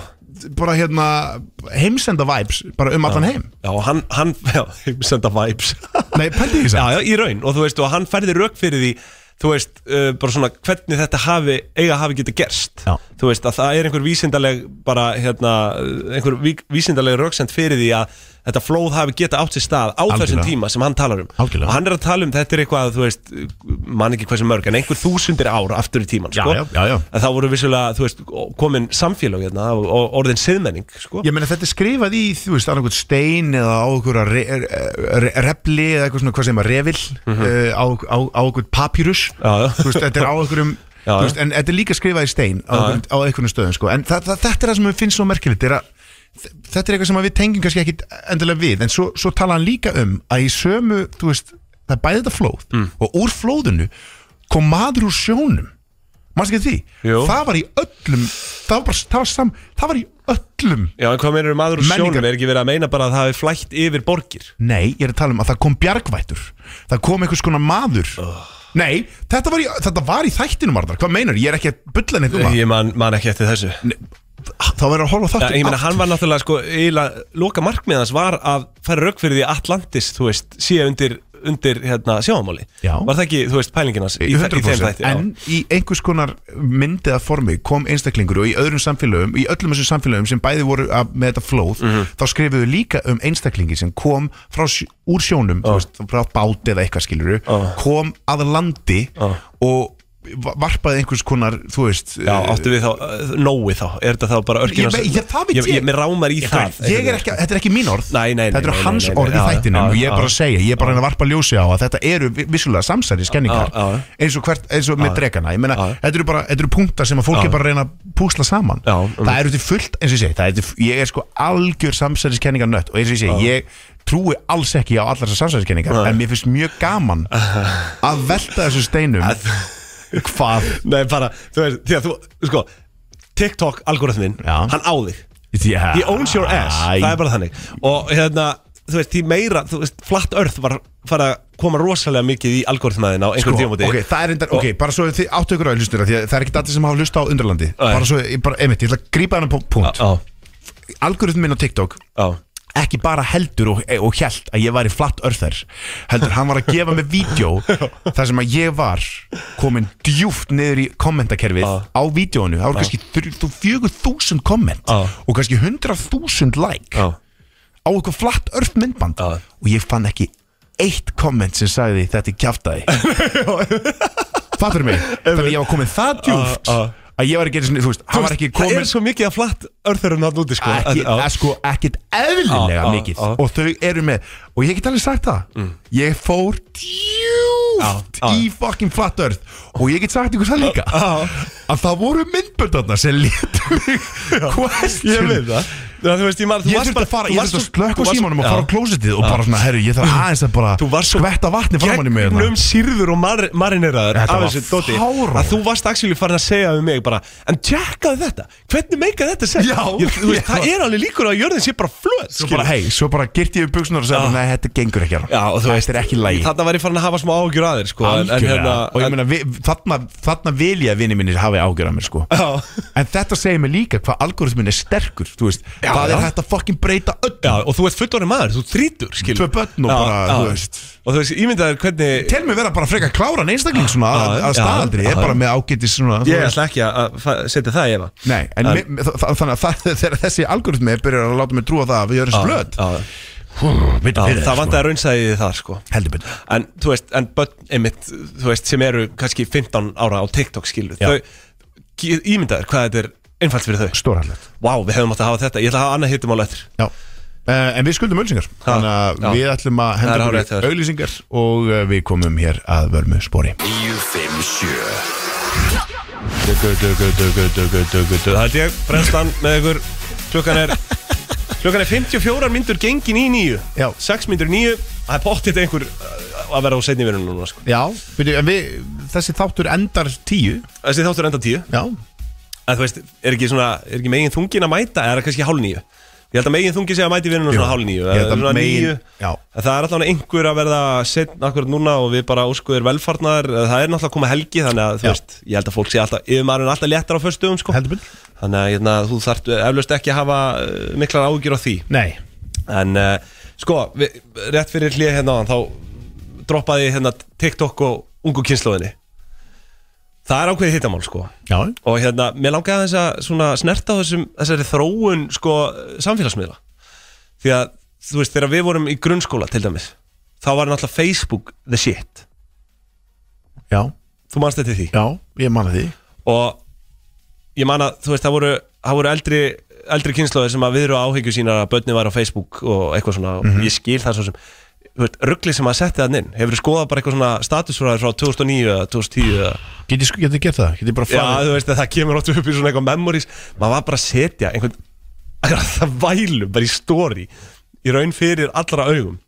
bara hérna heimsenda vibes bara um allan heim
Já, og hann, hann, já, ég senda vibes
nei, pældi því
Já,
það
já, í raun, og þú veist, og hann færði rauk fyrir því Þú veist, uh, bara svona, hvernig þetta hafi, eiga hafi geta gerst
Já.
Þú veist, að það er einhver vísindaleg, bara, hérna uh, Einhver vík- vísindaleg rauksend fyrir því að Þetta flóð hafi geta átt sér stað á þessum
Algjörlega.
tíma sem hann talar um
Algjörlega.
Og hann er að tala um, þetta er eitthvað, þú veist Man ekki hversu mörg, en einhver þúsundir ár aftur í tíman,
Já,
sko
já, já, já.
En þá voru vissulega, þú veist, komin samfélög hérna og- Og orðin siðmenning, sko
Ég meina þetta er skrifað í, þú veist, annað hvort stein eða á okkur re, re, repli eða eitthvað svona, hvað segir maður, revill uh, á, á, á okkur papírus
Mhm. Já, já.
Þú veist, þetta er á okkur um
Já, já.
veist, en þetta er líka skrifað í stein á,
Já, já.
okkur, á einhvern stöðum, sko, en það, það, þetta er það sem við finnst svo merkilegt, er að þetta er eitthvað sem að við tengjum kannski ekki endilega við en svo, svo tala hann líka um að í sömu þú veist, það er bæði þetta flóð
Mm.
og úr flóðinu kom maður úr sjónum mannstu ekki því
Jú.
það var í öllum það var, bara, það var, sam, það var í öllum
Já, en hvað meinar um maður úr
Menningar-
sjónum? Er ekki verið að meina bara að það hafi flætt yfir borgir?
Nei, ég er að tala um að það kom bjargvættur Það kom einhvers konar maður Nei, þetta var í, þetta var í þættinum Arnar Hvað meinar, ég er ekki að bulla neitt um það
Ég man, man ekki eftir þessu
Þá verður að horfa á
Já,
þáttu
Ég meina, hann var náttúrulega sko eiginlega, Loka markmiðans var að færa rauk fyrir því að Atlantis, þú veist, sé undir, undir hérna, sjáamáli
Já.
Var það ekki, þú veist, pælinginans í, í, þe- í þeim
100%
þætti? já.
En í einhvers konar myndið að formi kom einstaklingur og í öðrum samfélögum í öllum þessum samfélögum sem bæði voru að, með þetta flóð
Mhm.
þá skrifuðu líka um einstaklingi sem kom frá, sj- úr sjónum
Ah.
þú veist, frá báti eða eitthvað skiluru kom að landi
Ah.
og va- varpaði einhvers konar þú veist
Já, áttu við þá, uh, nógu þá, er þetta þá bara
Ég,
örkinans
ég, ég, það veit ég,
ég, ég Mér rámar í það
ég er ekki, Þetta er ekki mín orð
Nei, nei, nei,
Þetta
nei,
eru
nei,
hans
nei, nei,
orð í
já, já, já,
þættinum og ég er bara
já.
að segja Ég er bara að reyna að varpa ljósi á að þetta eru vi- vissulega samsæri
Já,
skenningar
já.
eins og, hvert, eins og með dregana Ég meina,
Já.
þetta eru bara þetta eru punktar sem að fólk er bara að reyna að púsla saman
Já, um.
Það eru til fullt, eins og ég segi það er til, Ég er sko algjör samsæri skenningar nött og eins og ég segi, ég trúi alls ekki á allar þessar samsæri skenningar en mér finnst mjög gaman að velta þessu
*laughs*
steinum Hvað?
Nei, bara, þú veist, því að þú, sko TikTok algoritminn,
Já.
hann á þig
Yeah.
He owns your ass, það er bara þannig Og hérna, þú veist, því meira þú veist, Flat Earth var fara að koma rosalega mikið í algoritmaðin á einhverjum
Sko,
tímúti
ok, það er endar, ok, bara svo þið áttu ykkur
*laughs*
á hlustur því að það er ekki allir sem hafa hlust á undralandi
Nei.
bara svo, ég bara, einmitt, ég ætla að grípa hennar punkt
Á,
algoritminn á TikTok
á
ekki bara heldur og, og held að ég væri flatt örþær heldur hann var að gefa mig
*laughs*
vídjó þar sem að ég var komin djúft niður í kommentakerfið
Já.
á vídjónu, það voru kannski fjögur þúsund komment
Já.
og kannski hundrað þúsund like
á
á eitthvað flatt örf myndband
Já.
og ég fann ekki eitt komment sem sagði þetta er
*laughs*
kjaftaði fattur mig þannig að ég var komin það djúft
Já, já.
að ég var ekki einu sinni, þú veist, hann var ekki
Það
komin
er svo mikið að Flat Earth-urum hann úti, sko
ekki,
Á.
að sko, ekkit eðlilega
Já, já,
mikið
já. Mm.
og þau eru með, og ég get alveg sagt það ég fór djúft
Já, já.
í fucking flat earth og ég get sagt ykkur það líka
Já.
að það voru myndböndarna sem létu mig
Ég
question
veit það Þú veist, ég maður, þú
Ég
varst
þurfti
bara
að fara,
þú
ég
varst
þurfti að
svo-
slökka
þú
á
varst-
símanum og
Já.
fara á klósettið og bara svona, herru, ég þarf aðeins að bara
Þú varst svo-
skvetta vatni framan í mig hérna.
gegnum sýrður og mar marineraður
Þetta
af
var
þessu dóti
fáránlegt.
að þú varst actually farin að segja við mig bara en tjekkaðu þetta, hvernig meika þetta sens ég,
Já.
þú veist,
Já.
það er alveg líkur á að jörðin sé bara flöð
Svo bara, hei, svo bara girti ég upp buksunar og
Já.
sagði, nei, þetta gengur ekki hérna.
Ah. Já, og þú veist,
Þetta er ekki lægi
þarna var ég farin að hafa smá ágjur aðeir sko, en- en
Algjörlega.
hérna-
og ég
en-
meina, vi, þarna, þarna vil ég að vinni mínir hafi ágjör að mér sko
Já.
En þetta segir mér líka hvað algoritmin er sterkur Þú veist,
Já,
það
já.
er hægt að fucking breyta öll
Já, og þú ert fullorinn maður, þú þrítur, skil
Tvö börn og bara, þú veist.
Og þú veist, ímyndaður hvernig
Tel mér vera bara frekar kláran einstakling svona
Já,
að, að
já,
staðaldri
já.
Er bara með ágætis svona þú
Ég
veist.
ætla ekki að fa- setja það í efa
Nei, en mér, mér- þa- þannig að það, *laughs* þegar þessi algoritmi byrjar að láta mig trúa það að við erum splöt
Já, já, Það
Það
vantaði raunsæðið þar, sko
sko. Heldur betur
en þú veist, en börn einmitt, þú veist, sem eru kannski 15 ára á TikTok skilu,
Já.
þau ge- ímyndaður hvað þetta er einfalt fyrir þau
Stórhællett
Vá, við hefum átt að hafa þetta, ég ætla að hafa annað hittum á lættir
Já Uh, en við skuldum auðlýsingar Þannig að
já.
við ætlum að
Það er
henda
hárrétt hjá þér.
okkur auðlýsingar Og uh, við komum hér að vörmu spori
957
Dögu, dögu, dögu, dögu, dögu, dögu Það held ég, brennslan með ykkur Klukkan er Klukkan er 54 myndur gengin í nýju
Já.
6 myndur í nýju, það er pottitt einhver uh, að vera á seinni verunum núna sko.
Já, byrju, en við, þessi þáttur endar tíu
Þessi þáttur enda tíu
Já,
En þú veist, er ekki, svona, er ekki megin þungin að mæta eða er það kannski hálf nýju Ég held að megin þungi segja að mæti vinnunum
Jú,
svona hálf nýju
ég held að
Svona
megin-
níu.
já.
En Það er allavega einhver að verða setn akkurat núna og við bara óskuður velfarnar Það er náttúrulega að koma helgi þannig að þú
Já.
veist Ég held að fólk sé alltaf, yfir maðurinn alltaf léttar á föstum sko.
heldur byrju
Þannig að hérna, þú þarft eflaust ekki að hafa uh, miklar ágjur á því
Nei,
En uh, sko, við, rétt fyrir hlið hérna áðan, þá droppaði hérna TikTok og ungu kynnslóðinni Það er ákveðið hittamál sko
já,
og hérna, mér langaði þess að svona snerta á þessum, þessari þróun sko, samfélagsmiðla því að, þú veist, þegar við vorum í grunnskóla til dæmis, þá var náttúrulega Facebook the shit,
já,
þú manst þetta því
já, ég manna því
og ég man að, þú veist, það voru, það voru eldri eldri kynnslóðir sem að viðru áhyggju sínar að börni var á Facebook og eitthvað svona
Mhm.
og ég skil það svo sem, þú veist, ruggli sem að setja það inn, hefur þú skoðað bara eitthvað svona statusfræði frá 2009 eða 2010 eða
Get ég, get ég gert það? Get ég bara
Já,
farið?
þú veist að það kemur óttu upp í svona eitthvað memories maður var bara að setja einhvern *laughs* það vælu bara í story í raun fyrir allra augum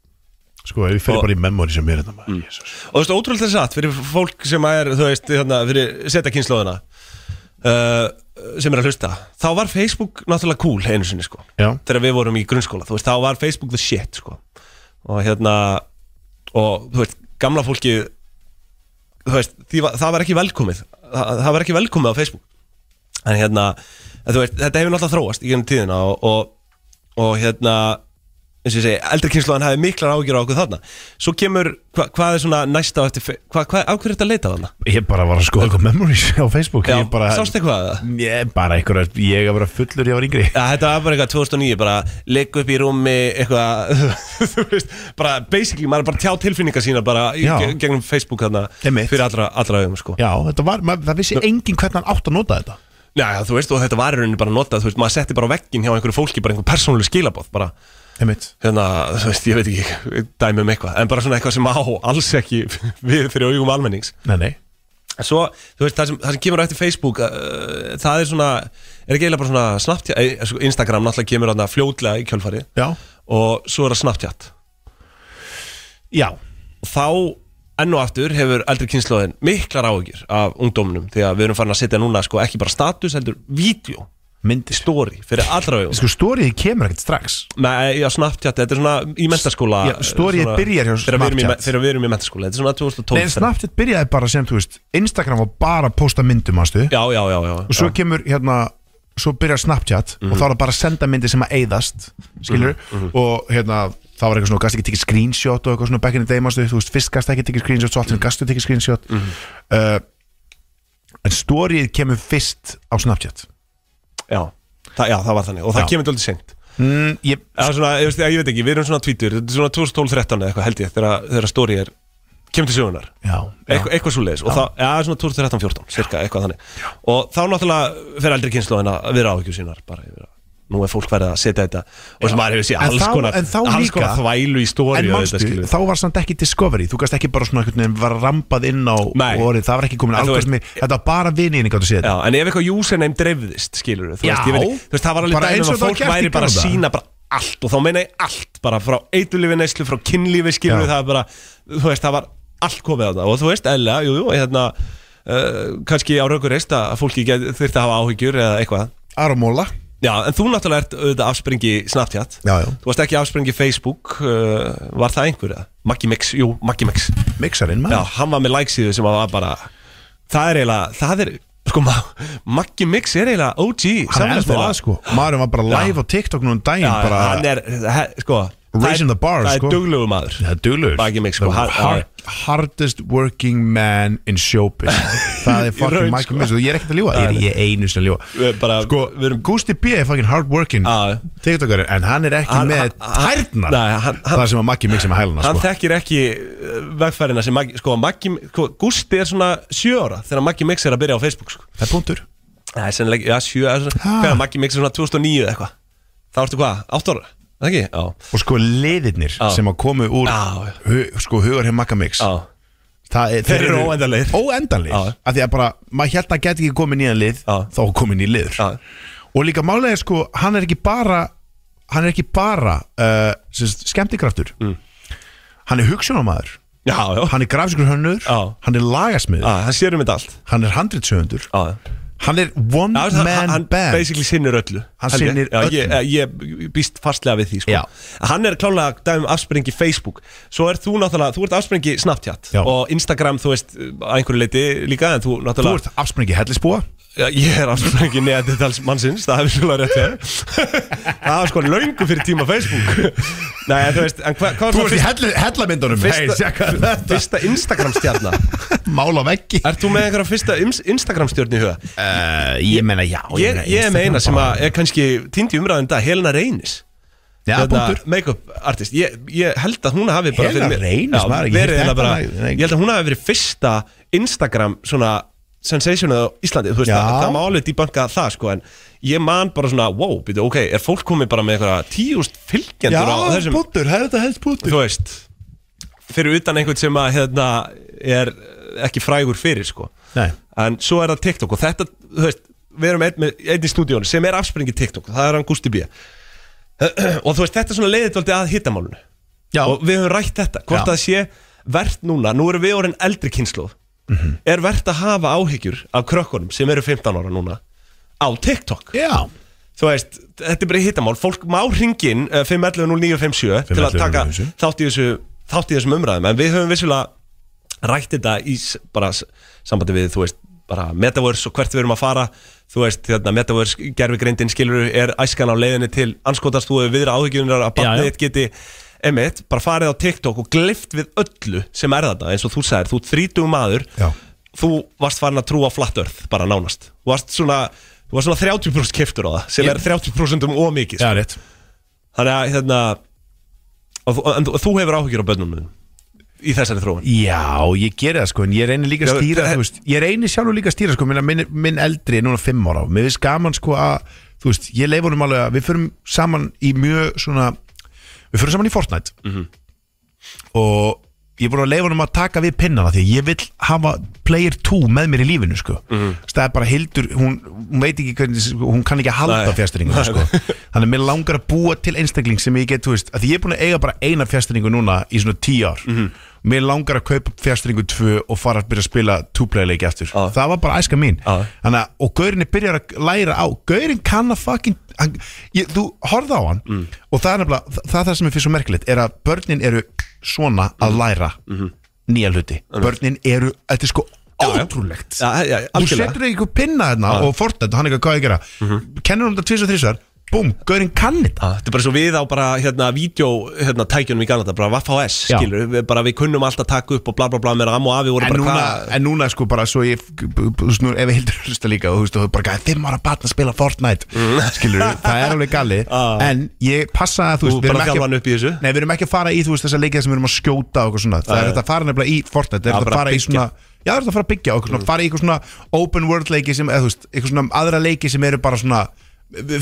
Sko, ef ég fer
Og-
bara í memory sem er þetta maður Jesus.
og þú veist, ótrúlega þess að fyrir fólk sem er, þú veist, þarna, fyrir setja kynnslóðina uh, sem er að hlusta, þá var Facebook náttúrulega cool einu sinni, sko
Já,
þegar við vorum í grunnskóla, þú veist, þá var Facebook the shit, sko og hérna, og þú veist, gamla fólki þú veist, því, var- það var ekki velkomið það, það var ekki velkomið á Facebook en hérna, en þú veist, þetta hefur náttúrulega þróast í gennum tíðina og, og, og hérna eins og ég segi, eldri kynsluðan hafi miklar ágjur á okkur þarna svo kemur, hva, hvað er svona næsta á eftir, fe- hvað, hvað, á hverju ertu að leita þarna?
ég bara var að skoða eitthvað memories á Facebook
Já,
Ég bara,
sástu eitthvað að það?
Ég bara einhverja, ég að vera fullur, ég var yngri
Já, þetta var bara eitthvað 2009, bara legg upp í rúmi, eitthvað, *laughs* þú veist, bara basically, maður er bara að tjá tilfinningar sína bara í-
Já.
ge- gegnum Facebook þarna
Einmitt.
fyrir allra, allra augum, sko.
Já, þetta var, maður, það vissi enginn hvernig hann átt að nota þetta
Já, já, þú veist, og þetta var í rauninni bara notað, þú veist, maður setti bara á vegginn hjá einhverju fólki, bara einhver persónuleg skilabóð, bara,
Einmitt
hérna, þú veist, ég veit ekki, dæmi um eitthvað, en bara svona eitthvað sem á alls ekki við fyrir augum almennings.
Nei, nei
En svo, þú veist, það sem, það sem kemur á eftir Facebook uh, það er svona, er ekki eiginlega bara svona Snapchat, eh, sko, Instagram náttúrulega kemur þarna fljótlega í kjölfarið
Já,
og svo er það Snapchat
já,
og þá enn og aftur hefur eldri kynnslóðin miklar áhyggjur af ungdóminum því að við erum farin að setja núna sko ekki bara status heldur vídeo,
myndir
story fyrir allra vegum
Sko, stóriði kemur ekkert strax
Nei, já, Snapchat, þetta er svona í mentaskóla
Já, storyið
svona-
byrjar hjá
þegar við erum í me-
Snapchat.
Þegar við erum í mentaskóla, þetta er svona
Nei, en
2012
Snapchat byrjaði bara sem, þú veist Instagram var bara að posta myndum, ástu
Já, já, já, já Mhm.
og svo kemur hérna svo byrjar Snapchat og þá er það bara að senda myndir sem að eyðast skilur, og hérna þá var eitthvað svona, gast ekki tekið screenshot og eitthvað svona back in the day, manstu, þú veist, fyrst gast ekki tekið screenshot svo allt
Mhm.
sem gastu tekið screenshot uh, en storyið kemur fyrst á Snapchat
já. Það, já, það var þannig og það
Já.
kemur dálítið seint
mm, ég,
Eða svona, ég veist, ég veit ekki, við erum svona tvítur Þetta er svona 2012-13 eða eitthvað held ég Þegar, þegar story er, kemur til sögunar
já, já,
Eitthvað, eitthvað svo leiðis og það ja, svona 2013-14 cirka eitthvað þannig og þá náttúrulega fer eldri kynnslóðin að vera áhyggjur sínar bara yfir að nú er fólk verið að setja þetta og sem maður hefur séð
En
alls
þá-
konar,
en þá
alls
líka-
konar þvælu í stóri
En mannstu, þá var samt ekki Discovery Þú gast ekki bara svona einhvern veginn var rampað inn á
Nei.
orðið, það var ekki komin
En þú
algjörð
veist-
sem Þetta var bara vinninni gáttu séð
Já, en ef eitthvað username dreifðist, skilur þú
Já.
veist, ég veit, ekki, þú veist, það var alveg
Bara
dæmi
eins
um
og
að
það var
fólk
gert í
væri bara að
gamla daga.
sína bara allt og þá meina ég allt, bara frá eitulífi neyslu, frá kynlífi, skilur
Já.
það er bara, þú veist, það var allt komið á það og þú veist, eðla, jú, jú, hérna uh, kannski á raukur reist að fólki get, þurfti að hafa áhyggjur eða eitthvað
Aramóla
Já, en þú náttúrulega ert auðvitað afspringi Snapchat
Já, já.
Þú varst ekki afspringi Facebook uh, Var það einhverja? Maggi Mix, jú, Maggi Mix
Mixarinn
Já,
maður
hann var með likesíðu sem var bara Það er eiginlega, það er Sko, ma- Maggi Mix er eiginlega OG
Hann er ennþá
samfélagsmiðla.
að sko Maðurinn var bara live á TikTok núna um daginn
Já,
bara,
hann er, he, sko það er-
Raising the bar,
Það
sko.
er duglegu maður
Það er duglur
Maggi Mix, sko, hann-
Hardest working man in
*laughs*
showbiz Það
raun,
er fucking Maggi
sko.
Mix og Ég er ekkert að ljúa, ég er einu
Við
sinni að ljúa
erum bara-
Sko,
við erum-
Gusti B er fucking hard working
Já, já.
TikTokari, en hann er ekki
Hann-
með
hann- hann-
tærnar
Nei, hann- hann-
Það sem að Maggi Mix er með hæluna
Hann
sko.
þekkir ekki vegfærina sem Maggi, sko, Maggi, sko, Gusti er svona sjö ára þegar Maggi Mix er að byrja á Facebook, sko
Það er punktur
Það er sennilega, já, sjö ára, hvað er Maggi Mix er svona 2009 eða eitthvað Þá ertu hvað, átt ára, Er það ekki? Já,
Og sko liðirnir
Já.
sem að komu úr
Já.
hu, sko hugar hér Magga Mix
já,
Það er-
Þeir eru óendanlegir. Já.
Óendanlegir Af því að bara, maður held að hann geti ekki komið nýjan lið
Já.
Þá komið nýjan liður
Já.
Og líka málega er sko, hann er ekki bara Hann er ekki bara uh, sérst, Skemmtikraftur Hann er hugsunarmaður
Mm. já, já,
Hann er grafiskur hönnur
Já.
Hann er lagasmið
já, hann sér um þetta allt
Hann er handritsöfundur
Já, já
Hann er one
Já, hann-
man
hann
band
basically sinnir öllu
Hann
Held ég.
sinnir
já, ég, eh,
öllu.
ég, ég býst fastlega við því sko.
Já.
Hann er klálega dæmi um afsprengi Facebook Svo er þú náttúrulega, þú ert afsprengi Snapchat
Já.
Og Instagram, þú veist, að einhverju leiti líka En þú
Þú
náttúrulega
ert afsprengi *laughs* hellisbúa
Já, Ég er afsprengi neðandetals mannsins Það hefur svolítið rétt þér Það var sko löngu fyrir tíma Facebook *laughs* Nei, en þú veist, en hva, hvað
Þú
var
ert í
svona
helli- hellamyndunum Hey,
fyrsta,
sjekka
fyrsta,
þetta.
fyrsta Instagram stjarna
Mála veggi
Ert þú með einhverja fyrsta Instagram stjörn í huga?
Uh, ég meina já
Ég, ég er með eina sem að er kannski týndi umræðin dag, Helena Reynis
Já,
Hérna,
punktur
make-up artist ég, ég held að hún hafi bara
Helena
mér-
Reynis,
Já,
maður, ég
verið eiginlega
heyrt þetta
bara,
lag, nei.
Ég held að hún hafi verið fyrsta Instagram svona sensationið á Íslandi þú veist,
Já.
það, það má alveg dýbanka það sko en ég man bara svona, wow, býtu, ok er fólk komið bara með einhverja tíust fylgjendur á þessum,
punktur, hefði þetta helst punktur
þú veist fyrir utan einhvern sem að hérna, er ekki frægur fyrir sko
Nei,
en svo er það TikTok og þetta, þú veist, við erum einn, með- einn í stúdíónu sem er afspringi TikTok, það er hann Gusti B *clears throat* og þú veist, þetta er svona leiðið dálítið að hittamálunu
já,
og við höfum rætt þetta, hvort
Já.
það sé verðt núna, nú erum við orðin eldri kynnslóð
Mhm.
Mm. er verðt að hafa áhyggjur af krökkunum sem eru 15 ára núna á TikTok
já
þú veist, þetta er bara hittamál fólk má ringin uh, 511-0957 til að taka
511-0957.
þátt í, þessu, þátt í þessum umræðum en við höfum vissulega rætt þetta í s- bara s- sambandi við, þú veist, bara metaverse og hvert við erum að fara þú veist, þarna metaverse gerfi greindin skilur er æskan á leiðinni til anskotast þú hefur viðra áhyggjunar að
Já, já.
barnið þitt geti emitt, bara farið á TikTok og glift við öllu sem er þetta eins og þú sagðir, þú þrítugum maður
Já.
þú varst farin að trúa flat earth bara nánast, þú varst svona þú varst svona 30% keftur á það sem er 30% um ómikið, sko.
Já, rétt
þannig að hérna, og, þú- en þú- þú hefur áhyggjur á bönnum þínum í þessari þróun
Já, ég geri það sko, en ég reynir líka
Já,
að stýra
það-
þú veist, Ég reynir sjálfur líka að stýra sko, minna, minn, minn eldri er núna fimm ára Mér finnst gaman sko að, þú veist, ég leif honum alveg að Við förum saman í mjög svona Við förum saman í Fortnite Og ég er búin að leifa honum að taka við pinnana Því að ég vil hafa player 2 með mér í lífinu sko
Mhm.
Það er bara hildur, hún, hún veit ekki hvernig Hún kann ekki að halda
Nei.
fjastringuna sko Þannig að mér langar að búa til einstakling sem ég get, þú veist, að því ég er búin að eiga bara eina fjastringu núna í svona 10 ár
Mhm.
Mér langar að kaupa fjastringu 2 og fara að byrja að spila 2-play leiki aftur
Já.
Það var bara æska mín
Já.
Þannig að, og gaurinni byrjar að læra á Gaurin kann að fucking hann, ég, Þú horfði á hann
Mm.
Og það er nefnilega, það, það er það sem ég finnst svo merkilegt Er að börnin eru svona að
Mm.
læra Nýja hluti Börnin eru, þetta er sko
Mhm. já.
ótrúlegt
Já, já,
Þú
algjörlega. Mhm.
setur einhver pinna þarna og fortnætt og hann eitthvað hvað ég gera Kennir hann þetta tvis og þrísar Búm, gaurinn kann þetta
Ah, Þetta er bara svo við á bara hérna vídeo hérna, tækjunum í Galanda, bara Vaff-HS
Já.
skilur, við, bara við kunnum alltaf taka upp og bla bla bla meðan Am og Afi voru
En
bara
núna, en núna sko bara svo ég þú veist, nú, ef ég hildur *laughs* hlusta líka og þú veist og þú bara gæði fimm ára batna að spila
*laughs*
Fortnite skilur, Mm. það er alveg galli
Ah.
en ég passa að þú
Þú
veist við
bara
erum ekki
þjálfa hann upp í þessu.
Nei, við erum ekki að fara í þú veist þessa leikið sem við erum að skjóta og eitthvað svona, það
Ah,
er
ja.
þetta að fara nefnilega í Fortnite,
Já,
það er
bara
þetta að fara í
byggja.
svona Já, það er þetta að fara að byggja og eitthvað svona, fara í eitthvað svona open world leiki sem, eða þú veist, eitthvað svona aðra leiki sem eru bara svona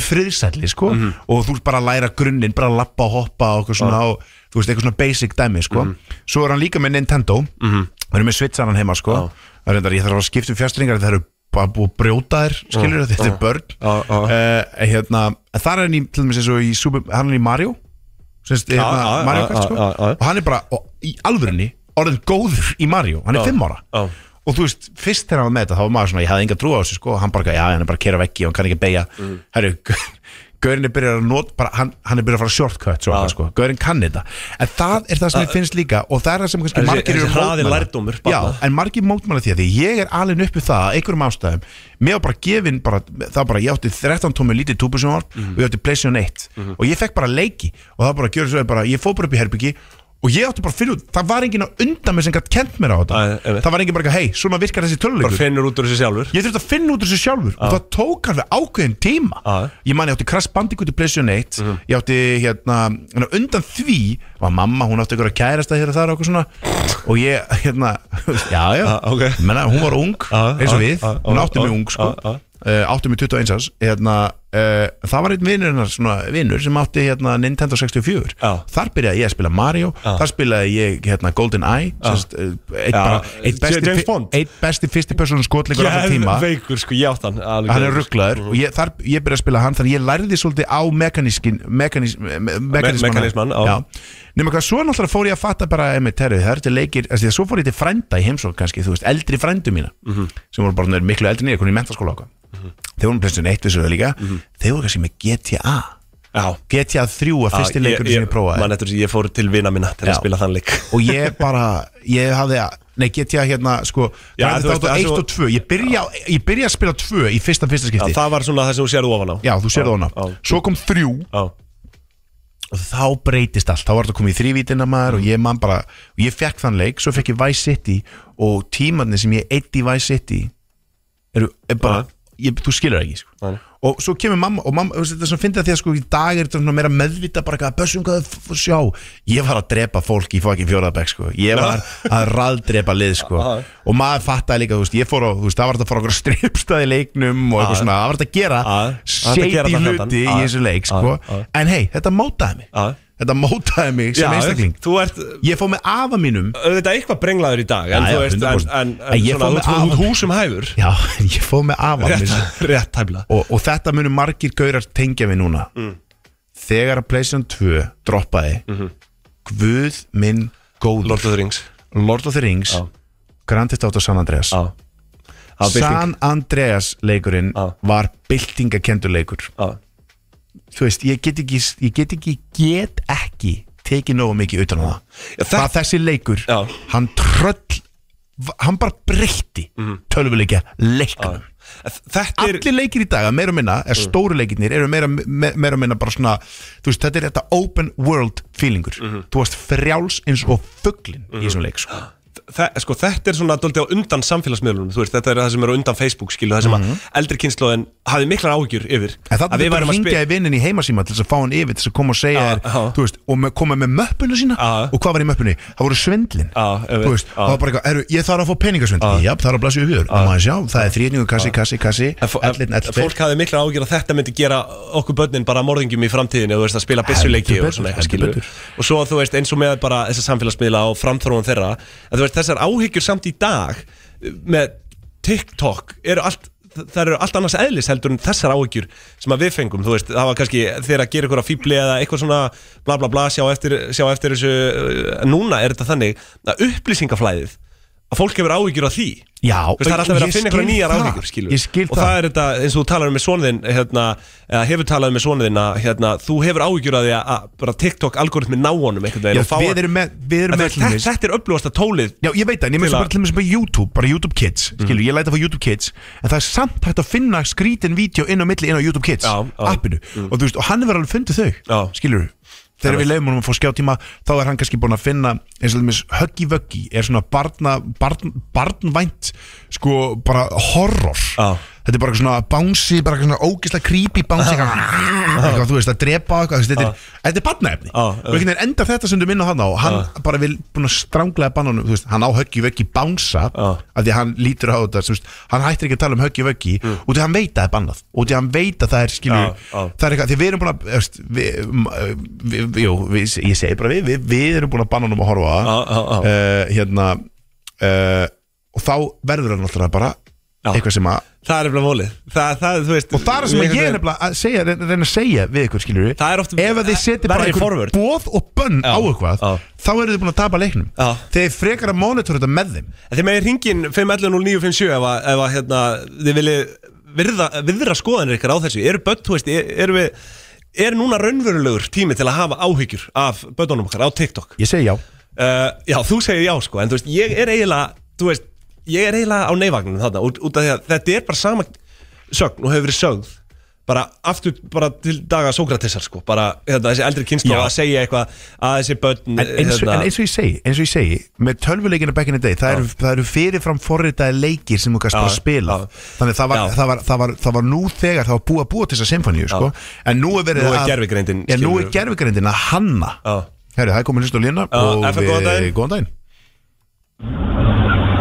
friðsætli sko
Mhm.
og þú ert bara að læra grunninn bara að lappa og hoppa og eitthvað svona, og, þú veist, eitthvað svona basic dæmi sko
Mhm.
svo er hann líka með Nintendo mm -hmm. hann er með svitsarann heima sko ah. reyndar, ég þarf að skipta um fjastringar það eru bara búið að brjóta þér skilur ah. þetta er börn
Já, já.
Eh, hérna, en þar er hann í, til dæmis, eins og í Super, hann er í Mario Sest, hérna,
já,
Mario Kart
já,
sko
já, já.
og hann er bara og, í alvörunni orðin góður í Mario hann er fimm ára
já.
og þú veist, fyrst þegar hann var með þetta þá var maður svona, ég hafði enga trú á þessu sko og hann bara, já, hann er bara að kera veggi og hann kann ekki beigja mm. herru, Gaurin er byrjað að not bara, hann, hann er byrjað að fara shortcut svo, eitthvað, sko. Gaurin kann þetta, en það er það sem ég finnst líka og það er það sem kannski
Þessi-
margir eru
þessi hraði
mótmæla.
lærdómur,
já,
barna.
en margir mótmæla því að því ég er alveg upp við það að einhverjum ástæðum mér var bara gefin, bara, það var bara ég átti 13 tómi lítið túbusjónvarp og ég átti Playstation 1
Mhm.
og ég fekk bara leiki og það var bara að gjöra svo að bara, ég fór bara upp í herbyggi og ég átti bara að finna út, það var enginn að undan mér sem gætt kent mér á þetta
Æ, einmitt.
það var enginn bara eitthvað, hei, svona virkar þessi töluleikur
bara finnur út úr þessu sjálfur
Ég þurfti að finna út úr þessu sjálfur og það tók alveg ákveðin tíma
Já. Mhm.
Ég man ég átti Crash Bandicoot í Playstation 1 Ég átti hérna, hérna undan því var mamma, hún átti ykkur að kærast það hér og þar og okkur svona og ég, hérna, *laughs* já já
Ah, ok.
menna, hún var ung,
Já,
eins
já,
og við
já,
hún
já,
átti
já,
mig ung sko
já, já.
Uh, átti mig 21 árs hérna, uh, það var einn vinur hennar, svona vinur sem átti hérna, Nintendo 64
Já.
þar byrjaði ég að spila Mario þar spilaði ég hérna, Golden Eye eh, eitt, bara, eitt, besti,
James Bond.
eitt besti fyrsti persónu skotleikur allra
ég
tíma
er veikur sko, ég átt hann alveg.
hann er rugglaður og ég, þar, ég byrja að spila hann þannig að ég lærði svolítið á mekanískin mekanis, me, mekanisman,
mekanisman, já.
nema hvað svo náttúrulega fór ég að fatta bara emitt, herri, það eru til leikir, þessi, svo fór ég til frænda í heimsók kannski, þú veist, eldri frændu mína
Mhm.
sem voru bara þeir miklu eldri niður, konum í mentaskóla okkar mm -hmm. þeir voru plötsinu eitt þessu líka þeir voru kannski með GTA
Mhm. já
GTA 3 að fyrsti leikur sem ég prófaði
mann eftir því ég fór til vina minna til
Já.
að spila þann leik
og ég bara, ég hafði að Nei, GTA hérna, sko
Já,
Grand
þú
Theft
veist,
Auto
það
1
sem-
og 2 Ég byrja, á- ég byrja að spila 2 í fyrsta fyrsta
Já,
skipti
það var svona það sem þú sérðu ofan á
Já, þú sér það hana
á.
Svo kom þrjú
Já.
og þá breytist allt Þá var þetta komið í þrývítina maður og ég man bara og Ég fekk þann leik, svo fekk ég Vice City og tímarnir sem ég eitt í Vice City eru er bara ég, Þú skilur það ekki sko.
Nei.
Og svo kemur mamma og mamma, þú veist, þetta er svona fyndið að því að sko í dag er þetta svona meira meðvita bara eitthvað að bössum hvað þau f- f- sjá Ég var að drepa fólk í fókin fjóraðabæk sko Ég var að raðdrepa lið sko
Já.
Og maður fattaði líka, þú veist, ég fór á, þú veist, það var þetta að fara *laughs* okkur að stripstaði leiknum og eitthvað svona, það var þetta að gera
Já, það er að gera
shady
það
hluti í
þarna. Já,
þessu leik
já,
sko.
já.
en hei, þetta mótaði mig
Já.
þetta mótaði mig sem
Já,
einstakling
þú ert
ég fóð með afa mínum
auðvitað eitthvað brenglaður í dag en
Já, já,
þú veist, en,
100%.
en,
En
en
ég fór
svona,
með
þú ert
afa-
húsum hæfur
já, *laughs* ég fóð með afa mínum
rétt, rétt hæfla
og, og þetta munum margir gaurar tengja við núna
Mm,
þegar að Playstation 2 droppaði Guð minn góður
Mhm. Lord of the Rings
Lord of the Rings
Já.
Grand Theft Auto San Andreas
Já. Það var bylting.
San Andreas leikurinn
Já.
var byltingakendur leikur
Já.
þú veist, ég get ekki ég get ekki, get ekki tekið nógu mikið utan á það
Já,
það
það-
þessi leikur,
Já.
hann tröll hann bara breytti
Mhm.
mm. tölvuleikja leikunum
Þetta er Mm.
allir leikir í dag, að meira og minna er stóru leikirnir eru meira, me, meira og minna bara svona þú veist, þetta er þetta open world feelingur,
Mhm.
þú varst frjáls eins og fugglin í þessum leik sko.
mm. þe sko, þetta er svona dóldi á undan samfélagsmiðlunum þú veist, þetta er það sem er á undan Facebook skilu það sem að eldri kynnslóðin hafi miklar áhyggjur yfir
Mhm. En
að
þannig að við bara
værum
að
að
hringja
spila
í vinnin í heimasíma til þess að fá hann yfir til þess að koma og segja
Já,
þér,
já.
þú veist, og með, koma með möppuna sína
Já.
og hvað var í möppunni? Það voru svindlin
Já, ég veit,
þú veist,
já.
það var bara eitthvað, eru, ég þarf að fá peningasvindl Já, það er að blasja upp yfir, og maður sjá, það er þrýningu, kassi, kassi, kassi ellin, ellin,
fólk hafi miklar áhyggjur að þetta myndi gera okkur börnin bara morðingjum í framtíðinu þú veist að spila byssuleiki
Heldur
og svona
betur,
eitthvað skilur
heldur betur.
og svo þú veist eins og með bara þessar samfélagsmiðla og framþróun þeirra að þú veist þessar áhyggjur samt í dag eh, með TikTok eru allt það eru allt annars eðlis heldur en þessar áhyggjur sem að við fengum, þú veist, það var kannski þegar að gera ykkur á fíbli eða eitthvað svona bla bla bla, sjá eftir, sjá eftir þessu uh, núna er þetta þannig að upplýsingaflæðið, að fólk hefur áhyggjur af því
Já,
Þú veist, það er alltaf verið að finna eitthvað nýjar áhyggjur skilur.
Ég skil
og það, er þetta eins og þú talar um með sonðin hérna, eða hefur talað um með sonðin að hérna, þú hefur áhyggjur að því að, að bara TikTok algoritmi ná honum einhvern veginn
Já,
og fá
við erum með, við erum
En þú
með
veist,
til
þetta,
dæmis-
þetta er upplúast að tólið
Já, ég veit það, en ég með
Til að-
sem
Mm.
bara til þess bara YouTube, bara YouTube Kids, skilur, ég læta að fá YouTube Kids, en það er samt hægt að finna skrítin vídeo inn á milli inn á YouTube Kids,
Já, já. Mm.
appinu, og þú veist, og hann hefur alveg fundið þau,
Já.
skilur, þegar við leiðum honum að fá skjátíma, þá er hann kannski búin að finna, eins og þeimis, Huggy Wuggy er svona barna, barn, barnvænt, sko, bara horror,
Já.
þetta er bara eitthvað svona bánsi, bara eitthvað svona ógisla creepy
*laughs*
bánsi eitthvað, þú veist, að drepa á eitthvað þú veist, þetta er, þetta er badnaefni
Já,
og einhvern veginn enda þetta sem þú minna hann á og hann
Ah.
bara vil búin að stranglega banna honum, þú veist, hann á höggi vöggi bánsa
Ah.
af því að hann lítur á þetta, þú veist, hann hættir ekki að tala um höggi vöggi
Mm.
út af því að hann veit að það er bannað út af því að hann veit að það er skilju
Já, já.
það er eitthvað, því við erum búin að þú veist, við, við, við, jú, við, ég segi bara við, við, við erum búin að banna honum að horfa á það.
Já, já, já.
Eh, hérna uh, og þá verður hann alltaf bara
Já.
eitthvað sem að
Það er nefnilega mólið það, það, þú veist,
og það er sem að ég er nefnilega að segja reyna, reyna að segja við ykkur skilur
Það er oft-
ef að þið setja
verður
bara
í
einhver
forvörn.
bóð og bönn
Já,
á eitthvað
já.
þá eru þið búin að tapa leiknum
Já.
þeir frekar að monitora þetta með þeim
En Þið megin ringin 511-0957 ef, að- ef að, hérna, þið viljið virða, viðra skoðanir ykkar á þessu Eru börn, þú veist, er, er, við, er núna raunverulegur tími til að hafa áhyggjur af börnunum okkar á TikTok?
ég segi já
Uh, já, þú segir já sko, en þú veist, ég er eiginlega, þú veist, ég er eiginlega á neyvagnum þarna út, út af því að þetta er bara sama sögn og hefur verið sögð bara aftur bara til daga Sókratesar sko, bara hérna, þessi eldri kynslu
Já.
að segja eitthvað að þessi börn
En eins,
hérna-
og, en eins og ég segi, eins og ég segi með tölvuleikinu back in the day, það eru, það eru fyrirfram forritaði leikir sem þú kannski
Já,
bara spila
já.
þannig það var,
Já.
það, var, það, var, það var nú þegar það var búið að búa til þessa symfóníu sko. en nú er verið
Nú er
að-
gervigreindin,
Já, nú er
skilur.
gerfugreindin að hanna
Já.
Herri, það er komin hlust á lína
Já,
hérna og
FM, góðan daginn.
góðan daginn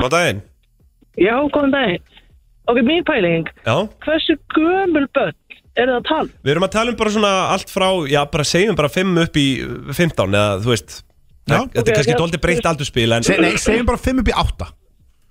Góð daginn,
Já, góðan daginn. Ok, mín pæling,
já
hversu gömul börn er það að tala? um?
Við erum að tala um bara svona allt frá, já bara segjum bara 5 upp í uh, 15 eða þú veist
Já.
Þetta er kannski
já.
doldið breytt aldurspil en
Se, Nei, segjum bara 5 upp í 8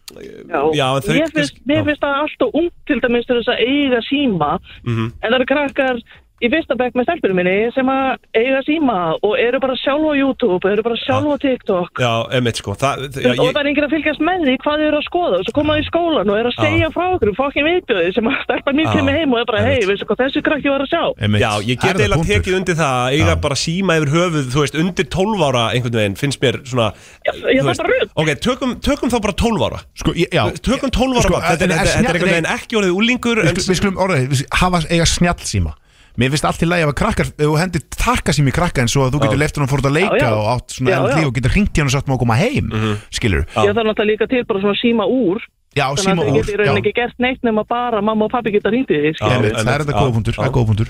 Já, en þau
mér finnst,
kannski-
mér
já.
finnst það alltaf ungt til dæmis til þess að eiga síma
Mhm.
en það eru krakkar í fyrsta bekk með stelpunum minni sem að eiga síma og eru bara sjálf á YouTube eru bara sjálf á TikTok
Já, emitt sko það, já,
og það
ég,
er enginn að fylgjast með því hvað þau eru að skoða og svo koma þau í skólan og eru að segja frá okkur um fokkin viðbjöði sem að stelpa mín
Já.
kemur heim og er bara
Einmitt.
hei, veistu hvað þessi krakki var að sjá
já, ég get eiginlega tekið undir það að eiga
Já.
bara síma yfir höfuð, þú veist, undir 12 ára einhvern veginn, finnst mér svona
Já, já, það er
þú veist-
bara rugl.
Ok, tökum, tökum þá bara 12 ára
Sko, ég, já
Tökum 12 ára
Sko,
bara, þetta,
en-
er-
en-
þetta, þetta er einhvern
nei,
veginn ekki orðið úlingur
Við
en,
skulum, við skulum orðaði, við skulum hafa eiga snjallsíma Mér finnst allt í lagi ef að krakkar, ef þú hendir takka sími í krakka en svo að þú getur leftur hann fórt að leika
Já, já.
og átt svona
Já,
enn
já.
líf og getur hringt hérna og sagt maður að koma heim, mm skilur
ég þarf náttúrulega líka til bara svona síma úr
Já,
þannig
síma
að þau
úr,
getur í rauninni ekki gert neitt nema bara mamma og pabbi geta hringtið því
Já,
skilurðu.
einmitt, það er
einmitt,
þetta
já,
góðpundur, það
já.
er góðpuntur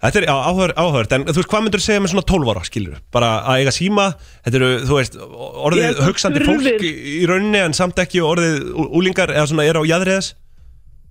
Þetta er já, áhör, áhört, en þú veist, hvað myndur þú segja með svona 12 ára, skilur Bara að eiga síma, þetta eru, þú veist, orðið
Ég er bara
hugsandi fólk
þurfir.
í, í rauninni en samt ekki orðið ú- úlingar eða svona er á jæðriðas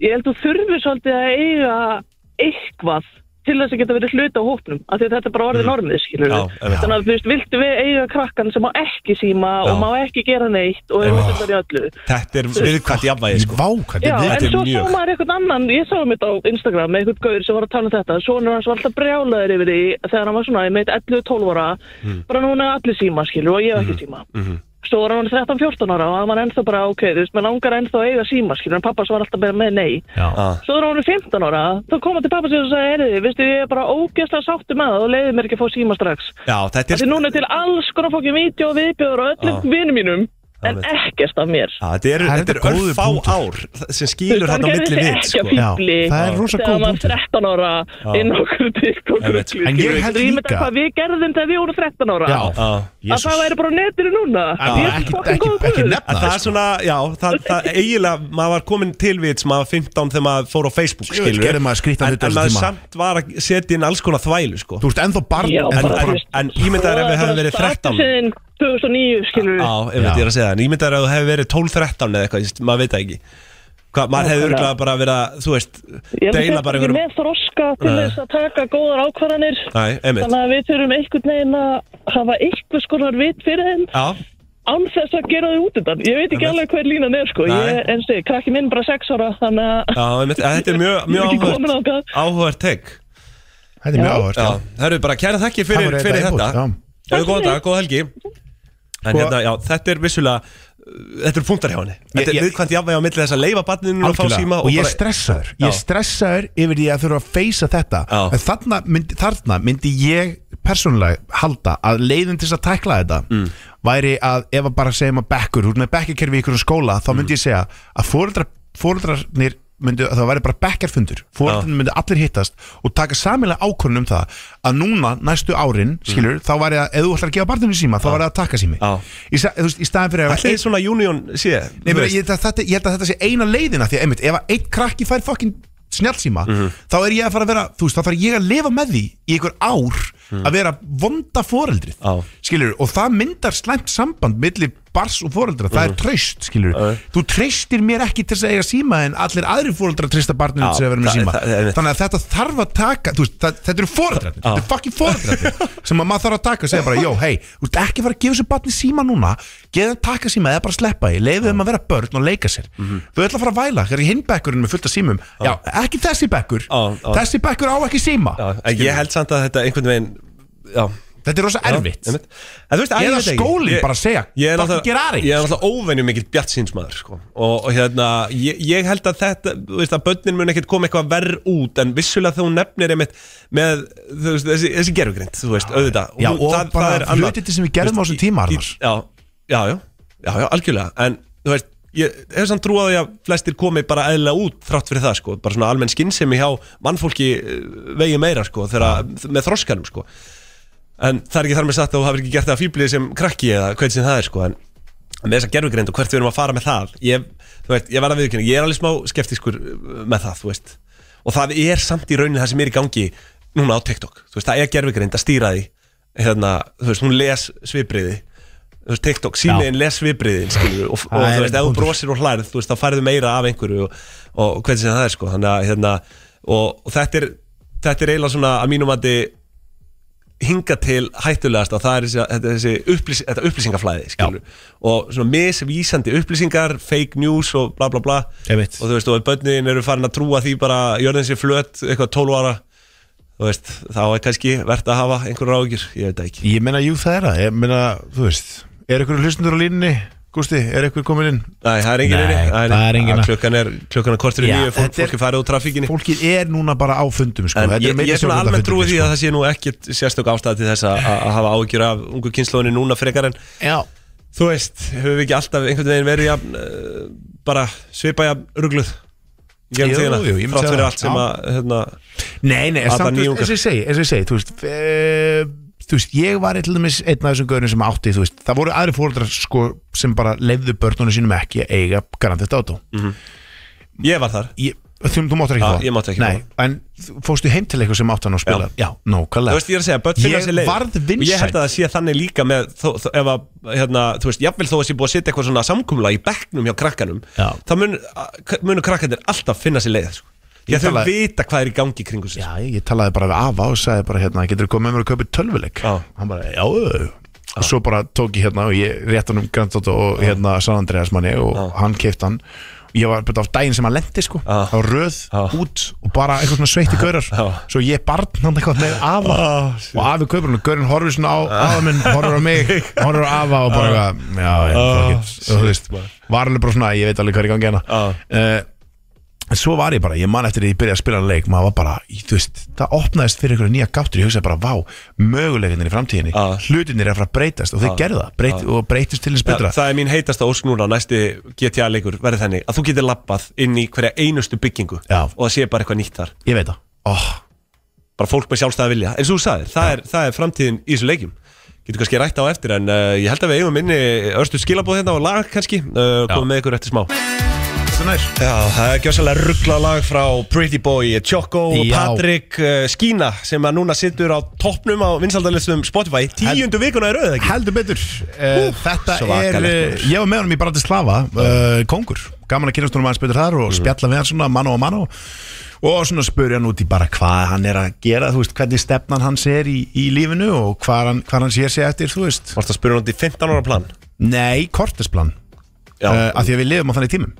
ég held að þú þurfir svolítið að eiga eitthvað til þess að geta verið hluti á hópnum af því að þetta er bara
Mm.
orðið normið skilur
Já, einmitt.
þannig að þú veist, viltu við eiga krakkan sem má ekki síma
Já.
og má ekki gera neitt og er útlæðar í öllu
Þetta er viðkvæmt jafnvægi, sko
Vá, hvað
Já,
þetta er
en
við
svo
mjög.
sá maður eitthvað annan, ég sá mitt á Instagram með eitthvað gaur sem var að tala um þetta Sónur hans var alltaf brjálaður yfir því þegar hann var svona, ég meit 11-12 ára
Hmm.
bara núna er allir síma skilur og ég hef ekki síma
Mhm.
Svo var hann 13-14 ára og hann var ennþá bara ok, þú veist, maður langar ennþá að eiga síma skilur en pappas var alltaf bara með nei
ah.
Svo þegar hún er 15 ára, þá kom hann til pappa sér og sagði, heyrðu, veistu, ég er bara ógeðslega sáttu með það og leiði mér ekki að fá síma strax.
Já, þetta er,
Þetta er núna til alls konar fólki vídeo og viðbjöður og öllum
Já.
vinum mínum, en
veit.
ekkert af mér.
á, þetta er,
Það er
þetta er
þetta góður
örfá
punktur.
ár sem skilur þarna á milli við,
sko.
sko
Já, það er rosa góð
Þegar maður
punktur.
13 ára inn á okkur TikTok
Ég veit.
rugli,
En ég
skilur við.
held
Rýmið
líka-
það hvað við gerðum þegar við vorum 13 ára.
Já,
Já
Að það væri bara á netinu núna. Ég er svo
ekki, ekki,
fucking
ekki
góð guð.
En
nefna sko.
það er svona, já, það, það eiginlega, maður var komin til við sem maður var 15 þegar maður fór á Facebook,
Jú,
skilur
gerði maður skrýtna
En,
hluti á
en
þessum
maður
tíma.
samt var að setja inn alls konar þvælu, sko
Þú ert ennþá barn
Já,
en
en,
þú
bara-
en, en ímyndaður ef við hefum verið 13
Síðan 2009, skilur við.
Já, ef við erum að segja það En ímyndaður ef þú hefur verið 12-13 eða eitthvað, ég veist, maður veit það ekki Hva, maður hefur örgulega bara verið að, þú veist,
Ég held
deila
að þetta er
bara einhverjum
með þroska til
Nei.
þess að taka góðar ákvarðanir
Nei, einmitt
þannig að við þurfum einhvern veginn að hafa einhvers konar vit fyrir þeim
Já,
án þess að gera þau út undan ég veit ekki
Einmitt.
alveg hver línan er sko
Nei.
ég, en stið, krakki minn bara 6 ára þannig að
já, einmitt, en þetta er mjög,
Ég er ekki
mjög
komin þangað.
áhugavert Áhugavert tek
Þetta er mjög áhört
Já, það eru bara kæra þakki fyrir, fyrir þetta Hefur góðan dag, góð helgi En
Sko-
hérna, já, þetta er vissulega uh, Þetta eru punktar hjá henni Þetta
Ég-
er
ég-
viðkvæmt jafnveg á milli þess að leifa barninu og fá síma
Algjörlega, og ég er
bara-
stressaður Ég er
Já.
stressaður yfir því að þurfa að feysa þetta
Já.
En þarna myndi, þarna myndi ég persónulega halda að leiðin til þess að tækla þetta
Mm.
væri að ef að bara segjum að bekkur út með bekkakerfi í einhverjum skóla
Mm.
þá myndi ég segja að foreldrar, foreldrarnir myndi, það væri bara bekkarfundur foreldrarnir myndi allir hittast og taka samilega ákvörnum um það að núna næstu árin, skilur, þá væri að ef þú ætlar að gefa barninu síma, þá væri að taka sími
Mm. Já.
í, sa- þú veist, í staðan fyrir að
Ætli svona union sé
Nei,
þú
meni,
veist.
ég, held að þetta, ég held að þetta sé eina leiðina því að einmitt, ef að eitt krakki fær fokkin snjálfsíma þá er ég að fara að vera, þú veist, þá þarf ég að lifa með því í einhver ár að vera vonda foreldrið,
Já.
skilur og það myndar slæmt samband milli bars og foreldra, það er traust, skilur þú treystir mér ekki til þess að eiga síma en allir aðri foreldra treysta barninu
Já,
til þess að vera með
það-
síma
það- það er-
þannig að þetta þarf að taka, þú veist, það, þetta eru foreldrarnir þetta eru fucking
*laughs*
foreldrarnir sem að maður þarf að taka og segja bara, jó, hei, þú veist, ekki fara að gefa sér barni síma núna, geða þeim taka síma eða bara sleppa því, leiðu þeim að vera börn og leika sér
Mhm.
þau ætla að fara að væla, þegar hinn bekkurinn með fullt af símum, já, ekki þessi bekkur
Já, já.
þessi bekkur á ekki síma
Já, en ég held samt að þetta einhvern veginn Já,
þetta er rosa erfitt
Já, einmitt. en þú veist, æ, ég
eða
veit ekki.
skólinn
Ég-
bara að segja,
Ég er
fucking gera
náttúrulega,
aðeins.
ég er náttúrulega óvenju mikill bjartsýnsmaður sko. og, og hérna, ég, ég held að þetta þú veist, að börnin mun ekkert koma eitthvað verð út en vissulega þú nefnir einmitt með þú veist, þessi, þessi gerfugrind þú veist, auðvitað
Já,
hún-
og bara
annað.
hlutirnir sem við gerðum
Þú
á þessum tíma,
í- í-
Arnar.
já, já, já, já, já, algjörlega en þú veist, ég hef samt trú á því að flestir komi bara eðla út þrátt fyrir það sko, bara svona almenn skinnsemi hjá mannfólki eh, vegi meira sko, þegar, með þroskanum sko. en það er ekki þar með sagt að þú hafir ekki gert það að fýblið sem krakki eða hvað sem það er sko, en með þessa gerfugreind og hvert við erum að fara með það ég, þú veist, ég verða að viðkynna, ég er alveg smá skeptiskur uh, með það, þú veist og það er samt í raunin það sem er í gangi núna á TikTok, þú veist, það er gerfugreind að stýra því hérna, þú veist, hún les svipriði þú veist, TikTok, símiðin les svipriðin skilur, og, og,
Það er
þú veist,
einn
ef þú
punktur.
brosir og hlærð, þú veist, þá færðu meira af einhverju og, og hvernig sem það er, sko þannig að, hérna, og, og þetta er þetta er eiginlega svona, að mínum að hinga til hættulegast og það er þessi, þetta, þessi upplýs, þetta upplýsingaflæði skilur. og svona misvísandi upplýsingar fake news og bla bla bla
Einmitt.
og þú veist og ef börnin eru farin að trúa því bara jörðin sér flöt eitthvað 12 ára þú veist þá er kannski verðt að hafa einhver ráðgjur ég veit það ekki
ég meina, jú, það er það, ég meina, þú veist er ykkur hlustundur á línni, Gústi, er ykkur komin inn
Nei, það er engin
Nei,
inni.
það er engin-
Ah, klukkan er klukkan er kortur í
Já,
nýju fólk,
þetta er-
fólk er farið úr trafíkinni
fólkið er núna bara á fundum sko.
En
Þetta
ég,
meira
ég er svona almenn trúið því
stjórnvaldafundum,
að það sé nú ekkit sérstök ástæða til þess að- að að hafa áhyggjur af ungu kynnslóðinni núna frekar en
sko. já,
þú veist, höfum við ekki alltaf einhvern veginn verið jafn, uh, bara svipa jafn rugluð
Jú,
gerum tíðina,
jú, ég myndi
frátt
segja
fyrir
það,
allt sem
já.
að hérna,
Nei, nei,
Alla
samt, þú
nýjungar.
veist, eins og ég segi, eins og ég segi, þú veist, e, þú veist, ég var til dæmis einn af þessum gauðinu sem átti, þú veist, það voru aðri fóreldrar sko sem bara lefðu börnunum sínum ekki að eiga Grand Theft Auto.
Mhm. ég var þar
Ég, þú, þú máttir ekki
Ah,
fá það.
ég mátti ekki fá
Nei, en þú- fórstu heim til eitthvað sem átti hann að spila. Já,
þú
nókvælega.
veist, ég er að segja, börn finna
Ég
sér leið
varð
og ég held
vinsæll.
að það sé þannig líka með þó, þó, ef að, hérna, þú veist, jafnvel þó að sé búið að setja eitthvað svona samkumla í bekknum hjá krakkanum
Já.
þá mun, að- munu krakkanir alltaf finna sér leið, sko
Ég
ég þau
tala-
vita hvað er í gangi kringu sér
Já, ég, ég talaði bara við Ava og sagði bara hérna, getur þú komið með mér að kaupa tölvuleik?
Já.
Hann bara, já, já, já. Og svo bara tók ég hérna og ég rétt hann um Grand Theft Auto og hérna San Andreas manni og hann keipt hann. Ég var bara á daginn sem hann lendi sko,
Já.
á röð,
Já.
út og bara eitthvað svona sveitti gaurar.
Já.
Svo ég barn hann eitthvað með Ava og Afi kaupur hann og gaurinn horfir svona á Ava minn, horfir á mig, horfir á Ava og bara eitthvað, já, já, það er ekki, þú veist, var alveg bara svona, ég veit alveg hvað er í gangi hérna.
Já.
Eh, En svo var ég bara, ég man eftir því ég byrjaði að spila þennan leik maður var bara, í- þú veist, það opnaðist fyrir einhverju nýja gáttur, ég hugsaði bara, vá möguleikinnir í framtíðinni,
Já.
hlutinir er að fara að breytast og þeir gerðu það, breyt, og breytist til þess
Þa,
betra
það er mín heitasta ósk núna næsti GTA leikur verði þannig að þú getur labbað inn í hverja einustu byggingu
Já.
og það sé bara eitthvað nýtt þar
ég veit það, oh,
bara fólk með sjálfstæða vilja eins og þú sagðir, það, er, það er framtíðin í þessu leikjum getur kannski rætt á eftir en uh, ég held að við eigum inni örstu skilabóð hérna og lag kannski uh, komum með ykkur eftir smá Já, það er gjössalega ruggla lag frá Pretty Boy, Choco og
Já.
Patrick uh, Skína sem að núna situr á toppnum á vinsaldalistum Spotify tíundu vikuna í rauð ekki
heldur betur uh, þetta er,
svakalegt,
eh,
maður.
ég var með honum í Bratislava uh, kongur, gaman að kynast honum aðeins betur þar
Mm.
og spjalla við hann svona mann og mann og svona spurja hann út í bara hvað hann er að gera, þú veist, hvernig stefnan hans er í, í lífinu og hvað hann, hvað hann sér sig eftir, þú veist,
Varst að spyrja náttúrulega í 15 ára plan
nei, kortesplan
Já, Mhm.
uh, af því að við lifum á þannig tímum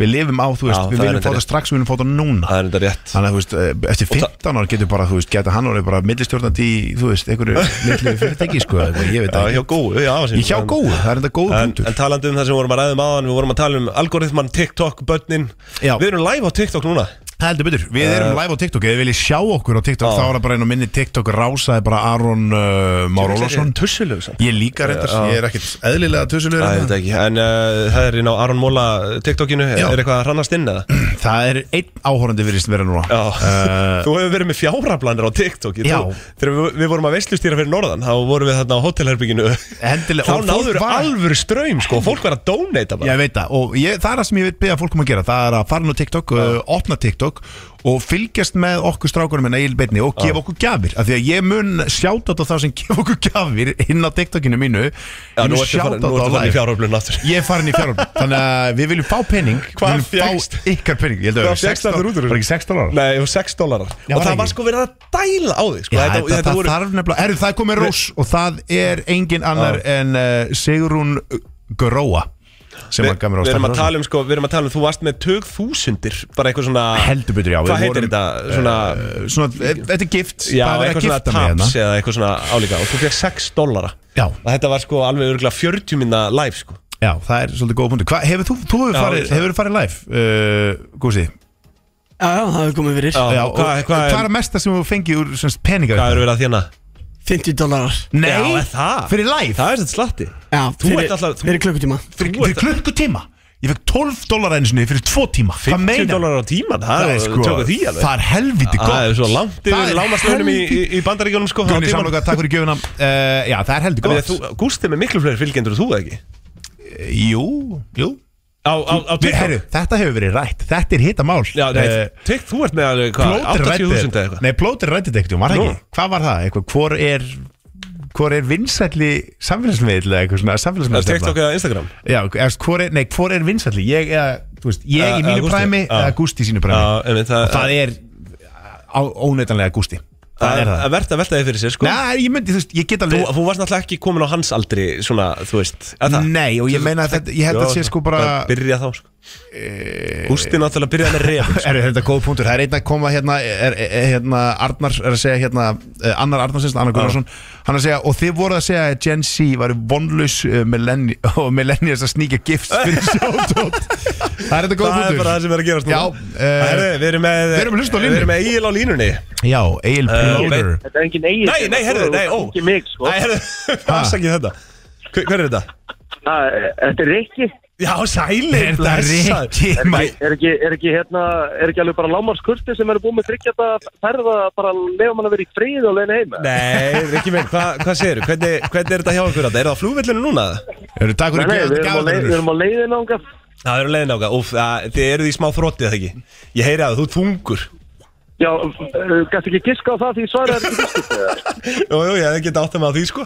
við lifum á, þú veist,
Já,
við
það er
viljum fá
reyndar
það strax, við viljum fá það núna
það er enda rétt
þannig að, þú veist, eh, eftir 15 ár getur bara, þú veist, geta hann orðið bara millistjórnandi í, þú veist, einhverju
*laughs*
litlu fyrirtæki, sko, eða eitthvað, ég veit
Já,
það
hjá
ekki.
góðu, já,
Í hjá góðu, það er enda góð
En,
punktur
en talandi um það sem við vorum að ræðum aðan Við vorum að tala um algoritman, TikTok, börnin
Já.
Við erum live á TikTok núna
heldur betur,
Eh.
við erum live á TikTok, ef þið viljið sjá okkur á
Ah.
TikTok, þá er það bara einn og minni TikTok rásaði bara Aron uh, Már Ólafsson
Tussulöf sann
ég líka reyndar, ég er ekkert eðlilega
Æ,
tusulegur hérna.
þetta ekki En uh, það er inn á Aron Móla TikTokinu
Já.
Er eitthvað að hrannast inn eða?
*clears throat* það er einn áhorandi virðist vera núna
Já
Eh,
*laughs* Þú hefur verið með fjárablanir á TikTok ég
Já.
trú. Þegar við, við vorum að veistlustýra fyrir norðan Þá vorum við þarna á hotelherbygginu
Endilega,
Þá
og fólk
náður
var-
alvöru ströym sko Fólk var að donata bara
um Ég veit það og ég, það er það sem ég veit beða fólkum að gera Það er að fara nú á TikTok, uh, opna TikTok TikTok og fylgjast með okkur strákunum en Egil Beinni og gefa okkur gjafir af því að ég mun sjáta á þá sem gefa okkur *laughs* gjafir inn á TikTokinu mínu
Já,
ég
nú
mun
ertu
sjáta
farin- nú
á
ertu farin í
live
fjárhóflun aftur
Ég er farin í fjárhóflun Þannig að við viljum fá penning
Hvað
Við viljum
fékkst?
fá ykkar penning Ég held að
Hvað
það
fékkst þarna út úr þessu?
Var ekki 6 dólarar?
Nei, ég var 6 dólarar
Já,
Og
var
það
ekki?
var sko verið að dæla á þig sko.
Já,
þetta,
þetta,
þetta
það
voru
þarf nefnilega Herru, það er komið rós og það er engin annar en uh, Sigrún Gróa sem
Við
var gamur á
við erum að tala um sko, við erum að tala um, þú varst með tög þúsundir Bara eitthvað svona
Heldur betur, já, við
Hvað heitir
vorum,
þetta? Svona,
Svona, e- þetta er gift
já,
það er
eitthvað
verið að
svona
gifta mig
taps
hérna
Eða eitthvað svona álíka Og þú fekk 6 dólara
Já.
Og þetta var sko alveg örgulega 40 minna live sko
Já, það er svolítið góð punktu Hvað, hefur þú, þú hefur
Já,
farið,
það-
hefur farið live, uh, Gósi?
Já, já, það hefur komið fyrir
Já,
Já,
og hvað,
og
hvað,
hvað
er,
er mesta sem þú fengið úr semst, peninga?
hvað er verið að þjána?
50 dólarar
Nei,
Já, er það?
fyrir live
Það er þetta slatti
Já,
Þú
fyrir,
ert alltaf- þú-
fyrir klukkutíma
fyrir,
Þú ert
fyrir klukkutíma Ég fekk 12 dólar einu sinni fyrir 2 tíma Hvað
50
meina?
dólarar á tíman, það er
Það er sko
tökur því alveg
Það er helviti gott
Það er svo langt
Það
yfir
er
lámaslaunum í, í,
helviti-
í bandaríkjónum sko á
Gunni
tímanum.
Samloka, takk fyrir gjöfuna uh, Já, það er heldur
Ég meina,
gott
þú- Gústi er með miklu fleiri fylgjendur en þú eða ekki
Jú, jú
Á, á, á
Við,
TikTok
herru, Þetta hefur verið rætt, þetta er Eh, hitta mál
Já, nei, TikTok, þú ert með alveg hvað, 80.000 eða eitthvað
Nei, plótir rættið eitthvað, um, var það
Nú.
ekki Hvað var það, eitthvað, hvor er Hvor er vinsælli samfélagsmiðl eða eitthvað svona
Það
samfélagsmiðl
er TikTok eða Instagram
Já, eftir, hvor er, nei, hvor er vinsælli Ég, eða, þú veist, ég
Eða-
í
eða
mínu
Gústi.
præmi
Já.
eða Gústi í sínu
Já,
præmi
en það,
Og það er á, óneitanlega Gústi Það er það
að verða að velta þig fyrir sér sko
Nei, ég myndi, þú veist, ég get
Þú,
alveg
þú varst náttúrulega ekki komin á hans aldri svona, þú veist eða það?
Nei, og ég meina að þetta, ég held að
Já,
sé sko bara Eh,
Byrja þá sko Gústi náttúrulega byrjaði með refin sko.
*laughs* Er þetta góð punktur, það er einn að koma hérna, er, er, er, hérna Arnar er að segja hérna, eh, annar Arnarsins, Annar Gunnarsson Hann er að segja, og þið voruð að segja að Gen Z var vonlaus uh, millenni, *laughs* og millennials að sníka gifts *laughs* fyrir
*laughs*
sjóðdótt Það er þetta góð
Það er
punktur
bara það sem er að gerast
Já, eh,
Herru, Við erum með
við erum með hlust á línunni.
Við erum með Egil á línunni
Já, Egil
Eh,
Plóður
veit-
Þetta er engin eigin
Nei, nei, herðu, nei, ó
Ekki mig, sko
Nei, herðu,
Ah.
*laughs* afsakið þetta Hver hver er þetta?
Það- Þetta er Rikki
Já, sæli
Er þetta Rikki? mæ-
er ekki, er ekki hérna Er ekki alveg bara lámarskurti sem eru búið með þryggja þetta ferða bara lefa mann að vera í frið og leina heima
Nei, Rikki minn, hva, hvað segirðu? Hvernig, hvernig er þetta hjá okkur þetta? Er það á flugvillinu núna?
Eru takk
Nei,
fyrir
nei, við
gæðan
erum á leið- við
gæðan
erum á leiðin ánga
Það eru leiðin ákvað, úf, það- þið eruð í smá þróttið ekki Ég heyri að þú ert þungur
Já, eh, gæstu ekki giska á það því svaraði ekki giskist eða?
Jú, jú, ég hefði getið áttið með á því, sko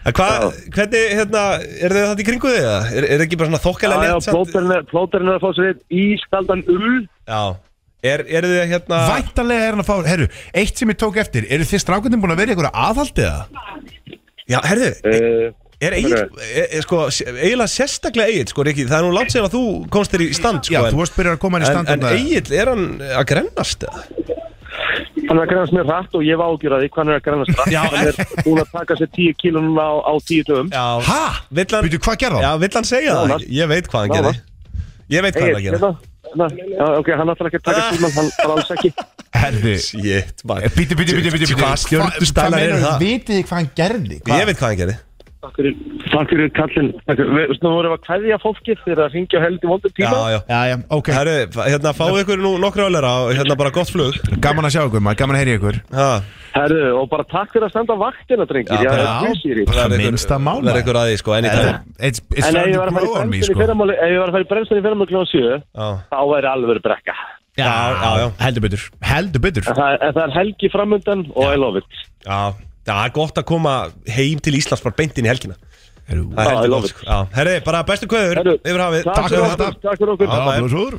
En hvað, hvernig, hérna, er þið þetta í kringu þig? eða? Er, er það ekki bara svona
Já,
þokkalega
já,
létt samt?
plóterinn er- plóterinn er að fá sér einn ískaldan ull
Já, er, er þið hérna
Væntanlega er hann að fá, herru, eitt sem ég tók eftir Eru þið strákundin búin að vera í einhverja aðhaldiða?
Já, herðu,
Eh,
er Egil, er, er, sko, eiginlega sérstaklega Egil, sko, Rikki Það er nú langt sér að þú komst þér í stand, sko
Já,
en-
þú varst byrjar að koma hann í
En, en
standarna
Egil, er hann að grennast? eða?
Hann er að grænast mér hratt og ég var ágjur að því hvað hann er að grænast hratt
Já.
Hann er búin að taka sér 10 kíló núna á, á 10 dögum
Já,
Hæ?
vill hann
Býtu, hvað gerði hann?
Já, vill hann segja það?
Nánast.
ekki? Ég veit hvað hann gerði
Nánast.
Ég veit hvað hann er að
Egil,
gera
hérna, hérna, já, ok, hann ætlar ekki að taka síman, hann hann alls ekki
Herðu Eh,
Shit, maður
Bíti, bíti, bíti, bíti
Hvað stjörnustælar eru það?
Vitið þið hvað hann gerði?
Ég veit hvað hann gerði
Takk fyrir, takk fyrir kallin Takk fyrir, við- Nú vorum við að kveðja fólkið þegar það ringja held í vondum
Já,
tíma
já
Já, já, ok
Herru, hérna fáðu ykkur nú nokkru álera og hérna bara gott flug
Gaman að sjá ykkur, maður, gaman að heyri ykkur
Ha,
Herru, og bara takk fyrir að standa vaktina, drengir
Já,
Já, já,
já.
já
Það
verður ykkur-
minnsta mál,
Verður
maður.
ykkur aðeins, sko, enn í dag
It's, it's
eh, En ef
starting
ég var
to
að fara í
grow on me,
bremsunni
sko
fyrramáli, ef ég var að fara í bremsunni fyrramáli kl. 7
Já,
þá er alveg verið brekka
Já,
já, já.
heldur betur Heldur betur
En það, en það er helgi framöndan og I love it
já Það er gott að koma heim til Íslands bara beint inn í helgina Það
Já,
er
I
heldur
love
gott, sko Já, herru, bara bestu kveður
Herru,
yfir hafið
Takk
fyrir
fyrir
þetta.
okkur, takk fyrir okkur
Já, blóðsúr.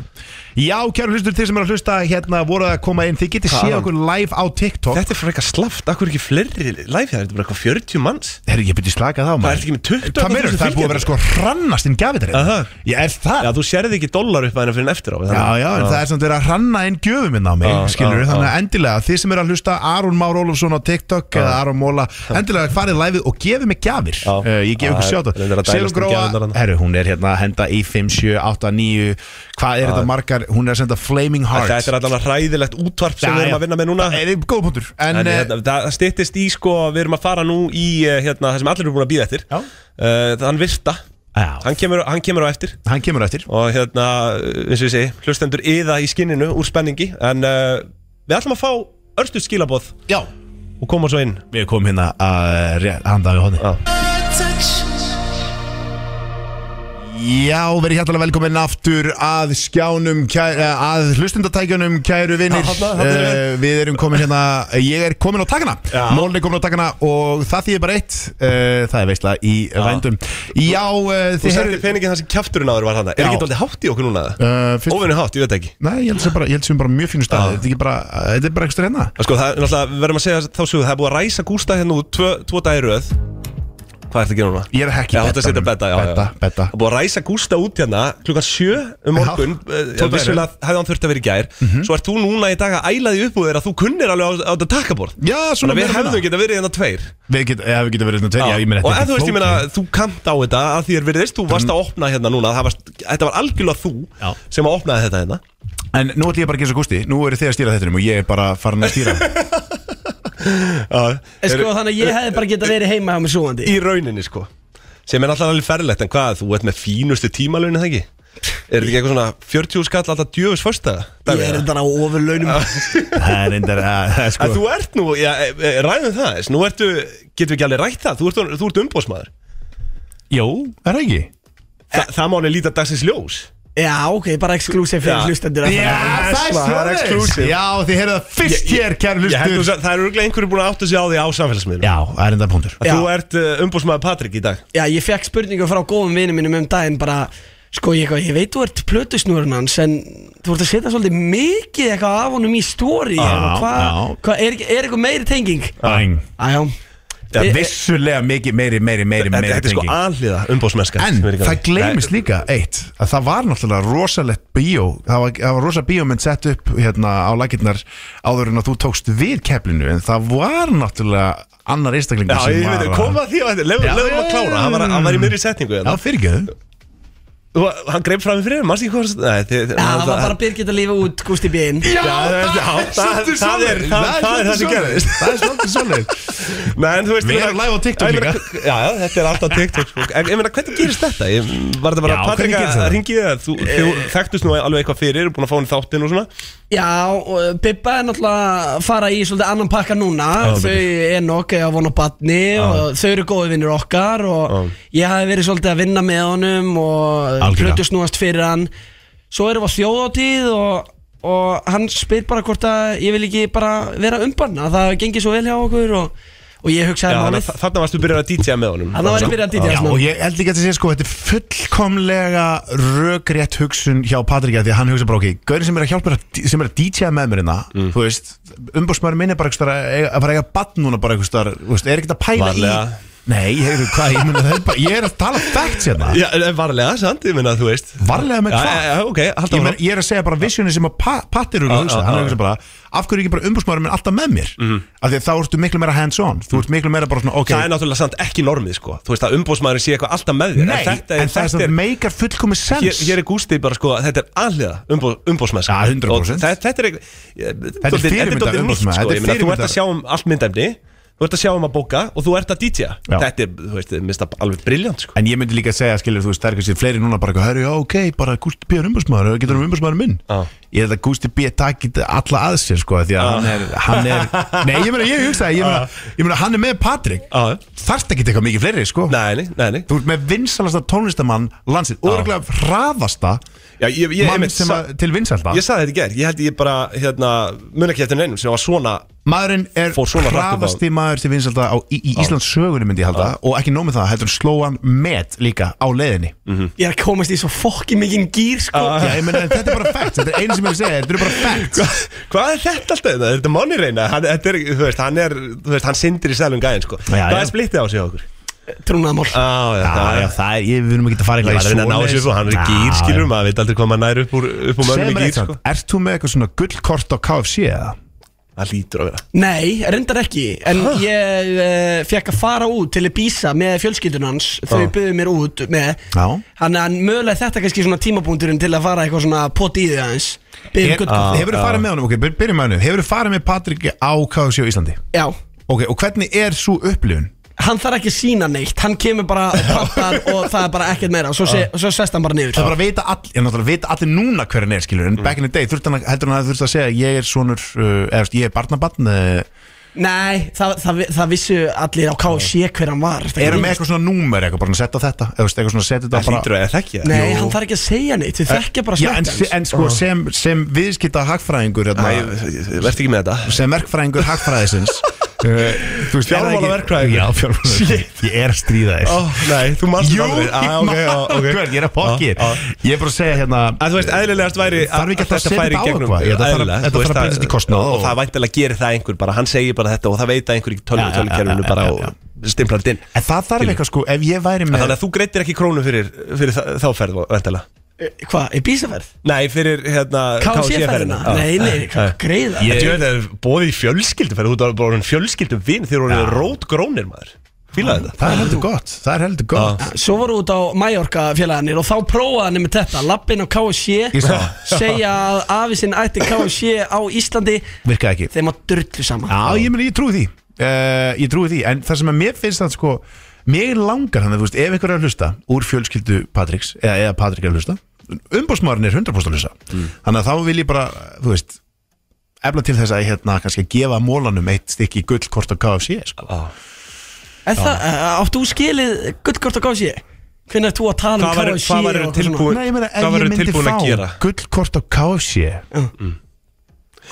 Já, kæru hlustur, þið sem eru að hlusta hérna voru að koma inn, þið getið séð okkur live á TikTok
Þetta er fyrir eitthvað slaft, akkur ekki fleiri live hér, þetta er bara eitthvað 40 manns
Herri, ég byrja slaka þá, maður
ertu ekki með 20
Hvað meirur, það er búið að vera sko hrannast inn gafið
Aha.
þér Ég er það
Já, þú sérði ekki dólar upp að henni fyrir en eftir á
Já, já, en það er samt verið að hranna inn gjöfum inn á mig,
Já,
skilur
já,
þannig
já.
að endilega, þið sem eru að hlusta Aron Már Ólafsson á TikTok eða Aron Móla endilega farið live og gefið mig gjafir
Já.
uh, ég
Já,
gef
það
ykkur
er-
sjátt
reyndar að
Selum
dælast um gjafirnar
Gróa,
þarna.
herru, hún er hérna að henda í 5, 7, 8, 9 hvað er þetta margar, hún er að senda Flaming Heart
Þetta er allavega hræðilegt útvarp sem
Já,
við erum
já.
að vinna með núna
Það er góð punktur En, eh,
En,
en
hérna, það það styttist í sko, við erum að fara nú í eh, hérna, það sem allir eru búin að býða eftir
Já.
uh, Þann virta,
Já.
hann kemur, hann kemur á eftir
hann kemur eftir
Og hérna, eh, eins og ég segi, hlustendur yða í skinninu úr spenningi En uh, við ætlum að fá örstuð skilaboð
Já,
og koma svo inn
við komum hérna að rétt- handa við hodni
Já.
Já, verið hjartalega velkomin aftur að skjánum, kæ- eh, að hlustundatækjunum, kæru vinnir
Já, þarna- þarna erum
uh, Við erum komin hérna, ég er komin á takkana Mólin er komin á takkana og það þýðir bara eitt uh, Það er veistla í vændum Já, uh,
Þú
þið
setti peningin þar sem kjafturinn áður var hann Er
Já.
ekki alltaf hátt í okkur núna?
Uh,
Óvinni hátt, ég veit ekki
Nei, ég held sem bara, ég held sem bara mjög fínu stað Þetta er ekki bara, þetta er bara ekstra hérna
En Sko, það er náttúrulega, við verðum að segja þá sögðu Það er búið að ræsa Gústa hérna úr tvö, tvo dagir röð Hvað ertu að gera núna?
Ég er að hekki
Já, þetta setja
betanum.
betta, já,
Betta,
já.
betta.
Það er búið að ræsa Gústa út hérna klukkan sjö um morgun
Já, Mhm.
eh,
tvo daga í
Vissulega hefði hann þurft að vera í gær Svo ert þú núna í dag að æla því upp úr þér að þú kunnir alveg á, á þetta takkaborð
Já, Ah,
Þannig að við
svona meira og minna.
hefðum getað verið hérna tveir Ah.
Við getum, ja, við getum verið svona tveir, já, ég meina
Og
þetta er
ef þú veist, ég
ekki flókið. Mhm.
meina, þú kamt á þetta að því er virðist, þú varst að opna hérna núna það varst, Þetta var algjörlega þú
Já.
sem að opnaði þetta hérna
En nú ætlum ég bara að gera svo gústi Nú eru þið að stýra þetta og ég er bara farin að stýra
*laughs* Ah.
En Sko þannig að ég hefði bara getað verið heima hjá mig svoandi
Í rauninni, sko Sem er alltaf alveg ferlegt, en hvað, þú ert með fínustu tímalaunin, það ekki? Er þetta ekki eitthvað svona 40 skall alltaf djöfus fyrsta?
Ég er þetta á ofurlaunum
Það er reyndar að, að sko
Að þú ert nú, já, e, e, ræðum það þess, nú ertu, getum við ekki alveg rætt það, þú ert, þú ert umbóðsmaður.
Jó, er það ekki?
Þa, það máli líta dagsins ljós.
Já ok, bara exklusív fyrir
Já.
hlustendur að
Já,
fara.
það er
það er
svoleiðis.
exclusive.
Já, þið heyrðu það fyrst hér, kæru
Ég held þú,
hlustur
sa- það eru örugglega einhverju búin að átta sig á því á samfélagsmiðlum.
Já, það er enda punktur
Að
Já.
Þú ert uh, umbóðsmaður Patrik í dag.
Já, ég fekk spurningu frá góðum vinum mínum um daginn bara Sko, ég, eitthvað, ég veit þú ert plötusnúrun hans En þú ert að setja svolítið mikið eitthvað af honum í stóri
Já, já.
Er ekki- er eitthvað meiri tenging?
Bang.
Æjá
Já,
e-
Ég-
vissulega mikið meiri, meiri, meiri,
Eh, Þetta
meiri
þetta er sko
tenging.
alhliða umbóðsmennska.
En það gleymist líka eitt að það var náttúrulega rosalegt bíó það var, það var rosa bíómynd sett upp hérna á laginnar áður en að þú tókst við keflinu en það var náttúrulega annar einstaklingur
Já,
sem
ég veit,
var
koma að því að
Já,
lefum að
já,
klára,
já,
hann var,
já.
hann var í miðri setningu. hérna.
Já, fyrirgeðu
Þú, hann greip fram í fyrir, maður sé ekki hvað Nei, þið,
Já, það var bara Birgit að lífa út Gústi Bín
Já, það, já, það,
Svolítið
það er
svoleiðis.
það, það, er *laughs* það sem
svolítið
gerðist
svoleiðis. Það er svolítið svolítið
Nei, en þú veist
Við
ég meina-
erum live á TikTok
Ég meina,
líka.
Já, já, þetta er alltaf TikTok sko. En ég meina, hvernig gerist þetta? Ég, var þetta bara
Já,
Patrik
hvernig gerist
að
þetta? Eh.
ringið það? Þú, þú þekktust nú alveg eitthvað fyrir, eru búin að fá hann í þáttinn og svona
Já, og Bibba er náttúrulega að fara í svolítið annan pakka núna Þau er nokk að vona batni og Þau eru góði vinnir okkar Og ég hafi verið svolítið að vinna með honum Og
Algjörlega.
plötusnúast fyrir hann Svo erum við á þjóðátíð og, og hann spyr bara hvort að ég vil ekki bara vera umbanna Það gengi svo vel hjá okkur Og, og ég
Já,
hugsaði
þannig
málið
að þarna varstu byrjað að DJ með honum
Þannig var ég byrjað að dýtja
Já, og ég held líka að segja sko Þetta er fullkomlega rökrétt hugsun hjá Patrika Því að hann hugsa bara ok Gaurin sem er að hjálpa mér að- sem er að DJ með mér hérna
Mm.
Þú veist, umbúrsmæður minn er bara einhverstaðar að eiga- að fara að eiga badn núna bara einhverstaðar Þú veist, er ekkert að pæla
Varlega.
í Nei, ég, heyrðu, hvað, ég, muni, bara, ég er að tala facts hérna
Já, en varlega, sant, ég meina, þú veist
Varlega með
Já,
hvað?
já, já, ok, halda
ég,
áfram.
meina, ég er að segja bara vissjóni sem að pa, Patti eru
Já,
að hugsa,
já, já. Mhm.
hann er að hugsa bara af hverju er ekki bara umbúrsmaður minn alltaf með mér mm. af því að þá ertu miklu meira hands on þú ert miklu meira bara svona, ok,
Það er náttúrulega samt ekki normið, sko Þú veist að umbóðsmaðurinn sé eitthvað alltaf með þér
nei,
þetta er-
en það er
þetta er-
svona meikar fullkomi
hér,
sens
hér er Gústi bara sko þetta er alliða umbóðsmennska
Ja, 100%.
þetta er eitthvað- ég-
er
dálítið- þetta er
fyrirmyndar
dálítið nýtt
umboðsmaður,
sko
þetta er
Ég meina, þú ert
fyrirmyndar-
að sjá um allt myndefni þú ert að sjá um að bóka og þú ert að DJ
Já.
þetta er þú veist mista alveg briljant sko
en ég myndi líka að segja, skilur þú veist, það er kannski fleiri núna bara, hörru, já, ok, bara Gústi B. er umbúrsmaður getur hann umbúrsmaður minn
Já.
ég held að Gústi B. takit alla að sér sko, af því að hann er, hann er
*laughs*
nei, ég meina, ég hugsa, ég meina, ég meina hann er með Patrik,
Já.
þarft ekki eitthvað mikið fleiri sko,
nei, nei, nei, nei.
Þú ert með vinsalasta tónlistamann landsið og örgulega hraðasta
Já, ég, ég,
mann
einmitt,
sem
sa-
að, til vinsalda
ég sagði þetta í gerð ég held ég bara hérna mun ekki eftir neinum sem var svona
Maðurinn er
Fór svona hratt um upp á-
hraðasti maður til vinsalda á, í, í Íslands sögunum myndi ég halda og ekki nómið það, heldur sló hann met líka á leiðinni
Mhm.
Ég er að komast í svo fokki mikinn gýr sko
Já, ég meina, þetta er bara facts, þetta er einu sem ég vil segja, þetta er bara facts
Ah. Hva- Hvað er þetta alltaf? hérna? Er þetta Money Reina? Hann, þetta er, þú veist, hann er, þú veist, hann syndir í selum gæðin, sko.
Já,
Hvað
já.
er splittið á sig á okkur?
Trúnaðamál
Á, já, það
Já,
er-
já, það er, ég við erum ekki að
Það
fara
er að reyna að ná þessu upp og hann er í gýr skilur maður veit aldrei hvað maður nær upp úr, upp úr
Segð
mönnum
mér
í gýr
eitthvað,
sko.
ert þú með eitthvað svona gullkort á KFC eða?
Það lítur að vera
Nei, reyndar ekki En ég uh, fekk að fara út til Ibiza með fjölskyldun hans Þau buðu mér út með
Já.
Þannig að mögulega þetta er kannski svona tímabúndurinn til að fara eitthvað svona pott í þau aðeins um Byrjum
Hefur
gutt
þú farið með honum, ok, byr- byrjum með honum Hefur þú farið með Patrik á KFC á Íslandi?
Já,
Ok, og hvernig er svo upplifun?
hann þarf ekki að sína neitt Hann kemur bara og
*laughs*
pantar og það er bara ekkert meira Svo, sé, svo sest hann bara
Ah. Það er
niður
bara að vita allir, ég náttúrulega vita allir núna hver
Mm.
hann er skilur En back in the day, þurfti hann að, heldur hann að þurfti að segja Ég er svonur, uh, eða þú veist, ég er barnabarn uh,
Nei, það, það, það vissu allir á
Ah.
KSC hver hann var
Er hann með eitthvað svona númer, eitthvað bara að setja á þetta Eða veist, eitthvað svona setja þetta
Það hlýtur að þekkja
Nei, hann þarf ekki að segja neitt, við þekkja bara
Eh, Já, en,
snett
en sko sem, sem viðskipta hagfræðingur hérna,
Verð ekki með þetta
sem verkfræðingur
*laughs*
hagfræðisins uh,
Fjármálaverkfræðingur.
Já, fjármálaverkfræðingur Ég er að stríða þér
Ó, nei, þú manst
Jú,
aldrei.
ég
Ah, ok,
man
já, ok. Ah,
hvern, ég er að pokkið
Já,
Ég er bara að segja hérna
En þú veist, eðlilegast væri
Þarf ekki að
þetta
setja
færi
þetta á
í gegnum
eitthvað? Ég, þetta þarf-
Eðlilega,
þetta
þú
þarf
veist
að breytast í kostnað
Og
og-
það væntilega gerir það einhver bara Hann segir bara þetta og það veit að einhver í
Já, já, já, já,
tölvukerfinu bara
já, já.
og stimplar þetta inn
En það þarf eitthvað sko, ef ég væri með
Þannig að þú greittir ekki krónu fyrir, fyrir þa- þá ferð væntanlega.
Hvað, í bísaferð?
Nei, fyrir hérna
KSC-ferðina?
Já.
Nei,
Ah.
nei, hvað greiða?
Ég veit að bóði í fjölskylduferð Þú er bara orðin fjölskyldum vinn Þeir eru rót grónir maður Fýlaði þetta
Það er heldur gott, það er heldur gott
Svo voru út á Mallorca félagarnir og þá prófaði hann með þetta Lappin á KSC
Ég sá það.
Segja að afi sinn ætti KSC á Íslandi
Virkaði ekki
Þeim að drullu saman
Já, ég meni, ég trúi því uh, Ég trúi því, en það sem að mér finnst það sko Mér langar þannig, þú veist, ef einhver er að hlusta Úr fjölskyldu Patriks, eða, eða Patrik er að hlusta Umbósmaðurinn er 100% að hlusta
Mm.
Þannig að þá vil ég bara, þú veist Efla til þess að hérna kannski að gefa mólanum Eitt stykki gullkort á KFC sko.
Ah.
En það, eh, áttu þú skilið gullkort á KSC? Hvernig er þú að tala
Hvað
um
væri-
KSC?
hvað værirðu
og eitthvað svona?
tilbúin-
Nei, ég meina, ef
Hvað
ég
verður
myndi
tilbúin
fá
að gera?
gullkort á KFC Mm.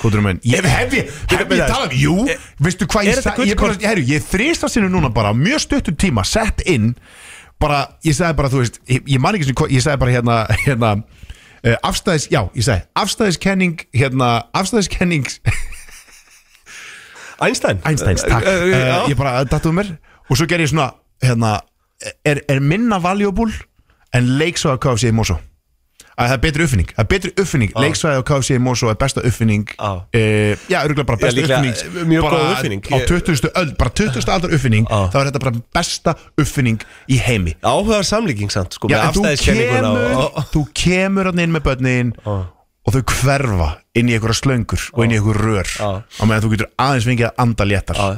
Kóturum minn Ég hef ég, hef ég Eh,
Bíddu,
talað, jú Veistu hvað
er
ég
þetta
sagði Ég, bara-
gullkort?
herru, ég þrýst að sinu núna bara á Mjög stuttum tíma, sett inn Bara, ég sagði bara, þú veist Ég, ég man ekki sem, hvað- ég sagði bara hérna, hérna uh, Afstæðis, já, ég sagði Afstæðiskenning, hérna Afstæðiskenning
Einstein
Einsteins, takk
Eh, eh, já.
uh, Ég bara dattum mér Og svo ger ég svona, hérna Er, er minna valuable en leiksaga KFC í Mosó að það er betri uppfinning það er betri uppfinning, leiksaga á KFC í Mosó er besta uppfinning
Já.
Eh, já, örgulega bara besta
Já, líklega,
uppfinning
eh, mjög
bara
góð uppfinning.
á 20. öld, bara 20. aldar uppfinning
Já.
þá er þetta bara besta uppfinning í heimi
Áhugaðar samlíking samt sko,
já,
með
en þú
afstæðiskenninguna
kemur
og- og-
þú kemur hann inn með börnin og þau hverfa inn í einhverja slöngur og inn í einhver rör
Já.
á meðan þú getur aðeins fengið að anda léttar
Já.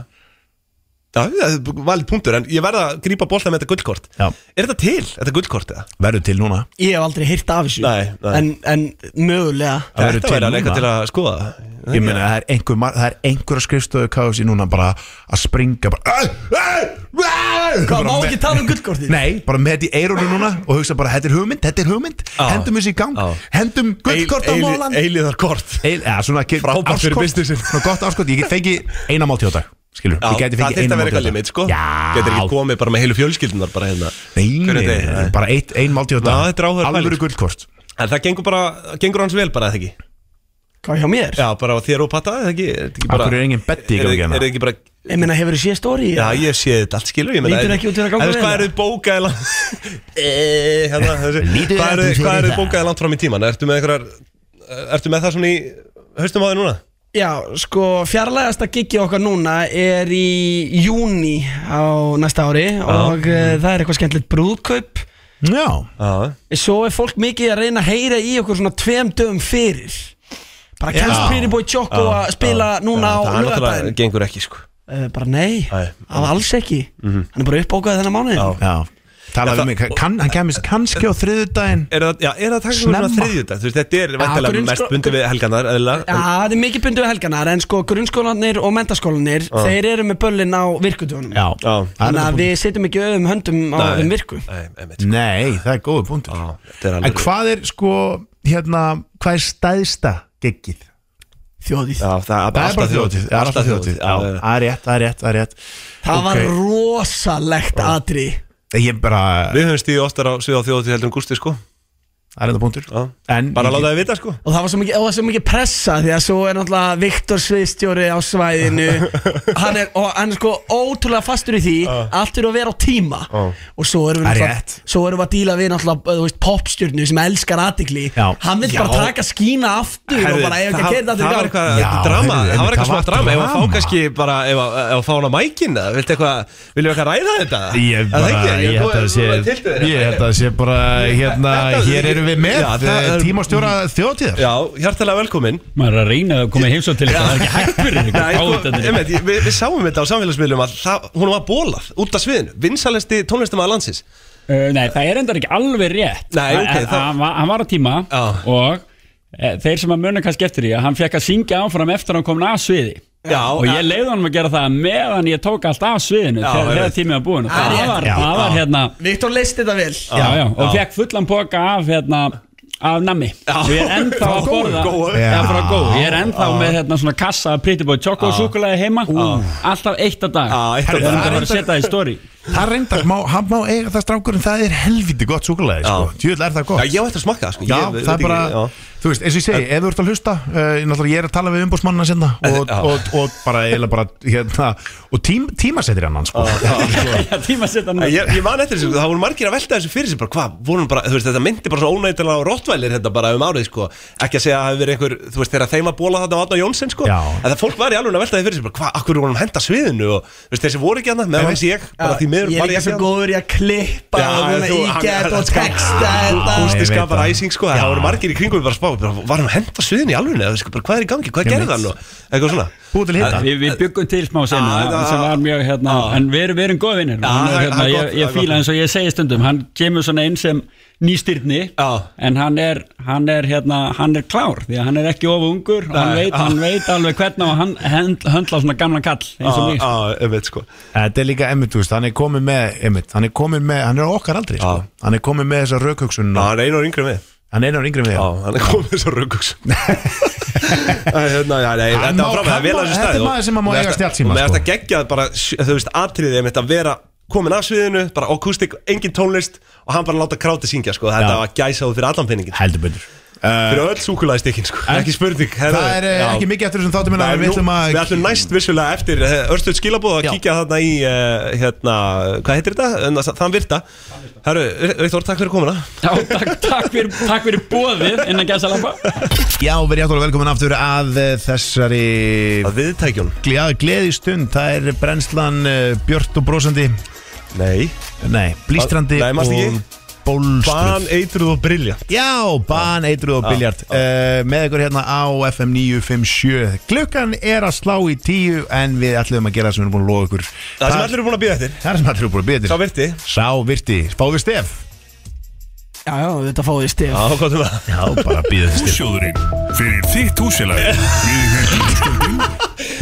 Já, það er valið punktur En ég verða að grípa bolta með þetta gullkort
Já.
Er þetta til, þetta gullkort eða?
verður til núna
Ég hef aldrei heyrt af þessu
Nei, nei.
En, en mögulega
Það verður
Þetta
til
væri alveg
núna.
eitthvað til að skoða
Ég meina, það er einhver, mar- það er einhver að skrifstöðu KFC núna bara að springa bara "Öh,
Hvað,
Hvað,
má ekki tala um gullkortið?
Nei, bara með þetta í eirónu núna og hugsa bara, þetta er hugmynd, þetta er hugmynd
Á.
Hendum þessi í gang,
Á.
hendum gullkort á mólan
Eiliðarkort
Eða, svona ekki
Frábært fyrir businessin.
Svona gott áskort, ég get fengið eina mál til á dag Skilur,
Já,
ég
það
geti fengið
þyrfti
eina
að vera eitthvað
mál til á dag
limit sko
Já,
Getur ekki komið bara með heilu fjölskyldunar bara hérna
nei,
Hvernig
nei,
þetta er?
nei, bara eitt, ein mál til á
Já, þetta er
dag
áhugaverð pæling.
Alvöru gullkort
En það gengur bara, gengur hans vel bara eða ekki
Hvað hjá mér?
Já, bara á þér og patta eða ekki Er þetta ekki bara-
Akkur er engin betti í
Er
gangi
þetta-
hérna?
er þetta ekki bara
Ég meina, hefur þú séð stóri?
Já, ég sé þetta allt skilur ég meina-
Lítur ekki út fyrir að ganga
En þú veist,
vel,
Hvað eru
eða?
þið bókað eða Eh, hérna, þessi-
Lítur
Hvað eru
ekki út fyrir
hvað eru þið
það.
bókað langt fram í tíman? Ertu með einhverjar Ertu með það svona í höstum á þig núna?
Já, sko fjarlægasta gigi okkar núna er í júni á næsta ári og uh, það er eitthvað skemmtilegt brúðkaup
Já,
Já
Svo er fólk mikið að reyna að heyra í okkur svona tveim dögum fyrir Bara
Já.
kemst Pretty Boy Choco
Já,
að spila núna
Það
á
er náttúrulega
lögadaginn
gengur ekki sko mhm.
uh, Bara nei,
Nei.
af alls ekki Hann er bara uppbókaði þennan mánuðin
Já.
já
En
Talaðu
það-
um mig, kann, hann kemist kannski á þriðudaginn
Er það, já, er það takk svona
Snemma.
þriðjudag? Þú veist, þetta er væntalega
grunnskó-
mest bundið við helgarnar
Já,
eðlilega
það er mikið bundið við helganar en sko grunnskólanir og mentaskólanir þeir eru með böllin á virkudjónum
Já,
Já.
Það er
Þannig
þetta
að við setjum ekki öðum höndum á
Nei.
þeim virku
Nei, einmitt, sko.
Nei, það er góðu punktur
Já, þetta er
En
alveg
hvað er sko, hérna, hvað er stæðsta geggið?
Þjóðið
Já, það er
Það er bara þjóðtíð, það er alltaf þjóðtíð Já,
Já,
það er rétt, það er rétt, það er rétt
Það
Ok.
var rosalegt atri
Ég bara,
Við höfum stíðið oftar á svið á þjóðtíð heldur en Gústi sko
það er þetta punktur
Já.
En
Bara
ég-
láta þið vita sko
Og það var svo mikið, og það var svo mikið pressa Því að svo er náttúrulega Viktor Sviðstjóri á
*laughs*
svæðinu hann er, Og hann er sko ótrúlega fastur í því Allt er að vera á tíma Og svo erum við
Það er
náttúrulega-
rétt.
Svo erum við að díla við náttúrulega þú veist, popstjörnu sem elskar athygli
Já.
Hann vil bara
Já.
taka skína aftur Og
Herðu,
bara eiga ekki að
það-
keira
Það var
þetta
eitthvað
Já,
drama
heyrðu,
Það var
það
eitthvað smá
var
drama Ef að fá
drama.
kannski bara Ef að ef að fá hana mækin Viltu eitthvað Viljum við eitthvað ræða þetta?
Ég
Er það
bara,
ekki?
ég held að
þú- þú-
sé
tiltu þér.
Ég held að sé bara, hérna,
Þetta-
hér erum við með
Já, það er-
eh, Tímastjóra þjóðtíðar
Já, hjartalega velkomin
Maður er að reyna að koma í heimsókn til eitthvað, það er ekki hægt fyrir ykkur
*laughs*
að
Nei,
fá
sko,
þetta
einmitt, ég- við, við sáum þetta á samfélagsmiðlum að það, hún var bólað út af sviðinu Vinsalesti tónlistum að landsins
Uh, Nei, það er endar ekki alveg rétt
Nei, ok,
Hann-
þá-
Hann var- hann var á tíma eh,
Já.
og e, þeir sem að muna kannski eftir því að hann fekk að syngja áfram eftir að hann kom af sviði Já, og ég leiði honum að gera það meðan ég tók allt af sviðinu
Já,
þegar
ég
þegar
veit.
tímið var búin og það
rétt.
var,
Já,
það var
já.
hérna
Viktor leist þetta vel
já, já, og fekk fullan poka af hérna af nammi og ég er ennþá
Frá
að
góu,
borða
góu.
Já, frá
Já.
góu. ég er ennþá
Já.
með hérna svona kassa prittibóð tjokk og
Já.
súkulega heima alltaf eitt að dag
eitt á
það er
dag.
bara að setja það í stóri
Það reyndar, má, hann má eiga það strákur en það er helviti gott súkulæði sko. Tjóðlega er það gott
Já, ég á eftir að smakka það, sko.
Já,
Ég veit
það er
ekki,
bara,
já.
þú veist, eins og ég segi, ef þú ert að hlusta uh, náttúrulega ég er að tala við umbúrsmannina sinna og, og,
Já.
og, bara, eiginlega bara hérna, og tím, tímasettir hann hann sko.
tíma að setja
Ég, ég man eftir þessu, það voru margir að velta þessu fyrir sér bara, hvað, voru bara, þú veist, þetta myndi bara svona ónætilega á rottvælir þetta bara um árið, sko ekki að segja að það hefur verið einhver, þú veist, þegar þeim að bóla þarna á Adna Jónsson, sko,
Já.
að það fólk var í alveg að velta þessu fyrir sér, bara, hvað, akkur voru hann að henda sviðinu og, þú veist, þessi voru ekki hann, meðan þessi ég bara því miður,
Ég er
var
ekki
ekki
svo góður í að klippa og
en
svona
þú-
ígæta
hann-
og texta þetta
Gústi
Ég veit
skapar
það.
æsing sko, það voru margir í kringum bara að spá, bara, var hann að henda sviðinu í alveg eða, sko, bara, hvað er í gangi,
Ég
hvað gerði
veit.
hann og eitthvað svona
Búið til
Við- Við byggum til smá senu
Já, þetta-
sem var mjög hérna en við erum, við erum góð vinnir
það er-
hérna,
það er
ég,
gott, það
ég
er
fíla
gott.
eins og ég segi stundum hann kemur svona inn sem nýstyrni já. en hann er, hann er hérna hann er klár því að hann er ekki ofa ungur og hann
Nei,
veit,
já.
hann veit alveg hvernig á hann hend- höndla svona gamlan kall eins og mig
veit Ah, sko
Þetta er líka Emmett, þú veist, hann er komið með Emmett, hann er komið með, hann er á okkar aldrei sko. hann er komið með þessa raukhugsun
Já, Ah. hann er einar yngri með
Hann er einar yngri með Já,
hann er komið með þessa
*laughs*
raukhugsun hérna, já, nei,
Hann
þetta
má-
var frábæð,
hann
vel
má-
að þessu
þetta er
stæði og-
maður sem að má
og mér
eiga
finnst-
snjallsíma,
Og mér
sko.
finnst að gegja bara, þú veist, atriðið einmitt að vera komin af sviðinu, bara akústik, engin tónlist og hann bara láta kráti syngja, sko þetta
Já.
var gæsaðu fyrir allan penningin
Heldur betur Uh,
Fyrir öll súkulaði stikkin, sko,
en-
ekki spurning
Það er eh, ekki mikið eftir þessum þáttum en
Nei, nú-
við ætlum að
Við ætlum næst vissulega eftir Örstuð skilabóð að kíkja þarna í uh, hérna, hvað heitir þetta? En það- Þann virta Herru, Viktor, takk fyrir komuna
Já, takk, takk, fyrir, takk fyrir bóðið innan gæsalappa
Já, verið hjáttúrulega velkomin aftur að eh, þessari
Að viðtækjun
Já, gleði stund, það er brennslan uh, björt og brosandi
Nei
Nei, blístrandi
Nei, manstu ekki?
og bólstruð
Ban, eitruð og brilja
Já, ban, eitruð og
Já,
biljart uh, Með ykkur hérna á FM 957 Klukkan er að slá í tíu En við ætlum að gera það sem við erum búin að lofa ykkur
Það sem allir eru búin að býða eftir
Það sem allir eru búin að býða
Sá
eftir
virti
Sá virti, fáðu við stef
*laughs*
Já, já, þetta fáið stef
Já, hvað þú það?
Já, bara býða þið stef
Húsjóðurinn fyrir þitt húsfélag Við höfum húsgjöldin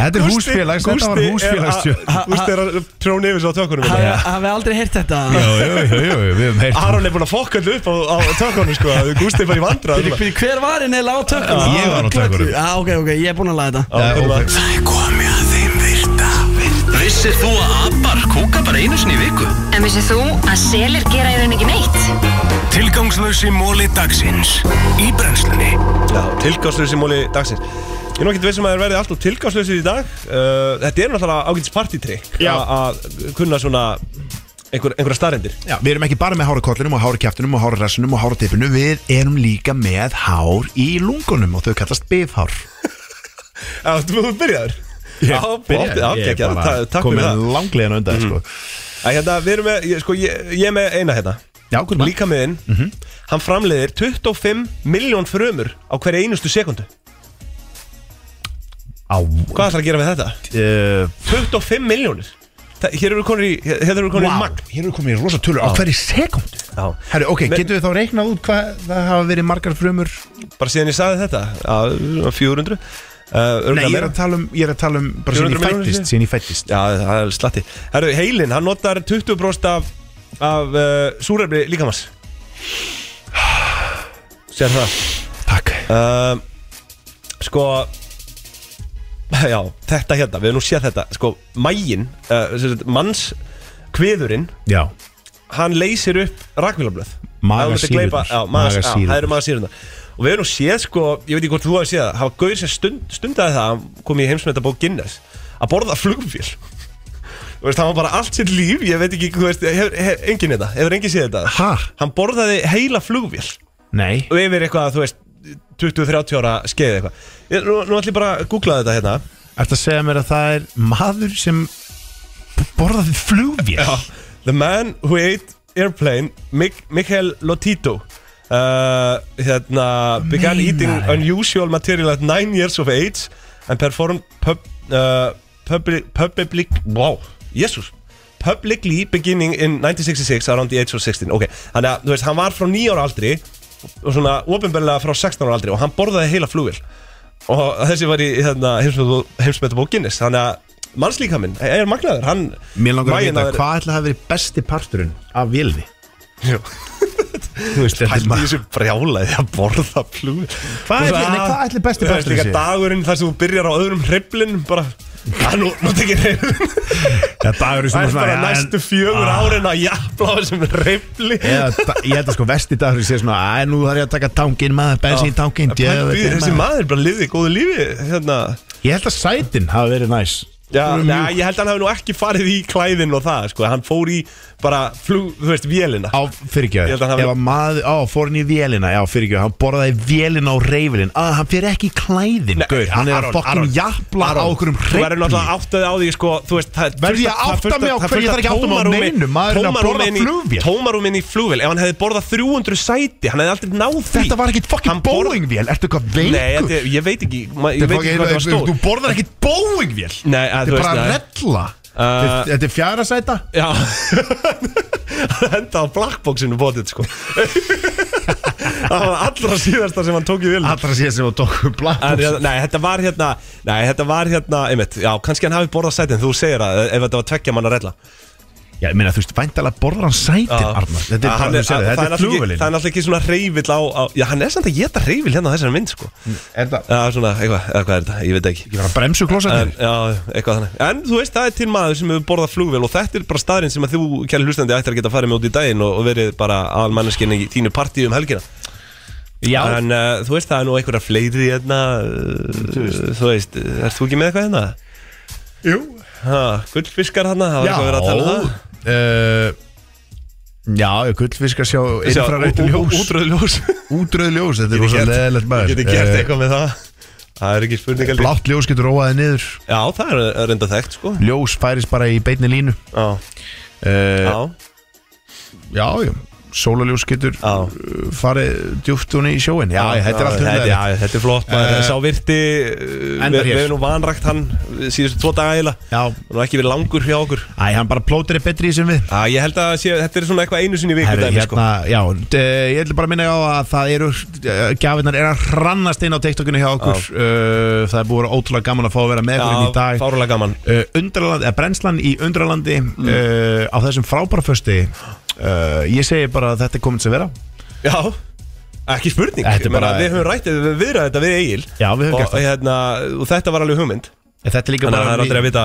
Þetta er húsfélags, þetta var húsfélagstjórn
Gústi er að tróni yfir svo á hérna. tökunum
Hafið hafið aldrei heyrt þetta
Já, já, já, já, við hefum heyrt
Aron er búin að fokka allu upp á, á tökunum sko Gústi er bara í vandra
Fyrir, fyrir hver var henni eiginlega á tökum?
Ég var á tökunum.
Já, ok, ok, ég er búinn að laga þetta
Það
er komið að þeim virta Vissir þú að abar kúka bara einu sinni í viku?
En vissið þú að selir gera í rauninni ekki neitt?
Tilgangslösi móli dagsins Í brennslunni
Já, tilgáslösi móli dagsins Ég er nú ekkert vissum að þér verði alltaf tilgáslösi í dag uh, Þetta er náttúrulega ágætis partytrykk
Já.
að- Að kunna svona einhver, einhverja starrendir
Já, við erum ekki bara með hára kollinum og hára kjæftunum og hára rassunum og hára tippinu Við erum líka með hár í lungunum og þau kallast bifhár
Já, þú þú byrjaður
Ég
Já,
byrjaði,
byrjaður,
ég
já, ekki,
bara
takk
kominn
fyrir það
langleiðina undan, sko
Æ, hérna, við erum með, ég, sko, ég, ég er með eina hérna
Já, Mhm. hvernig
Líka með inn, hann framleiðir 25 miljón frumur á hverja einustu sekundu
Á,
Hvað ætlar að gera með þetta? eh,
uh,
25 miljónir Þa- Hér eru konur í, hér hér eru konur í magn
Hér erum komin í rosa tölur á
Já.
hverju sekundu
Já
Herru, ok,
Men-
getum við þá reiknað út hvað það hafa verið margar frumur
Bara síðan ég sagði þetta, já, 400 uh,
Nei, ég er að tala um, ég er að tala um bara síðan ég
400 milljónir
fættist,
sé?
síðan ég fættist
Já, það er slatti Herru, heilin, hann notar 20% af, af uh, súrefni líkamans Sér það
Takk
um, Sko Já, þetta hérna, við höfum nú séð þetta Sko, mægin, uh, sem sagt, manns kviðurinn
Já,
Hann leysir upp rakvílablöð
Magasýrurnar.
Já, magas, já,
Magasýrurnar.
það eru magasýrunar Og við höfum nú séð, sko, ég veit ekki hvort þú hafi séð það Hafa gauðir sem stund, stundaði það hann Kom í heimsmyndabók Guinness Að borða flugvél Þú veist, það var bara allt sitt líf Ég veit ekki, þú veist, hefur hef, enginn þetta Hefur enginn séð þetta
ha,
Hann borðaði heila flugvél
nei
og yfir eitthvað, þú veist 20-30 ára skeið eitthvað Ég- Nú, nú ætlum ég bara að googla þetta hérna
Ertu að segja mér að það er maður sem borðaði flugvél
The man who ate airplane Mik Mikhail Lotito uh, hérna, began
Meinar
eating
þau?
unusual material at 9 years of age and performed pub, uh, public, public wow, Jesus publicly beginning in 1966 around the age of 16 ok, þannig að þú veist, hann var frá 9 ára aldri og svona ofinbarlega frá 16 ára aldri og hann borðaði heila flugvél og þessi var í hérna, heimsmetabók Guinness þannig að mannslíkaminn e, er magnaður hann,
Mér langar að
maginn
vita
þér-
hvað ætla að hafa verið besti parturinn af vélði
Þú veist, þetta er þessu brjálaði að borða flúi
Hvað ætli- nei, hvað ætli besti parturinn
Líka
sé?
dagurinn þar sem þú byrjar á öðrum hreyflin bara, að nú, nú tekir hreyflin
Já, dagurinn sem
Það er
er svona,
bara
já, en-
næstu fjögur
Ah.
árin að jafla á þessum hreyfli
Eða, da- ég held að sko vesti dagur sé svona Æ, nú þarf ég að taka tangin maður, bensin tangin
Pældu í því, Þessi maður bara liði góðu lífi hérna.
Ég held að sætin hafa verið næs
Já, na, ég held að hann hafi nú ekki farið í klæðin og það, sko, hann fór í bara flug, þú veist, vélina
Á,
Ég
fyrirgjöð,
held að hann
ef
hafi-
að maður, á, fór hann í vélina Já, fyrirgjöð, hann borðaði vélina á reyfilin Að, hann fyrir ekki í klæðin, gaur Hann er að fokkin jafla á okkurum
Þú verður
reyfli
náttúrulega áttaði á því sko þú veist, það er
Verður
fullt
ég að
af- það er
átta
fullt
mig á
af- það er
hverju?
fullt
Ég þarf ekki að átta mig á
tómarúmi-
neinu, maðurinn er að borða
tómarúmi inn í-
flugvél.
Tómarúmi inn í flugvél, ef hann hefði borðað 300 sæti Hann hefði aldrei náð því
Þetta var ekkit fokkin bóingvél, ertu eitthvað veikur?
Nei, þetta, er- ég veit ekki ma- Ég
Þetta er
veit ekki hvað það var Uh,
fucking-
stór
Þú borðar ekkit bóingvél
Nei, að,
Þetta
þú
er
veist
bara
það.
rella
Uh,
Þetta er fjara sæta
Já Hann Henda á blackboxinu bótið sko Það var allra síðasta sem hann tók í vilna
Allra síðasta sem hann tók blackboxinu.
Nei, þetta var hérna Nei, þetta var hérna, einmitt Já, kannski hann hafi borðað sætin, þú segir að Ef þetta var tveggja manna rella
Já, ég meina, þú veist, væntalega borðar hann sætin, Arnar Þetta er
Að hann
bara, þú sér
að-
þetta
það náttúrulega
er
ekki-
flugvélin
Það er náttúrulega ekki svona reyvill á, á Já, hann er samt að geta reyvill hérna á þessari mynd sko.
Mm, Er það?
Já, svona, eitthvað, eða hvað er þetta, ég veit ekki Ég
var að bremsu klósetinu.
Já, eitthvað þannig En þú veist, það er til maður sem hefur borðað flugvél Og þetta er bara staðurinn sem að þú, kæri hlustandi, ættir að geta að fara með út í daginn Og, og verið bara aðalmanneskinni í þínu partí um helgina
Já
En uh, þú veist, það er nú einhverja fleiri hérna uh, Þú veist, ert þú ekki með eitthvað hérna?
Jú
Ha, gullfiskar hérna, það var eitthvað verið að tala um það
það Eh, Já, ég gullfiskar sjá
Sjá,
infrarætt
ú- ú-
ljós
Útröð
*laughs*
ljós
Útröð ljós, þetta er
Ég geti
rosa
gert-
leðilegt maður Eh,
ég geti gert eitthvað með það Það er ekki spurning heldur.
Blátt ljós getur róaðið niður
Já, það er er enda þekkt sko
Ljós færis bara í beinni línu
Já
Já Já, já Sólaljós getur eh,
uh,
farið djúpt hún í sjóin Já, já, þetta er allt
þetta,
Eh, hundlega
já, þetta er flott maður Sá virti uh,
endar
Við
hér.
við hefum nú vanrækt hann uh, síðustu tvo daga eiginlega
Já
Og nú ekki verið langur hjá okkur
Æ, hann bara plótir er betri í sem við
Já, ég held að sé, þetta er svona eitthvað einu sinni í viku
Herri,
dæmi, sko.
hérna, já, d- ég ætla bara að minna á að það eru eh, gjafinnar er að hrannast inn á TikTokinu hjá okkur
Já.
uh, það er búið að vera ótrúlega gaman að fá að vera með okkur inn í dag
fárulega gaman
uh, Undraland, eða brennslan í undralandi
Mm.
uh, á þessum frábæra fösti uh, ég segi bara að þetta er komin sem vera
Já Ekki spurning
Þetta er
Ég meina,
bara-
Við höfum rætt, við höfum viðrað þetta við Egil
Já, við höfum
og,
gert það.
hérna, og þetta var alveg hugmynd
Þetta er líka
Þannig
bara-
að það er aldrei að vita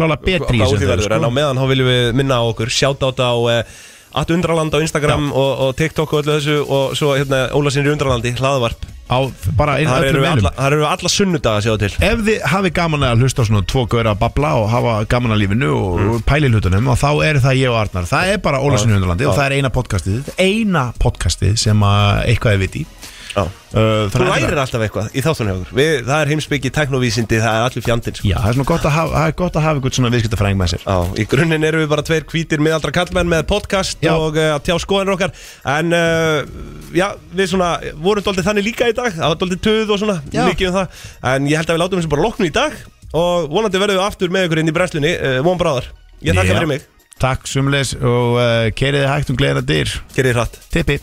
Klála betri
hvað
í sem
úr því
þeir,
verður
sko.
En á meðan þá viljum við minna á okkur Sjátt á þetta á eh, At Undraland á Instagram og, og TikTok og öllu þessu Og svo hérna Óla sinni í Undralandi, hlaðvarp
á, bara inn
Þar
öllum
eru við
meðlum.
alla- þar eru við alla sunnudaga að sjá til
Ef þið hafi gaman að hlusta á svona tvo gauðra að babla og hafa gaman að lífinu og mm. pæli hlutunum og þá er það ég og Arnar það er bara Ólasin
Já.
Hundurlandi og
Já.
það er eina podcastið eina podcastið sem að eitthvað er viti
Já. Þú
þannig að-
lærir alltaf eitthvað í þáttunni okkur við, Það er heimsbyggi, teknovísindi, það er allir fjandinn sko.
Já, það er svona gott að hafa, það er gott að hafa eitthvað svona viðskiptafræðing með sér
Já, í grunninn erum við bara tveir hvítir miðaldra kallmenn með podcast og uh, að tjá skoðanir okkar en uh, já, við svona vorum doldið þannig líka í dag, það var doldið töð og svona
Já.
mikið um það, en ég held að við látum þessu bara loknu í dag og vonandi verðum við aftur með ykkur inn í brennslunni, uh, von bráðar ég
Já.
þakka fyrir mig,
Takk sumleis og uh, keiriði hægt um gleðina dyr
Keiriði hratt
Tippi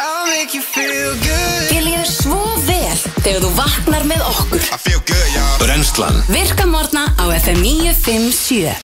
I'll make you feel good
Ég líður svo vel þegar þú vaknar með okkur
Brennslan
Virka morgna á FM 957